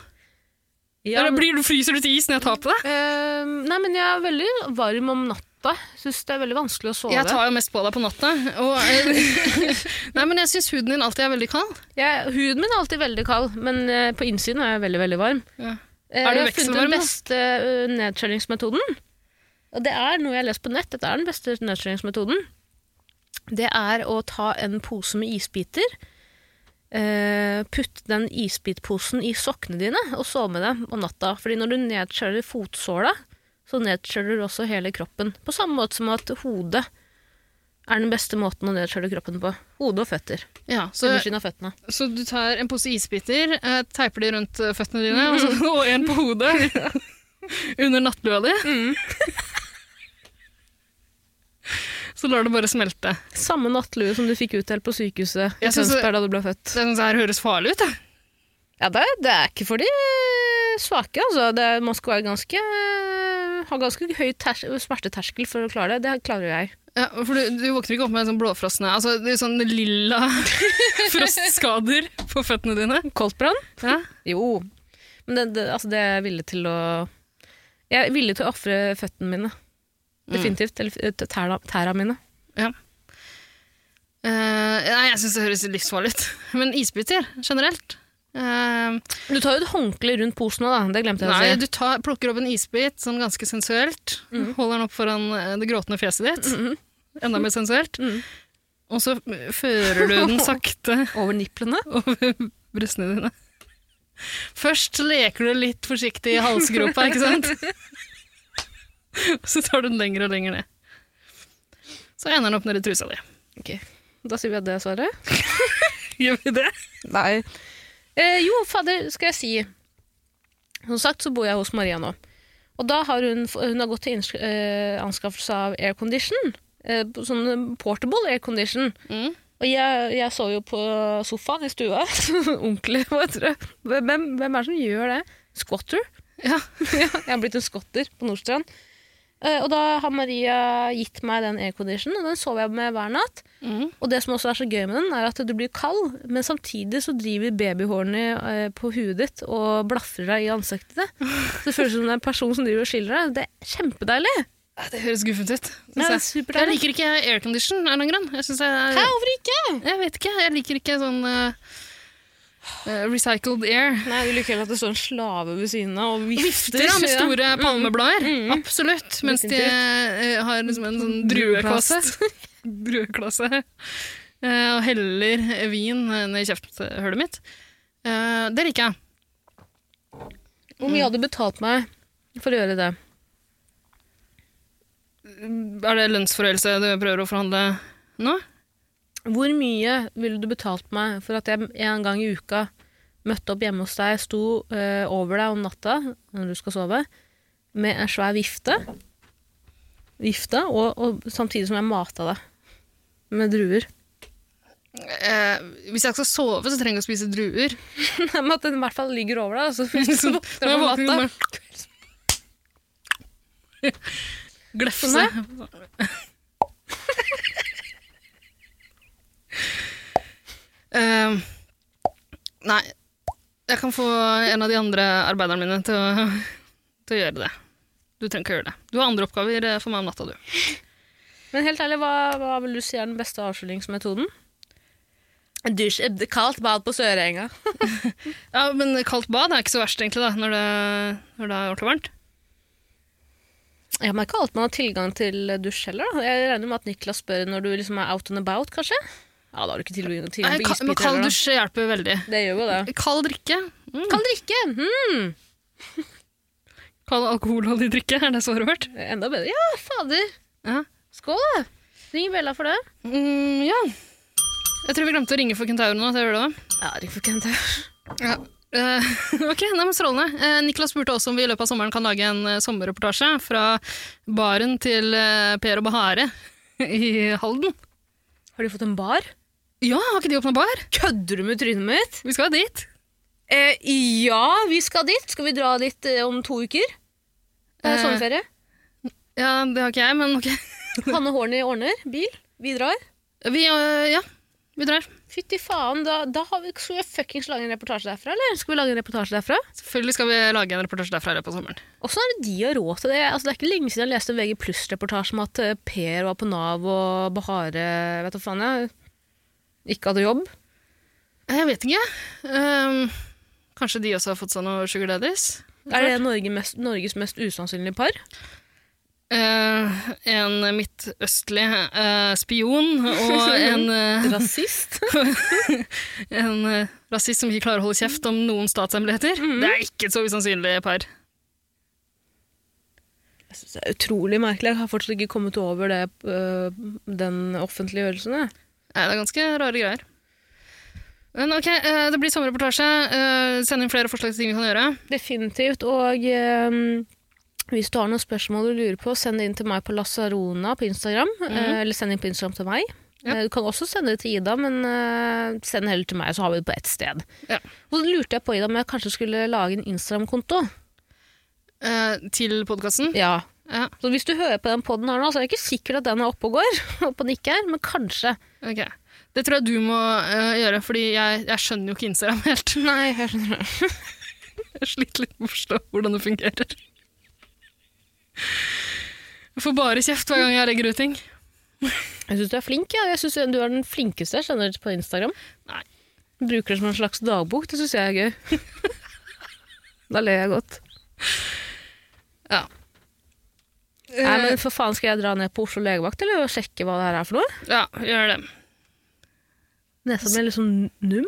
Speaker 1: ja,
Speaker 2: Eller blir du fryser du til is når jeg tar på deg?
Speaker 1: eh, nei, men jeg er veldig varm om natta. Syns det er veldig vanskelig å sove.
Speaker 2: Jeg tar jo mest på deg på natta. Og, eh, <laughs> nei, men jeg syns huden din alltid er veldig kald.
Speaker 1: Jeg, huden min er alltid veldig kald, men eh, på innsiden er jeg veldig, veldig varm.
Speaker 2: Ja.
Speaker 1: Eh,
Speaker 2: Er
Speaker 1: jeg
Speaker 2: du
Speaker 1: har funnet
Speaker 2: vekselvarm,
Speaker 1: den
Speaker 2: da?
Speaker 1: beste eh, nedkjølingsmetoden. Og det er noe jeg har lest på nett. Dette er den beste nedkjølingsmetoden. Det er å ta en pose med isbiter, eh, putte den isbitposen i sokkene dine og sove med dem om natta. Fordi når du nedkjøler fotsåla, så nedkjøler du også hele kroppen. På samme måte som at hodet er den beste måten å nedkjøle kroppen på. Hodet og føtter.
Speaker 2: Ja, så,
Speaker 1: Undersiden av føttene.
Speaker 2: så du tar en pose isbiter, eh, teiper de rundt eh, føttene dine, og, så, <laughs> og en på hodet <laughs> under nattlua di. <laughs> Så lar det bare smelte.
Speaker 1: Samme nattlue som du fikk utdelt på sykehuset i
Speaker 2: Jeg synes det-
Speaker 1: Tønsberg da du ble født.
Speaker 2: Det det her høres farlig ut. jeg.
Speaker 1: Ja, det, det er ikke for de svake, altså. Det, man skal være ganske eh, ha ganske høy ters smerteterskel for å klare det. Det klarer jo jeg.
Speaker 2: Ja, for du, du våkner ikke opp med en sånn blåfrosne altså, det er sånn lilla <laughs> frostskader på føttene dine.
Speaker 1: Koldtbrann?
Speaker 2: Ja.
Speaker 1: Jo. Men det, det, altså, det er jeg villig til å Jeg er villig til å ofre føttene mine. Definitivt. Eller eh, tærne tæra mine.
Speaker 2: Eh, nei, jeg syns det høres livsfarlig ut. <laughs> Men isbiter generelt Eh,
Speaker 1: Du tar jo et håndkle rundt posen nå, da. Det glemte
Speaker 2: Nei,
Speaker 1: jeg å si.
Speaker 2: du tar, plukker opp en isbit sånn ganske sensuelt. Holder den opp foran eh, det gråtende fjeset ditt. Enda mer sensuelt.
Speaker 1: Mhm.
Speaker 2: Og så eh, fører du <laughs> den sakte
Speaker 1: Over niplene.
Speaker 2: over brystene dine. Først leker du litt forsiktig i halsgropa, ikke <laughs> sant? Og så tar du den lenger og lenger ned. Så ender den opp nedi trusa di.
Speaker 1: Da sier vi at det er svaret.
Speaker 2: Gjør vi det?
Speaker 1: Nei. Eh, jo, fader, skal jeg si. Som sagt så bor jeg hos Maria nå. Og da har hun, hun har gått til innsk- eh, anskaffelse av aircondition. Eh, sånn portable aircondition.
Speaker 2: Mm.
Speaker 1: Og jeg, jeg sov jo på sofaen i stua. <laughs> Ordentlig, hva tror jeg. Hvem, hvem er det som gjør det? Squatter?
Speaker 2: Ja.
Speaker 1: <laughs> Ja, jeg har blitt en skotter på Nordstrand. Eh, og da har Maria gitt meg den airconditionen, og den sover jeg med hver natt.
Speaker 2: Mhm.
Speaker 1: Og det som også er så gøy med den, er at du blir kald, men samtidig så driver babyhårene eh, på huet ditt og blafrer deg i ansiktet ditt. Så det føles som det er en person som driver og skiller deg. Det er kjempedeilig!
Speaker 2: Ja, Det høres guffent ut.
Speaker 1: Nei, det er
Speaker 2: synes jeg. jeg
Speaker 1: superdeilig.
Speaker 2: liker ikke aircondition av en eller annen grunn. Jeg, synes det er-
Speaker 1: Hæ, hvorfor ikke?
Speaker 2: jeg vet ikke. Jeg liker ikke sånn eh, eh, recycled air.
Speaker 1: Nei, Du liker heller at det står en slave ved siden av og
Speaker 2: Vifter ja, Mm-hmm. med store palmeblader. Absolutt. Mens de eh, har liksom en sånn drueklasse. <laughs> drueklasse. Eh, og heller vin eh, ned i kjefthullet mitt. Eh, det liker jeg.
Speaker 1: Hvor mye hadde du betalt meg for å gjøre det.
Speaker 2: Er det lønnsforhøyelse du prøver å forhandle nå?
Speaker 1: Hvor mye ville du betalt meg for at jeg en gang i uka møtte opp hjemme hos deg, sto eh, over deg om natta når du skal sove, med en svær vifte, vifte og, og samtidig som jeg mata deg med druer? <laughs>
Speaker 2: Eh, hvis jeg skal sove, så trenger jeg å spise druer.
Speaker 1: Men at den i hvert fall ligger over deg, så hvis du
Speaker 2: <laughs> Så
Speaker 1: våkner
Speaker 2: Liksom, når jeg
Speaker 1: om
Speaker 2: våkner,
Speaker 1: natta
Speaker 2: bare- Glefse. Eh, nei, jeg kan få en av de andre arbeiderne mine til å, til å gjøre det. Du trenger ikke å gjøre det. Du har andre oppgaver eh, for meg om natta, du.
Speaker 1: Men helt ærlig, hva, hva vil du si er den beste avskillingsmetoden? Dusj, et kaldt bad på Sørenga.
Speaker 2: Ja, Men kaldt bad er ikke så verst, egentlig, da, når det, når det er ordentlig varmt.
Speaker 1: Jeg merker alt man har tilgang til dusj heller. Da. Jeg regner med at Niklas spør når du liksom er out and about, kanskje? Ja, da har du ikke tilgang til
Speaker 2: Nei, ka- Men
Speaker 1: isbiter
Speaker 2: kald
Speaker 1: heller.
Speaker 2: dusj hjelper veldig.
Speaker 1: da. Det gjør jo det.
Speaker 2: Kald drikke. Mm.
Speaker 1: Kald drikke! mhm.
Speaker 2: Kald alkoholholdig drikke, er det så rørt?
Speaker 1: Enda bedre. Ja, fader!
Speaker 2: Ja.
Speaker 1: Skål, da! Ring Bella for det.
Speaker 2: Mm, ja. Jeg tror vi glemte å ringe for Kentauro nå. så jeg gjør det også.
Speaker 1: Ja, ring for Kent.
Speaker 2: Eh, <laughs> ok, nei, men Strålende. Eh, Niklas spurte også om vi i løpet av sommeren kan lage en eh, sommerreportasje fra baren til eh, Per og Bahare <laughs> i Halden.
Speaker 1: Har de fått en bar?
Speaker 2: Ja, har ikke de åpna bar?
Speaker 1: Kødder du med trynet mitt?
Speaker 2: Vi skal dit.
Speaker 1: Eh, ja, vi skal dit. Skal vi dra dit eh, om to uker? Det er
Speaker 2: Eh.
Speaker 1: sommerferie.
Speaker 2: Ja, Det har ikke jeg, men ok.
Speaker 1: Hanne Horny ordner bil. Vi drar.
Speaker 2: Vi, eh, ja, vi drar.
Speaker 1: Fytti faen, da, da har vi, skal vi fuckings lage en reportasje derfra, eller? Skal vi lage en reportasje derfra?
Speaker 2: Selvfølgelig skal vi lage en reportasje derfra i løpet av sommeren.
Speaker 1: Åssen er det de har råd til det? Altså, det er ikke lenge siden jeg leste en VG Pluss-reportasje om at eh, Per var på Nav og Bahare vet du faen jeg, ikke hadde jobb.
Speaker 2: Jeg vet ikke. Ehm, kanskje de også har fått seg noe Sugar Daddies?
Speaker 1: Er det Norge mest, Norges mest usannsynlige <laughs> par?
Speaker 2: Eh, en midtøstlig eh, spion og en, eh, <laughs>
Speaker 1: Rasist?
Speaker 2: en eh, rasist som ikke klarer å holde kjeft om noen statshemmeligheter. Det er ikke et så usannsynlig par.
Speaker 1: Jeg synes det er utrolig merkelig. Jeg har fortsatt ikke kommet over det, øh, den offentliggjørelsen. jeg.
Speaker 2: Nei, det er ganske rare greier. Men ok, eh, det blir sommerreportasje. Eh, send inn flere forslag til ting vi kan gjøre.
Speaker 1: Definitivt. Og øhm, hvis du har noen spørsmål du lurer på, send det inn til meg på Lasarona på Instagram. øh, eller send inn på Instagram til meg.
Speaker 2: Ja.
Speaker 1: Eh, Du kan også sende det til Ida, men øh, send det heller til meg, så har vi det på ett sted.
Speaker 2: Ja.
Speaker 1: Så lurte jeg på Ida om jeg kanskje skulle lage en Instagram-konto.
Speaker 2: Eh, til podkasten.
Speaker 1: Ja.
Speaker 2: Ja,
Speaker 1: Så hvis du hører på den podden her nå, så er det ikke sikkert at den er oppe og går, <laughs> oppe og nikker, men kanskje.
Speaker 2: ok. Det tror jeg du må eh, gjøre, fordi jeg, jeg skjønner jo ikke Instagram helt.
Speaker 1: Nei, jeg skjønner det.
Speaker 2: Jeg sliter litt med å forstå hvordan det fungerer. Jeg får bare kjeft hver gang jeg legger ut ting.
Speaker 1: Jeg syns du er flink. Ja. Jeg synes Du er den flinkeste jeg kjenner på Instagram.
Speaker 2: Nei.
Speaker 1: Bruker det som en slags dagbok. Det syns jeg er gøy. <laughs> da ler jeg godt.
Speaker 2: Ja.
Speaker 1: Nei, men for faen, skal jeg dra ned på Oslo legevakt eller og sjekke hva det her er for noe?
Speaker 2: Ja, gjør det.
Speaker 1: Nesa mi er liksom num.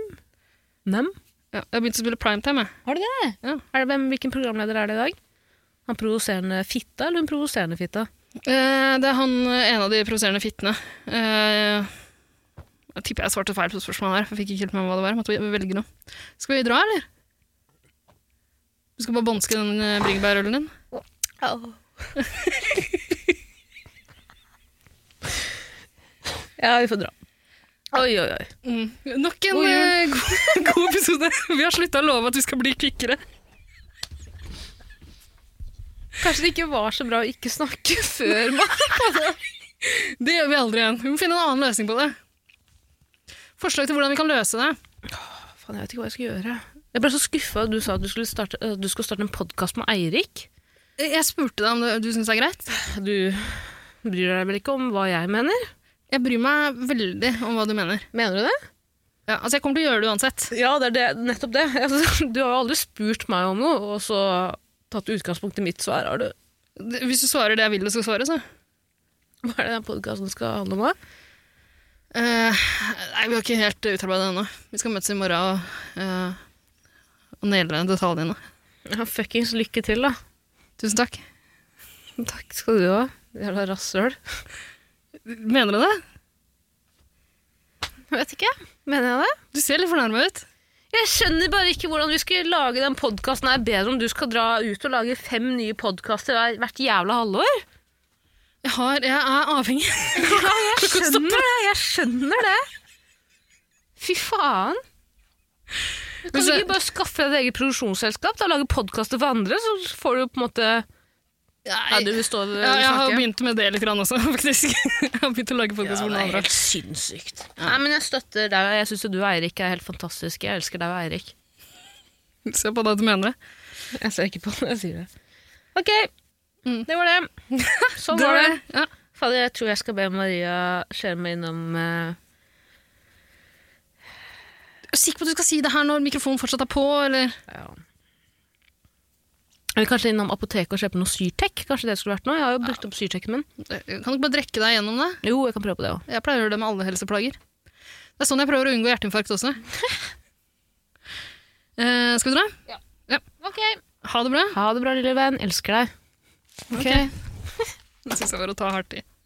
Speaker 1: Nem.
Speaker 2: Ja, jeg har begynt å spille primetime, jeg.
Speaker 1: Har du det?
Speaker 2: Ja.
Speaker 1: Er det hvem, hvilken programleder er det i dag? Han provoserende fitta, eller hun provoserende fitta?
Speaker 2: Eh, Det er han, eh, en av de provoserende fittene. Eh, Jeg tipper jeg svarte feil på spørsmålet her. for Jeg fikk ikke helt med meg hva det var. Måtte vi velge noe. Skal vi dra, eller? Du skal bare bånske den eh, bringebærølen din?
Speaker 1: ja, vi får dra. Oi, oi, oi.
Speaker 2: Mm. Nok en
Speaker 1: God jul.
Speaker 2: eh, god, <laughs> god episode. Vi har slutta å love at vi skal bli kvikkere.
Speaker 1: Kanskje det ikke var så bra å ikke snakke <laughs> før man
Speaker 2: Det gjør vi aldri igjen. Vi må finne en annen løsning på det. Forslag til hvordan vi kan løse det.
Speaker 1: Faen, jeg vet ikke hva jeg skal gjøre. Jeg ble så skuffa da du sa at du skulle starte, eh, du skulle starte en podkast med Eirik.
Speaker 2: Jeg spurte deg om det- du syns det er greit.
Speaker 1: Du bryr deg vel ikke om hva jeg mener?
Speaker 2: Jeg bryr meg veldig om hva du mener.
Speaker 1: Mener du det?
Speaker 2: Ja, altså, jeg kommer til å gjøre det uansett.
Speaker 1: Ja, det er det, nettopp det. <laughs> Altså, Du har jo aldri spurt meg om noe, og så tatt utgangspunkt i mitt svar. Har du?
Speaker 2: Det- Hvis du svarer det jeg vil du skal svare, så.
Speaker 1: Hva er det den podkasten skal handle om? da?
Speaker 2: Eh, nei, vi har ikke helt utarbeida det ennå. Vi skal møtes i morgen og, eh, og naile detaljene.
Speaker 1: Ja, fuckings lykke til, da.
Speaker 2: Tusen takk.
Speaker 1: Takk skal du ha. Jævla rasshøl.
Speaker 2: Mener du det?
Speaker 1: Vet ikke. Mener jeg det?
Speaker 2: Du ser litt fornærma ut.
Speaker 1: Jeg skjønner bare ikke hvordan vi skulle lage den podkasten her bedre om du skal dra ut og lage fem nye podkaster hvert jævla halvår.
Speaker 2: Jeg, har, jeg er avhengig.
Speaker 1: Ja, jeg skjønner det. Jeg skjønner det. Fy faen. Kan
Speaker 2: Men
Speaker 1: du
Speaker 2: så-
Speaker 1: ikke bare skaffe deg et eget produksjonsselskap da, og lage podkaster for andre, så får du på en måte Ja, du vil stå og
Speaker 2: Ja, jeg har
Speaker 1: snakke.
Speaker 2: begynt med det litt grann også, <laughs> faktisk. Jeg har begynt å lage podkast for noen andre.
Speaker 1: sinnssykt. Nei, men jeg støtter deg, og jeg syns du og Eirik er helt fantastisk. Jeg elsker deg og Eirik.
Speaker 2: Se på deg at du mener det.
Speaker 1: Jeg ser ikke på det, jeg sier det. Ok, det var <laughs> det. Sånn
Speaker 2: Det
Speaker 1: var
Speaker 2: var
Speaker 1: Mm. det.
Speaker 2: det. Ja.
Speaker 1: Fader, jeg tror jeg skal be Maria skjerme innom eh,
Speaker 2: Er du sikker på at du skal si det her når mikrofonen fortsatt er på, eller?
Speaker 1: ja. Eller kanskje innom apoteket og kjøpe noe Syrtec. Kanskje det skulle vært noe. Jeg har jo brukt opp Syrtecen min.
Speaker 2: Kan du ikke bare drekke deg gjennom det?
Speaker 1: Jo, jeg kan prøve på det òg.
Speaker 2: Jeg pleier å gjøre det med alle helseplager. Det er sånn jeg prøver å unngå hjerteinfarkt også. eh, skal vi dra?
Speaker 1: Ok.
Speaker 2: Ha det bra.
Speaker 1: Ha det bra, lille venn. Elsker deg.
Speaker 2: <laughs> Ok. Det syns jeg var å ta hardt i.